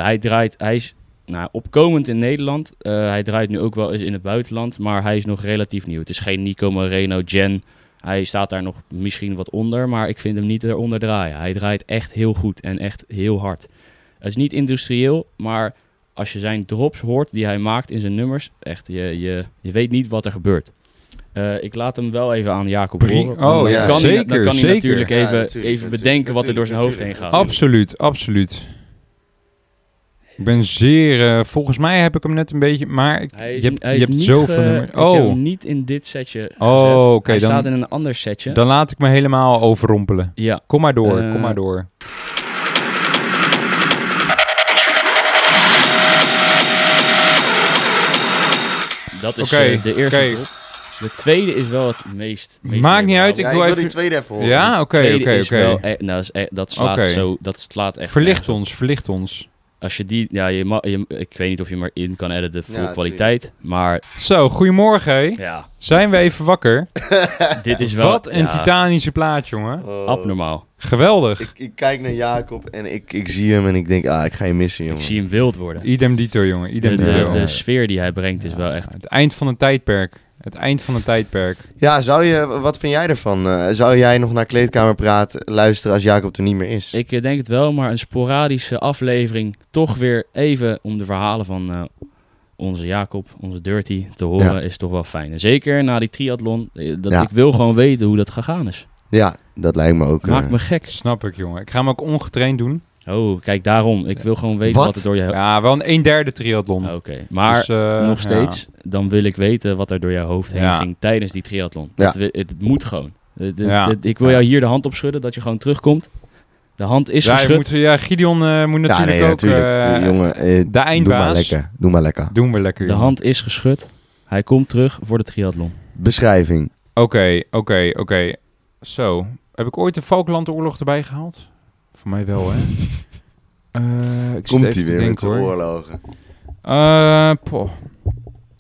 [SPEAKER 3] hij draait, hij is nou, opkomend in Nederland. Eh, hij draait nu ook wel eens in het buitenland, maar hij is nog relatief nieuw. Het is geen Nico Moreno, Gen. Hij staat daar nog misschien wat onder, maar ik vind hem niet eronder draaien. Hij draait echt heel goed en echt heel hard. Het is niet industrieel, maar als je zijn drops hoort die hij maakt in zijn nummers, echt, je, je, je weet niet wat er gebeurt. Eh, ik laat hem wel even aan Jacob
[SPEAKER 1] Pri-
[SPEAKER 3] horen.
[SPEAKER 1] Oh,
[SPEAKER 3] want dan
[SPEAKER 2] ja,
[SPEAKER 3] kan hij,
[SPEAKER 1] zeker,
[SPEAKER 3] dan kan
[SPEAKER 1] zeker.
[SPEAKER 3] hij natuurlijk
[SPEAKER 2] Ja,
[SPEAKER 3] even,
[SPEAKER 2] natuurlijk,
[SPEAKER 3] even
[SPEAKER 2] natuurlijk,
[SPEAKER 3] bedenken wat er door zijn hoofd heen
[SPEAKER 2] natuurlijk,
[SPEAKER 3] gaat.
[SPEAKER 2] natuurlijk.
[SPEAKER 1] Absoluut, absoluut. Ik ben zeer... eh, volgens mij heb ik hem net een beetje... Maar ik,
[SPEAKER 3] Hij is,
[SPEAKER 1] je hebt,
[SPEAKER 3] hij
[SPEAKER 1] je
[SPEAKER 3] is
[SPEAKER 1] hebt
[SPEAKER 3] niet
[SPEAKER 1] zoveel
[SPEAKER 3] ge-
[SPEAKER 1] nummers.
[SPEAKER 3] Ik heb
[SPEAKER 1] Oh,
[SPEAKER 3] hem niet in dit setje gezet.
[SPEAKER 1] Oh, oké,
[SPEAKER 3] Hij
[SPEAKER 1] dan-
[SPEAKER 3] staat in een ander setje.
[SPEAKER 1] dan laat ik me helemaal overrompelen.
[SPEAKER 3] ja.
[SPEAKER 1] Kom maar door,
[SPEAKER 3] Eh,
[SPEAKER 1] kom maar door.
[SPEAKER 3] Dat is
[SPEAKER 1] Oké,
[SPEAKER 3] eh, de eerste
[SPEAKER 1] oké.
[SPEAKER 3] drop. De tweede is wel het meest... meest
[SPEAKER 1] Maakt niet
[SPEAKER 3] memorabel.
[SPEAKER 1] uit, ik
[SPEAKER 2] Ja,
[SPEAKER 1] wil
[SPEAKER 2] wil die
[SPEAKER 1] even-
[SPEAKER 2] tweede even horen.
[SPEAKER 1] Ja,
[SPEAKER 3] De
[SPEAKER 1] oké,
[SPEAKER 3] oh, tweede
[SPEAKER 1] oké,
[SPEAKER 3] is wel
[SPEAKER 1] oké.
[SPEAKER 3] e- nou, dat, is echt- dat slaat
[SPEAKER 1] Oké.
[SPEAKER 3] zo... Dat slaat echt...
[SPEAKER 1] Verlicht
[SPEAKER 3] nergens op.
[SPEAKER 1] ons, verlicht ons.
[SPEAKER 3] Als je die... Ja, je ma- je, ik weet niet of je maar in kan editen voor
[SPEAKER 2] tuurlijk.
[SPEAKER 3] kwaliteit. Maar
[SPEAKER 1] Zo, goedemorgen. hé.
[SPEAKER 3] ja,
[SPEAKER 1] Zijn we even wakker?
[SPEAKER 3] dit is wel...
[SPEAKER 1] Wat een
[SPEAKER 3] ja,
[SPEAKER 1] titanische plaat, jongen.
[SPEAKER 2] Oh.
[SPEAKER 3] Abnormaal.
[SPEAKER 1] Geweldig.
[SPEAKER 2] Ik, ik kijk naar Jacob en ik, ik zie hem en ik denk, ah, ik ga je missen,
[SPEAKER 3] Ik
[SPEAKER 2] jongen.
[SPEAKER 3] zie hem wild worden.
[SPEAKER 1] Idem dito, jongen. Idem
[SPEAKER 3] De, de-
[SPEAKER 1] dito.
[SPEAKER 3] de sfeer die hij brengt is wel echt...
[SPEAKER 1] Het eind van een tijdperk. Het eind van een tijdperk.
[SPEAKER 2] Ja, zou je, wat vind jij ervan? Eh, zou jij nog naar Kleedkamerpraat luisteren als Jacob er niet meer is?
[SPEAKER 3] Ik eh, denk het wel, maar een sporadische aflevering. Toch weer even om de verhalen van eh, onze Jacob, onze Dirty, te horen
[SPEAKER 2] Ja.
[SPEAKER 3] is toch wel fijn. En zeker na die triathlon, eh, dat
[SPEAKER 2] Ja.
[SPEAKER 3] ik wil gewoon weten hoe dat gegaan is.
[SPEAKER 2] Ja, dat lijkt me ook.
[SPEAKER 3] Maakt
[SPEAKER 2] eh,
[SPEAKER 3] me gek.
[SPEAKER 1] Snap ik, jongen. Ik ga hem ook ongetraind doen.
[SPEAKER 3] Oh, kijk daarom. Ik wil gewoon weten
[SPEAKER 2] Wat?
[SPEAKER 3] wat, er door je... hoofd-
[SPEAKER 1] Ja, wel een, een derde triathlon.
[SPEAKER 3] Oké, maar
[SPEAKER 1] Dus, eh,
[SPEAKER 3] Oh. nog
[SPEAKER 1] ja.
[SPEAKER 3] steeds, dan wil ik weten wat er door jouw hoofd heen
[SPEAKER 1] Ja.
[SPEAKER 3] ging tijdens die triathlon.
[SPEAKER 2] Ja.
[SPEAKER 3] Dat we- het, het moet gewoon. Het- het-
[SPEAKER 1] Ja.
[SPEAKER 3] het- ik wil jou hier de hand op schudden, dat je gewoon terugkomt. De hand is
[SPEAKER 1] Ja, je
[SPEAKER 3] geschud.
[SPEAKER 1] moet, ja Gideon eh, moet
[SPEAKER 2] ja,
[SPEAKER 1] natuurlijk
[SPEAKER 2] nee,
[SPEAKER 1] ook...
[SPEAKER 2] natuurlijk.
[SPEAKER 1] eh,
[SPEAKER 2] Jongen, eh,
[SPEAKER 1] de
[SPEAKER 2] doe maar
[SPEAKER 1] eindbaas.
[SPEAKER 2] lekker. Doe maar lekker.
[SPEAKER 1] Doen we lekker,
[SPEAKER 3] De
[SPEAKER 1] jongen.
[SPEAKER 3] hand is geschud. Hij komt terug voor de triathlon.
[SPEAKER 2] Beschrijving.
[SPEAKER 1] Oké, oké, oké. Zo, heb ik ooit de Falklandoorlog erbij gehaald? Voor mij wel, hè? Eh, ik zit
[SPEAKER 2] Komt
[SPEAKER 1] even
[SPEAKER 2] hij
[SPEAKER 1] te
[SPEAKER 2] weer met
[SPEAKER 1] denken,
[SPEAKER 2] zijn
[SPEAKER 1] hoor.
[SPEAKER 2] oorlogen.
[SPEAKER 1] Eh, poh.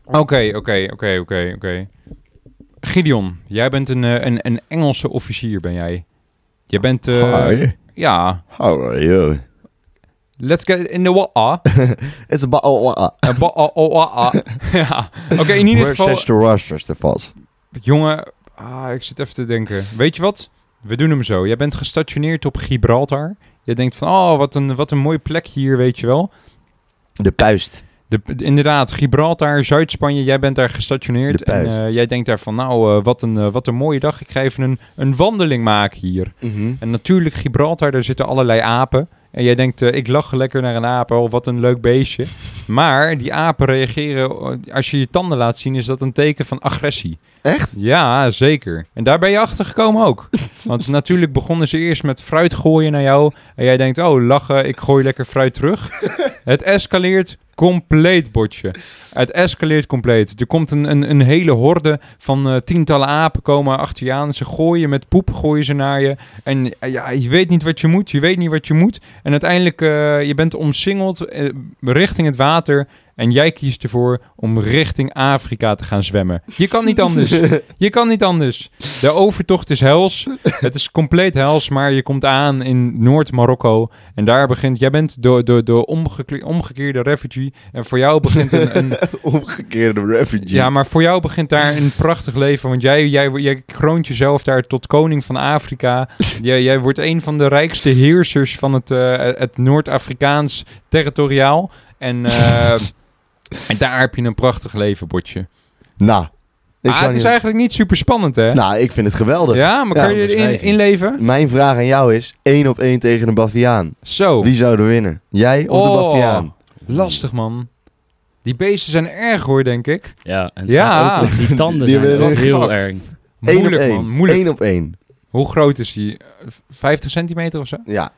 [SPEAKER 1] Oké, oké, oké, oké, oké. Gideon, jij bent een, eh, een, een Engelse officier, ben jij. Jij bent, eh,
[SPEAKER 2] Hi,
[SPEAKER 1] ja,
[SPEAKER 2] how are you?
[SPEAKER 1] let's get in the water.
[SPEAKER 2] It's about... Oh, oh, oh.
[SPEAKER 1] Eh, ba- oh, oh, ah, ah. ja, oké, in ieder geval...
[SPEAKER 2] Worcester Rosters, de vals.
[SPEAKER 1] Jongen, ah, ik zit even te denken. Weet je wat? We doen hem zo. Jij bent gestationeerd op Gibraltar. Je denkt van, oh, wat een, wat een mooie plek hier, weet je wel.
[SPEAKER 2] De puist.
[SPEAKER 1] De, inderdaad, Gibraltar, Zuid-Spanje, jij bent daar gestationeerd.
[SPEAKER 2] De
[SPEAKER 1] en
[SPEAKER 2] puist.
[SPEAKER 1] eh, jij denkt daar van, nou, eh, wat, een, eh, wat een mooie dag. Ik ga even een, een wandeling maken hier.
[SPEAKER 2] Mhm.
[SPEAKER 1] En natuurlijk, Gibraltar, daar zitten allerlei apen. En jij denkt, eh, ik lach lekker naar een aap, oh, wat een leuk beestje. Maar die apen reageren, eh, als je je tanden laat zien, is dat een teken van agressie.
[SPEAKER 2] Echt?
[SPEAKER 1] Ja, zeker. En daar ben je achter gekomen ook. Want natuurlijk begonnen ze eerst met fruit gooien naar jou. En jij denkt, oh, lachen, ik gooi lekker fruit terug. Het escaleert compleet, botje. Het escaleert compleet. Er komt een, een, een hele horde van eh, tientallen apen komen achter je aan. Ze gooien met poep, gooien ze naar je. En eh, ja, je weet niet wat je moet, je weet niet wat je moet. En uiteindelijk, eh, je bent omsingeld eh, richting het water. En jij kiest ervoor om richting Afrika te gaan zwemmen. Je kan niet anders. Je kan niet anders. De overtocht is hels. Het is compleet hels, maar je komt aan in Noord-Marokko. En daar begint... Jij bent de, de, de omgekle- omgekeerde refugee. En voor jou begint een... een
[SPEAKER 2] Omgekeerde refugee.
[SPEAKER 1] ja, maar voor jou begint daar een prachtig leven. Want jij, jij, jij kroont jezelf daar tot koning van Afrika. jij, jij wordt een van de rijkste heersers van het, eh, het Noord-Afrikaans territoriaal. En, eh, en daar heb je een prachtig leven, Botje.
[SPEAKER 2] Nou, ik
[SPEAKER 1] Ah,
[SPEAKER 2] zou
[SPEAKER 1] het is
[SPEAKER 2] niet-
[SPEAKER 1] eigenlijk niet super spannend, hè?
[SPEAKER 2] Nou, ik vind het geweldig.
[SPEAKER 1] Ja, maar
[SPEAKER 2] Ja,
[SPEAKER 1] kun je erin
[SPEAKER 3] beschrijving.
[SPEAKER 1] inleven?
[SPEAKER 2] Mijn vraag aan jou is, één op één tegen een Baviaan.
[SPEAKER 1] Zo,
[SPEAKER 2] Wie zou er winnen? Jij of de
[SPEAKER 1] Oh.
[SPEAKER 2] Baviaan?
[SPEAKER 1] lastig man. Die beesten zijn erg hoor, denk ik.
[SPEAKER 3] Ja, en
[SPEAKER 1] Ja.
[SPEAKER 3] ja. Ook, nog- die tanden
[SPEAKER 2] Die
[SPEAKER 3] zijn
[SPEAKER 2] hebben
[SPEAKER 3] ook
[SPEAKER 1] echt-
[SPEAKER 3] heel
[SPEAKER 1] Fuck.
[SPEAKER 3] erg.
[SPEAKER 2] Eén op
[SPEAKER 1] Moeilijk
[SPEAKER 2] één.
[SPEAKER 1] man, moeilijk.
[SPEAKER 2] Eén op één.
[SPEAKER 1] Hoe groot is die? Eh, 50 centimeter of zo?
[SPEAKER 2] Ja,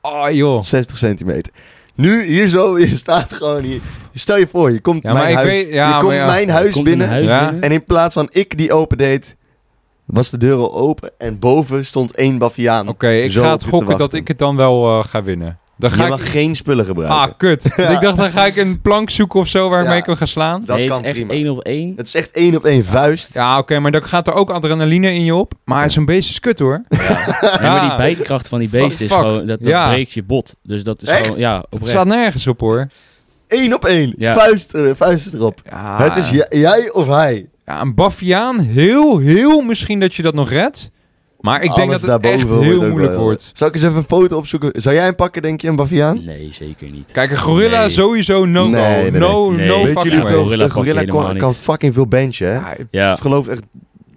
[SPEAKER 1] Oh joh.
[SPEAKER 2] 60 centimeter. Nu, hier zo, je staat gewoon hier. Stel je voor, je komt
[SPEAKER 1] Ja, maar
[SPEAKER 2] mijn
[SPEAKER 1] ik
[SPEAKER 2] huis,
[SPEAKER 1] weet- ja,
[SPEAKER 2] je
[SPEAKER 1] maar
[SPEAKER 2] komt
[SPEAKER 1] ja.
[SPEAKER 2] mijn huis
[SPEAKER 3] Komt in
[SPEAKER 2] binnen.
[SPEAKER 3] huis
[SPEAKER 1] Ja.
[SPEAKER 3] binnen.
[SPEAKER 2] En in plaats van ik die open deed, was de deur al open. En boven stond één Baviaan.
[SPEAKER 1] Oké, ik
[SPEAKER 2] Zo
[SPEAKER 1] ga
[SPEAKER 2] op
[SPEAKER 1] het
[SPEAKER 2] je te
[SPEAKER 1] gokken dat
[SPEAKER 2] wachten.
[SPEAKER 1] ik het dan wel eh, ga winnen. Dan
[SPEAKER 2] Je
[SPEAKER 1] ga
[SPEAKER 2] mag
[SPEAKER 1] ik...
[SPEAKER 2] geen spullen gebruiken.
[SPEAKER 1] Ah, kut. Ik dacht, dan ga ik een plank zoeken of zo waarmee
[SPEAKER 2] Ja.
[SPEAKER 1] ik hem ga slaan.
[SPEAKER 2] dat
[SPEAKER 3] nee, het
[SPEAKER 2] kan
[SPEAKER 3] is echt
[SPEAKER 2] prima.
[SPEAKER 3] één op één.
[SPEAKER 2] Het is echt één op één vuist.
[SPEAKER 1] Ja, oké, maar dan gaat er ook adrenaline in je op. Maar zo'n beest is kut hoor.
[SPEAKER 3] Nee, maar
[SPEAKER 1] Ja.
[SPEAKER 3] die bijtkracht van die
[SPEAKER 1] Fuck,
[SPEAKER 3] beest is
[SPEAKER 1] fuck.
[SPEAKER 3] gewoon, dat, dat
[SPEAKER 1] Ja.
[SPEAKER 3] breekt je bot. Dus dat is
[SPEAKER 2] Echt?
[SPEAKER 3] gewoon, ja,
[SPEAKER 1] Het
[SPEAKER 3] oprecht.
[SPEAKER 1] slaat nergens op hoor.
[SPEAKER 2] Eén op één.
[SPEAKER 3] Ja.
[SPEAKER 2] Vuist, eh, vuist erop.
[SPEAKER 3] Ah.
[SPEAKER 1] Ja.
[SPEAKER 2] Het is j- jij of hij.
[SPEAKER 1] Ja, een Baffiaan, heel, heel misschien dat je dat nog redt. Maar ik denk
[SPEAKER 2] Alles
[SPEAKER 1] dat het echt
[SPEAKER 2] daarboven wordt ook
[SPEAKER 1] heel
[SPEAKER 2] wel
[SPEAKER 1] moeilijk
[SPEAKER 2] heel-
[SPEAKER 1] wordt.
[SPEAKER 2] Zal ik eens even een foto opzoeken? Zou jij hem pakken, denk je, een baviaan?
[SPEAKER 3] Nee, zeker niet.
[SPEAKER 1] Kijk, een gorilla
[SPEAKER 3] Nee.
[SPEAKER 1] sowieso no
[SPEAKER 2] Nee, nee,
[SPEAKER 1] No,
[SPEAKER 2] nee.
[SPEAKER 3] Nee.
[SPEAKER 1] no
[SPEAKER 3] Weet
[SPEAKER 2] Weet
[SPEAKER 1] fucking
[SPEAKER 2] jullie
[SPEAKER 1] way.
[SPEAKER 2] hoeveel...
[SPEAKER 3] Gorilla
[SPEAKER 2] Een
[SPEAKER 3] pak je
[SPEAKER 2] gorilla
[SPEAKER 3] helemaal
[SPEAKER 2] kan,
[SPEAKER 3] niet.
[SPEAKER 2] kan fucking veel benchen, hè?
[SPEAKER 1] Ja,
[SPEAKER 3] Ja,
[SPEAKER 2] Ik geloof echt...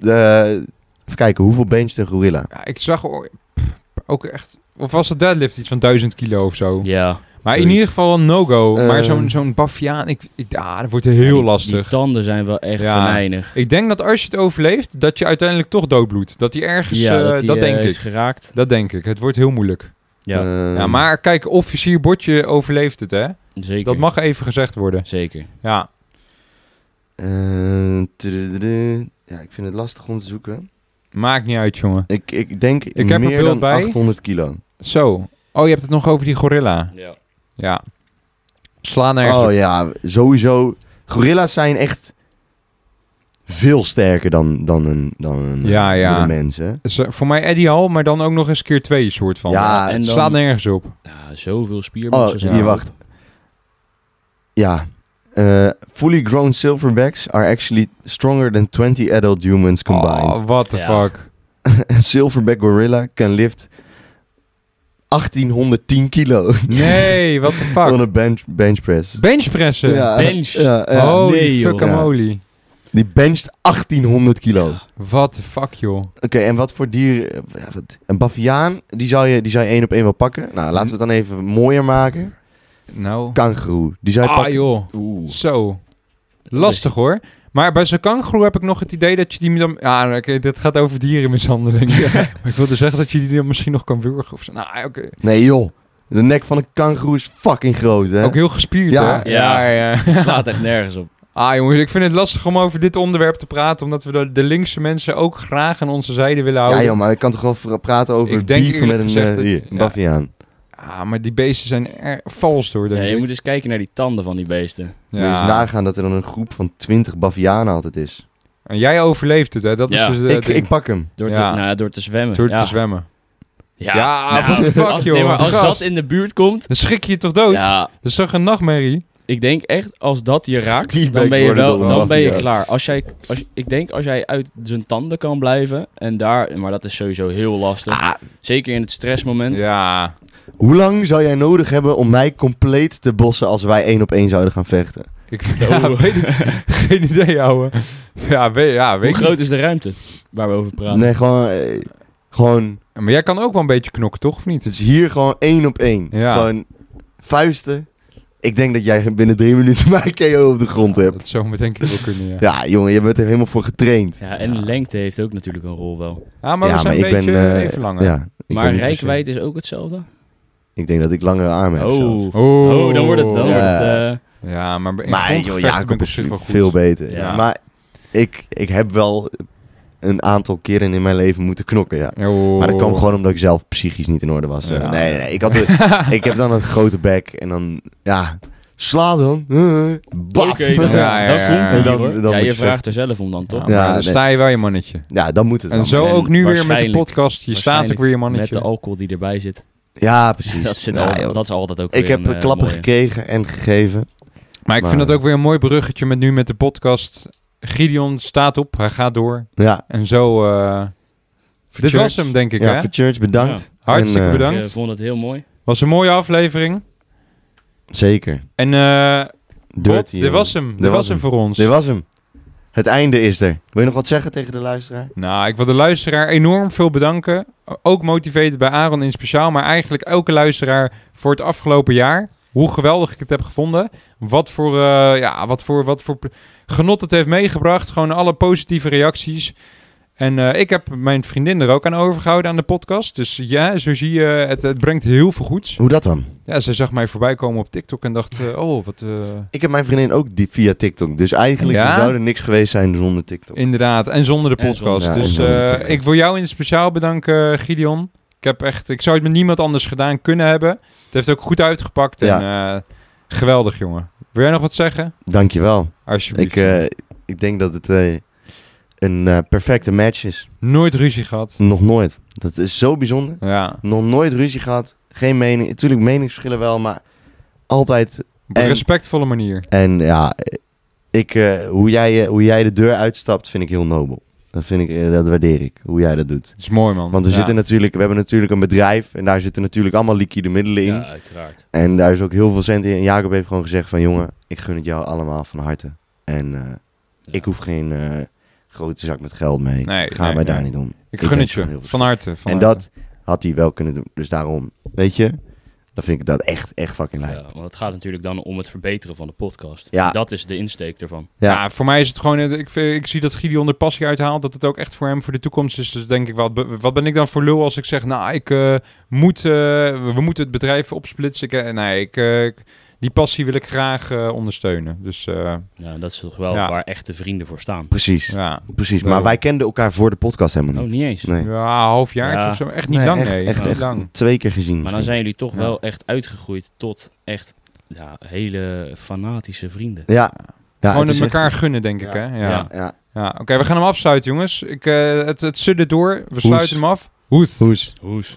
[SPEAKER 2] eh, even kijken, hoeveel bencht een gorilla?
[SPEAKER 1] ja, ik zag o- pff, ook echt... Of was het deadlift iets van 1000 kilo of zo?
[SPEAKER 3] ja.
[SPEAKER 1] maar in
[SPEAKER 3] zoiets.
[SPEAKER 1] ieder geval een no-go.
[SPEAKER 2] Eh.
[SPEAKER 1] maar zo'n zo'n Baffiaan, ik, ik, ah, dat wordt heel
[SPEAKER 3] Die-
[SPEAKER 1] lastig.
[SPEAKER 3] Die tanden zijn wel echt
[SPEAKER 1] Ja.
[SPEAKER 3] venijnig.
[SPEAKER 1] ik denk dat als je het overleeft, dat je uiteindelijk toch doodbloedt. Dat die ergens...
[SPEAKER 3] Ja,
[SPEAKER 1] eh, dat,
[SPEAKER 3] die, eh,
[SPEAKER 1] denk
[SPEAKER 3] is
[SPEAKER 1] ik.
[SPEAKER 3] geraakt.
[SPEAKER 1] Dat denk ik. Het wordt heel moeilijk.
[SPEAKER 3] Ja,
[SPEAKER 2] Eh,
[SPEAKER 1] Ja, maar kijk, officier Botje overleeft het, hè?
[SPEAKER 3] zeker.
[SPEAKER 1] Dat mag even gezegd worden.
[SPEAKER 3] Zeker.
[SPEAKER 1] Ja.
[SPEAKER 2] eh, tudududu. ja, ik vind het lastig om te zoeken.
[SPEAKER 1] Maakt niet uit, jongen.
[SPEAKER 2] Ik, ik denk
[SPEAKER 1] heb er
[SPEAKER 2] meer
[SPEAKER 1] beeld
[SPEAKER 2] dan
[SPEAKER 1] bij.
[SPEAKER 2] 800 kilo.
[SPEAKER 1] Zo. Oh, je hebt het nog over die gorilla.
[SPEAKER 3] Ja.
[SPEAKER 1] Ja. Sla nergens.
[SPEAKER 2] Oh
[SPEAKER 1] op.
[SPEAKER 2] ja, sowieso. Gorilla's zijn echt veel sterker dan, dan een, dan een,
[SPEAKER 1] Ja,
[SPEAKER 2] dan
[SPEAKER 1] ja.
[SPEAKER 2] een mens, hè?
[SPEAKER 1] Is, eh, voor mij Eddie Hall, maar dan ook nog eens keer twee soort van.
[SPEAKER 2] Ja,
[SPEAKER 3] en
[SPEAKER 1] Het
[SPEAKER 3] dan,
[SPEAKER 1] slaat nergens op.
[SPEAKER 3] nou, zoveel spiermassa.
[SPEAKER 2] Oh,
[SPEAKER 3] zijn
[SPEAKER 2] hier,
[SPEAKER 3] er
[SPEAKER 2] wacht. Ja. eh, fully grown silverbacks are actually stronger than 20 adult humans combined.
[SPEAKER 1] Oh, what the
[SPEAKER 3] Ja.
[SPEAKER 1] fuck.
[SPEAKER 2] A silverback gorilla can lift 1810 kilo.
[SPEAKER 1] Nee, what the
[SPEAKER 2] Van
[SPEAKER 1] fuck?
[SPEAKER 2] een bench, bench press.
[SPEAKER 1] Benchpressen?
[SPEAKER 2] Ja,
[SPEAKER 3] bench.
[SPEAKER 2] ja, ja.
[SPEAKER 1] Holy
[SPEAKER 3] Nee, joh.
[SPEAKER 1] fuckamoli.
[SPEAKER 2] Die bencht 1800 kilo.
[SPEAKER 1] What the fuck, joh.
[SPEAKER 2] Oké, en wat voor dier... eh, ja, wat- Een baviaan, die zou je, die zou je één op één wel pakken. Nou, laten we het dan even mooier maken.
[SPEAKER 1] Nou.
[SPEAKER 2] Kangeroe. Die zou je
[SPEAKER 1] Ah,
[SPEAKER 2] pakken.
[SPEAKER 1] joh.
[SPEAKER 3] Oeh.
[SPEAKER 1] Zo. Lastig, hoor. Maar bij zo'n kangoeroe heb ik nog het idee dat je die dan... Ja, oké, dit gaat over dierenmishandeling. Maar ik wilde zeggen dat je die dan misschien nog kan wurgen of zo. Nou, oké.
[SPEAKER 2] Nee, joh. De nek van een kangeroe is fucking groot, hè?
[SPEAKER 1] Ook heel gespierd,
[SPEAKER 2] Ja.
[SPEAKER 1] hoor.
[SPEAKER 3] Ja.
[SPEAKER 1] ja.
[SPEAKER 3] Het slaat echt nergens op.
[SPEAKER 1] Ah jongens, ik vind het lastig om over dit onderwerp te praten, omdat we de, de linkse mensen ook graag aan onze zijde willen
[SPEAKER 2] Ja,
[SPEAKER 1] houden.
[SPEAKER 2] joh, maar ik kan toch wel voor- praten over
[SPEAKER 1] Ik denk
[SPEAKER 2] beefen met
[SPEAKER 1] eerlijk
[SPEAKER 2] een,
[SPEAKER 1] gezegd
[SPEAKER 2] eh,
[SPEAKER 1] dat-
[SPEAKER 2] hier, een
[SPEAKER 1] ja.
[SPEAKER 2] baviaan.
[SPEAKER 1] Ah, maar die beesten zijn er vals door, denk
[SPEAKER 3] Nee, je
[SPEAKER 1] ik.
[SPEAKER 3] moet eens kijken naar die tanden van die beesten.
[SPEAKER 2] Moet je eens nagaan dat er dan een groep van 20 bavianen altijd is.
[SPEAKER 1] En jij overleeft het, hè? Dat
[SPEAKER 3] Ja.
[SPEAKER 1] is dus eh,
[SPEAKER 2] Ik,
[SPEAKER 1] ding.
[SPEAKER 2] ik pak hem.
[SPEAKER 3] Door,
[SPEAKER 1] Ja.
[SPEAKER 3] te, nou, door te zwemmen.
[SPEAKER 1] door
[SPEAKER 3] ja.
[SPEAKER 1] te zwemmen.
[SPEAKER 3] Ja,
[SPEAKER 1] Ja, what the fuck,
[SPEAKER 3] als,
[SPEAKER 1] joh.
[SPEAKER 3] nee, maar als
[SPEAKER 1] Gast.
[SPEAKER 3] dat in de buurt komt...
[SPEAKER 1] Dan schrik je je toch dood?
[SPEAKER 3] Ja,
[SPEAKER 1] Dat is toch een nachtmerrie?
[SPEAKER 3] ik denk echt, als dat je raakt,
[SPEAKER 2] Die
[SPEAKER 3] dan ben je,
[SPEAKER 2] worden
[SPEAKER 3] wel,
[SPEAKER 2] door een
[SPEAKER 3] dan ben je
[SPEAKER 2] maffia.
[SPEAKER 3] klaar. Als jij, als, ik denk als jij uit zijn tanden kan blijven en daar... Maar dat is sowieso heel lastig.
[SPEAKER 2] Ah.
[SPEAKER 3] Zeker in het stressmoment.
[SPEAKER 1] Ja.
[SPEAKER 2] Hoe lang zou jij nodig hebben om mij compleet te bossen als wij één op één zouden gaan vechten?
[SPEAKER 1] Ik
[SPEAKER 3] Oh,
[SPEAKER 1] ja, weet het. Geen idee, ouwe. Ja, weet, ja,
[SPEAKER 3] Hoe
[SPEAKER 1] weet
[SPEAKER 3] groot
[SPEAKER 1] niet.
[SPEAKER 3] is de ruimte waar we over praten?
[SPEAKER 2] Nee, gewoon, eh, gewoon...
[SPEAKER 1] Maar jij kan ook wel een beetje knokken, toch? Of
[SPEAKER 2] Het
[SPEAKER 1] niet?
[SPEAKER 2] is hier gewoon één op één.
[SPEAKER 1] Ja.
[SPEAKER 2] Gewoon vuisten. Ik denk dat jij binnen drie minuten mijn KO op de grond hebt.
[SPEAKER 1] Dat zou me denk ik wel kunnen, ja.
[SPEAKER 2] Ja, jongen, je bent er helemaal voor getraind.
[SPEAKER 3] Ja, en
[SPEAKER 1] Ja.
[SPEAKER 3] lengte heeft ook natuurlijk een rol wel.
[SPEAKER 1] Ah, maar
[SPEAKER 2] ja,
[SPEAKER 1] we zijn een beetje
[SPEAKER 2] eh,
[SPEAKER 1] even langer.
[SPEAKER 2] Ja, ik ben
[SPEAKER 3] Maar
[SPEAKER 2] niet per se-
[SPEAKER 3] rijkwijd is ook hetzelfde.
[SPEAKER 2] Ik denk dat ik langere armen heb zelfs.
[SPEAKER 3] Oh.
[SPEAKER 1] Oh,
[SPEAKER 3] oh, dan wordt het... Dan
[SPEAKER 2] Ja.
[SPEAKER 3] wordt het eh,
[SPEAKER 1] Ja, maar in
[SPEAKER 2] Maar joh,
[SPEAKER 1] grondgevechten ben
[SPEAKER 2] Jacob
[SPEAKER 1] ik op
[SPEAKER 2] is
[SPEAKER 1] zich wel goed.
[SPEAKER 2] veel beter.
[SPEAKER 3] Ja.
[SPEAKER 2] Maar ik, ik heb wel een aantal keren in mijn leven moeten knokken, ja.
[SPEAKER 1] Oh.
[SPEAKER 2] Maar dat kwam gewoon omdat ik zelf psychisch niet in orde was.
[SPEAKER 1] Ja.
[SPEAKER 2] Eh, Nee, nee, nee. Ik, had de- ik heb dan een grote bek en dan, ja, sla dan. Eh, baf.
[SPEAKER 3] Oké, dan,
[SPEAKER 1] Ja, ja,
[SPEAKER 3] dan
[SPEAKER 1] ja.
[SPEAKER 3] komt
[SPEAKER 1] En
[SPEAKER 3] hij
[SPEAKER 2] dan- dan
[SPEAKER 3] hoor. ja,
[SPEAKER 2] moet
[SPEAKER 3] je
[SPEAKER 2] je
[SPEAKER 3] vraagt er zelf om dan, toch?
[SPEAKER 1] Ja, maar
[SPEAKER 2] Ja,
[SPEAKER 1] dan
[SPEAKER 2] nee.
[SPEAKER 1] sta je wel je mannetje.
[SPEAKER 2] Ja, dan moet het
[SPEAKER 1] En
[SPEAKER 2] dan.
[SPEAKER 1] zo
[SPEAKER 3] En
[SPEAKER 1] ook nu weer met de
[SPEAKER 3] waarschijnlijk-
[SPEAKER 1] podcast. Je staat ook weer je
[SPEAKER 3] Met
[SPEAKER 1] mannetje.
[SPEAKER 3] de alcohol die erbij zit.
[SPEAKER 2] Ja, precies.
[SPEAKER 3] Dat, zit
[SPEAKER 2] Ja,
[SPEAKER 3] al,
[SPEAKER 2] joh.
[SPEAKER 3] dat is altijd ook
[SPEAKER 2] ik
[SPEAKER 3] weer
[SPEAKER 2] heb
[SPEAKER 3] een, eh,
[SPEAKER 2] klappen
[SPEAKER 3] mooie.
[SPEAKER 2] gekregen en gegeven.
[SPEAKER 1] maar ik vind
[SPEAKER 2] Maar-
[SPEAKER 1] dat ook weer een mooi bruggetje met nu met de podcast. Gideon staat op, hij gaat door.
[SPEAKER 2] Ja.
[SPEAKER 1] En zo... eh, dit
[SPEAKER 2] Church.
[SPEAKER 1] was hem, denk ik,
[SPEAKER 2] ja,
[SPEAKER 1] hè?
[SPEAKER 2] voor Church bedankt.
[SPEAKER 1] Hartstikke
[SPEAKER 2] En, eh,
[SPEAKER 1] bedankt.
[SPEAKER 3] Ik eh, vond het heel mooi.
[SPEAKER 1] Was een mooie aflevering.
[SPEAKER 2] Zeker.
[SPEAKER 1] En eh Bot,
[SPEAKER 2] Dirty,
[SPEAKER 1] dit was
[SPEAKER 2] jongen.
[SPEAKER 1] hem. Dit was hem voor ons.
[SPEAKER 2] Dit was hem. Het einde is er. Wil je nog wat zeggen tegen de luisteraar?
[SPEAKER 1] Nou, ik wil de luisteraar enorm veel bedanken. Ook motivated bij Aaron in speciaal, maar eigenlijk elke luisteraar voor het afgelopen jaar. Hoe geweldig ik het heb gevonden. Wat voor, eh, ja, wat voor, wat voor ple- genot het heeft meegebracht. Gewoon alle positieve reacties. En eh, ik heb mijn vriendin er ook aan overgehouden aan de podcast. Dus ja, zo zie je, het, het brengt heel veel goeds.
[SPEAKER 2] Hoe dat dan?
[SPEAKER 1] Ja, ze zag mij voorbij komen op TikTok en dacht, eh, oh, wat... eh,
[SPEAKER 2] Ik heb mijn vriendin ook die via TikTok. Dus eigenlijk
[SPEAKER 1] Ja?
[SPEAKER 2] zou er niks geweest zijn zonder TikTok.
[SPEAKER 1] Inderdaad, en zonder de
[SPEAKER 3] En
[SPEAKER 1] podcast.
[SPEAKER 2] zonder- ja,
[SPEAKER 1] dus
[SPEAKER 2] en zonder
[SPEAKER 1] eh,
[SPEAKER 2] de podcast.
[SPEAKER 1] ik wil jou in het speciaal bedanken, eh, Gideon. Ik, heb echt, ik zou het met niemand anders gedaan kunnen hebben. Het heeft ook goed uitgepakt en eh, geweldig, jongen. Wil jij nog wat zeggen?
[SPEAKER 2] Dankjewel.
[SPEAKER 1] Alsjeblieft.
[SPEAKER 2] Ik, eh, ik denk dat het eh, een eh, perfecte match is.
[SPEAKER 1] Nooit ruzie gehad.
[SPEAKER 2] Nog nooit. Dat is zo bijzonder.
[SPEAKER 1] Ja,
[SPEAKER 2] Nog nooit ruzie gehad. Geen mening. Natuurlijk meningsverschillen wel, maar altijd
[SPEAKER 1] op een
[SPEAKER 2] En-
[SPEAKER 1] respectvolle manier.
[SPEAKER 2] En ja, ik, eh, hoe, jij, eh, hoe jij de deur uitstapt vind ik heel nobel. Dat, vind ik, eh, dat waardeer ik, hoe jij dat doet.
[SPEAKER 1] Het is mooi, man.
[SPEAKER 2] Want we,
[SPEAKER 1] Ja.
[SPEAKER 2] zitten natuurlijk, we hebben natuurlijk een bedrijf en daar zitten natuurlijk allemaal liquide middelen in.
[SPEAKER 3] Ja, uiteraard.
[SPEAKER 2] En daar is ook heel veel cent in. En Jacob heeft gewoon gezegd van jongen, ik gun het jou allemaal van harte. En eh,
[SPEAKER 3] Ja.
[SPEAKER 2] ik hoef geen eh, grote zak met geld mee.
[SPEAKER 1] Nee,
[SPEAKER 2] Ga
[SPEAKER 1] nee,
[SPEAKER 2] mij
[SPEAKER 1] nee.
[SPEAKER 2] daar niet om.
[SPEAKER 1] Ik
[SPEAKER 2] Ik
[SPEAKER 1] gun
[SPEAKER 2] denk
[SPEAKER 1] het
[SPEAKER 2] gewoon
[SPEAKER 1] je,
[SPEAKER 2] heel veel.
[SPEAKER 1] van harte. Van
[SPEAKER 2] en
[SPEAKER 1] harte.
[SPEAKER 2] dat had hij wel kunnen doen. Dus daarom, weet je, dan vind ik dat echt, echt fucking lijp.
[SPEAKER 3] Ja, want het gaat natuurlijk dan om het verbeteren van de podcast.
[SPEAKER 2] Ja.
[SPEAKER 3] Dat is de insteek ervan.
[SPEAKER 1] Ja.
[SPEAKER 2] Ja.
[SPEAKER 1] voor mij is het gewoon... eh, Ik, vind- ik zie dat Gideon er passie uithaalt. Dat het ook echt voor hem voor de toekomst is. Dus denk ik, wat, be- wat ben ik dan voor lul als ik zeg... Nou, ik eh, moet... eh, we moeten het bedrijf opsplitsen. Ik, eh, nee, ik, eh, ik- die passie wil ik graag eh, ondersteunen. Dus eh,
[SPEAKER 3] Ja, dat is toch wel
[SPEAKER 1] Ja.
[SPEAKER 3] waar echte vrienden voor staan.
[SPEAKER 2] Precies,
[SPEAKER 1] ja.
[SPEAKER 2] precies. Maar
[SPEAKER 1] Daarom.
[SPEAKER 2] wij kenden elkaar voor de podcast helemaal
[SPEAKER 3] Oh,
[SPEAKER 2] niet.
[SPEAKER 3] niet eens.
[SPEAKER 2] Nee.
[SPEAKER 1] Ja, een half jaar
[SPEAKER 3] Ja.
[SPEAKER 1] of zo. Echt niet
[SPEAKER 2] Nee,
[SPEAKER 1] lang,
[SPEAKER 2] echt,
[SPEAKER 1] nee.
[SPEAKER 2] Echt,
[SPEAKER 1] niet
[SPEAKER 2] echt
[SPEAKER 1] lang.
[SPEAKER 2] twee keer gezien.
[SPEAKER 3] Maar dan zijn jullie toch
[SPEAKER 1] Ja.
[SPEAKER 3] wel echt uitgegroeid tot echt ja, hele fanatische vrienden.
[SPEAKER 2] Ja. ja
[SPEAKER 1] gewoon
[SPEAKER 2] het
[SPEAKER 1] het
[SPEAKER 2] is
[SPEAKER 1] elkaar
[SPEAKER 2] echt-
[SPEAKER 1] gunnen, denk ik,
[SPEAKER 2] Ja.
[SPEAKER 1] hè? Ja.
[SPEAKER 3] Ja.
[SPEAKER 1] ja.
[SPEAKER 2] Ja.
[SPEAKER 1] Oké, we gaan hem afsluiten, jongens. Ik, eh, het, het sudde door. We sluiten hem af. Hoes.
[SPEAKER 2] Hoes.
[SPEAKER 3] Hoes.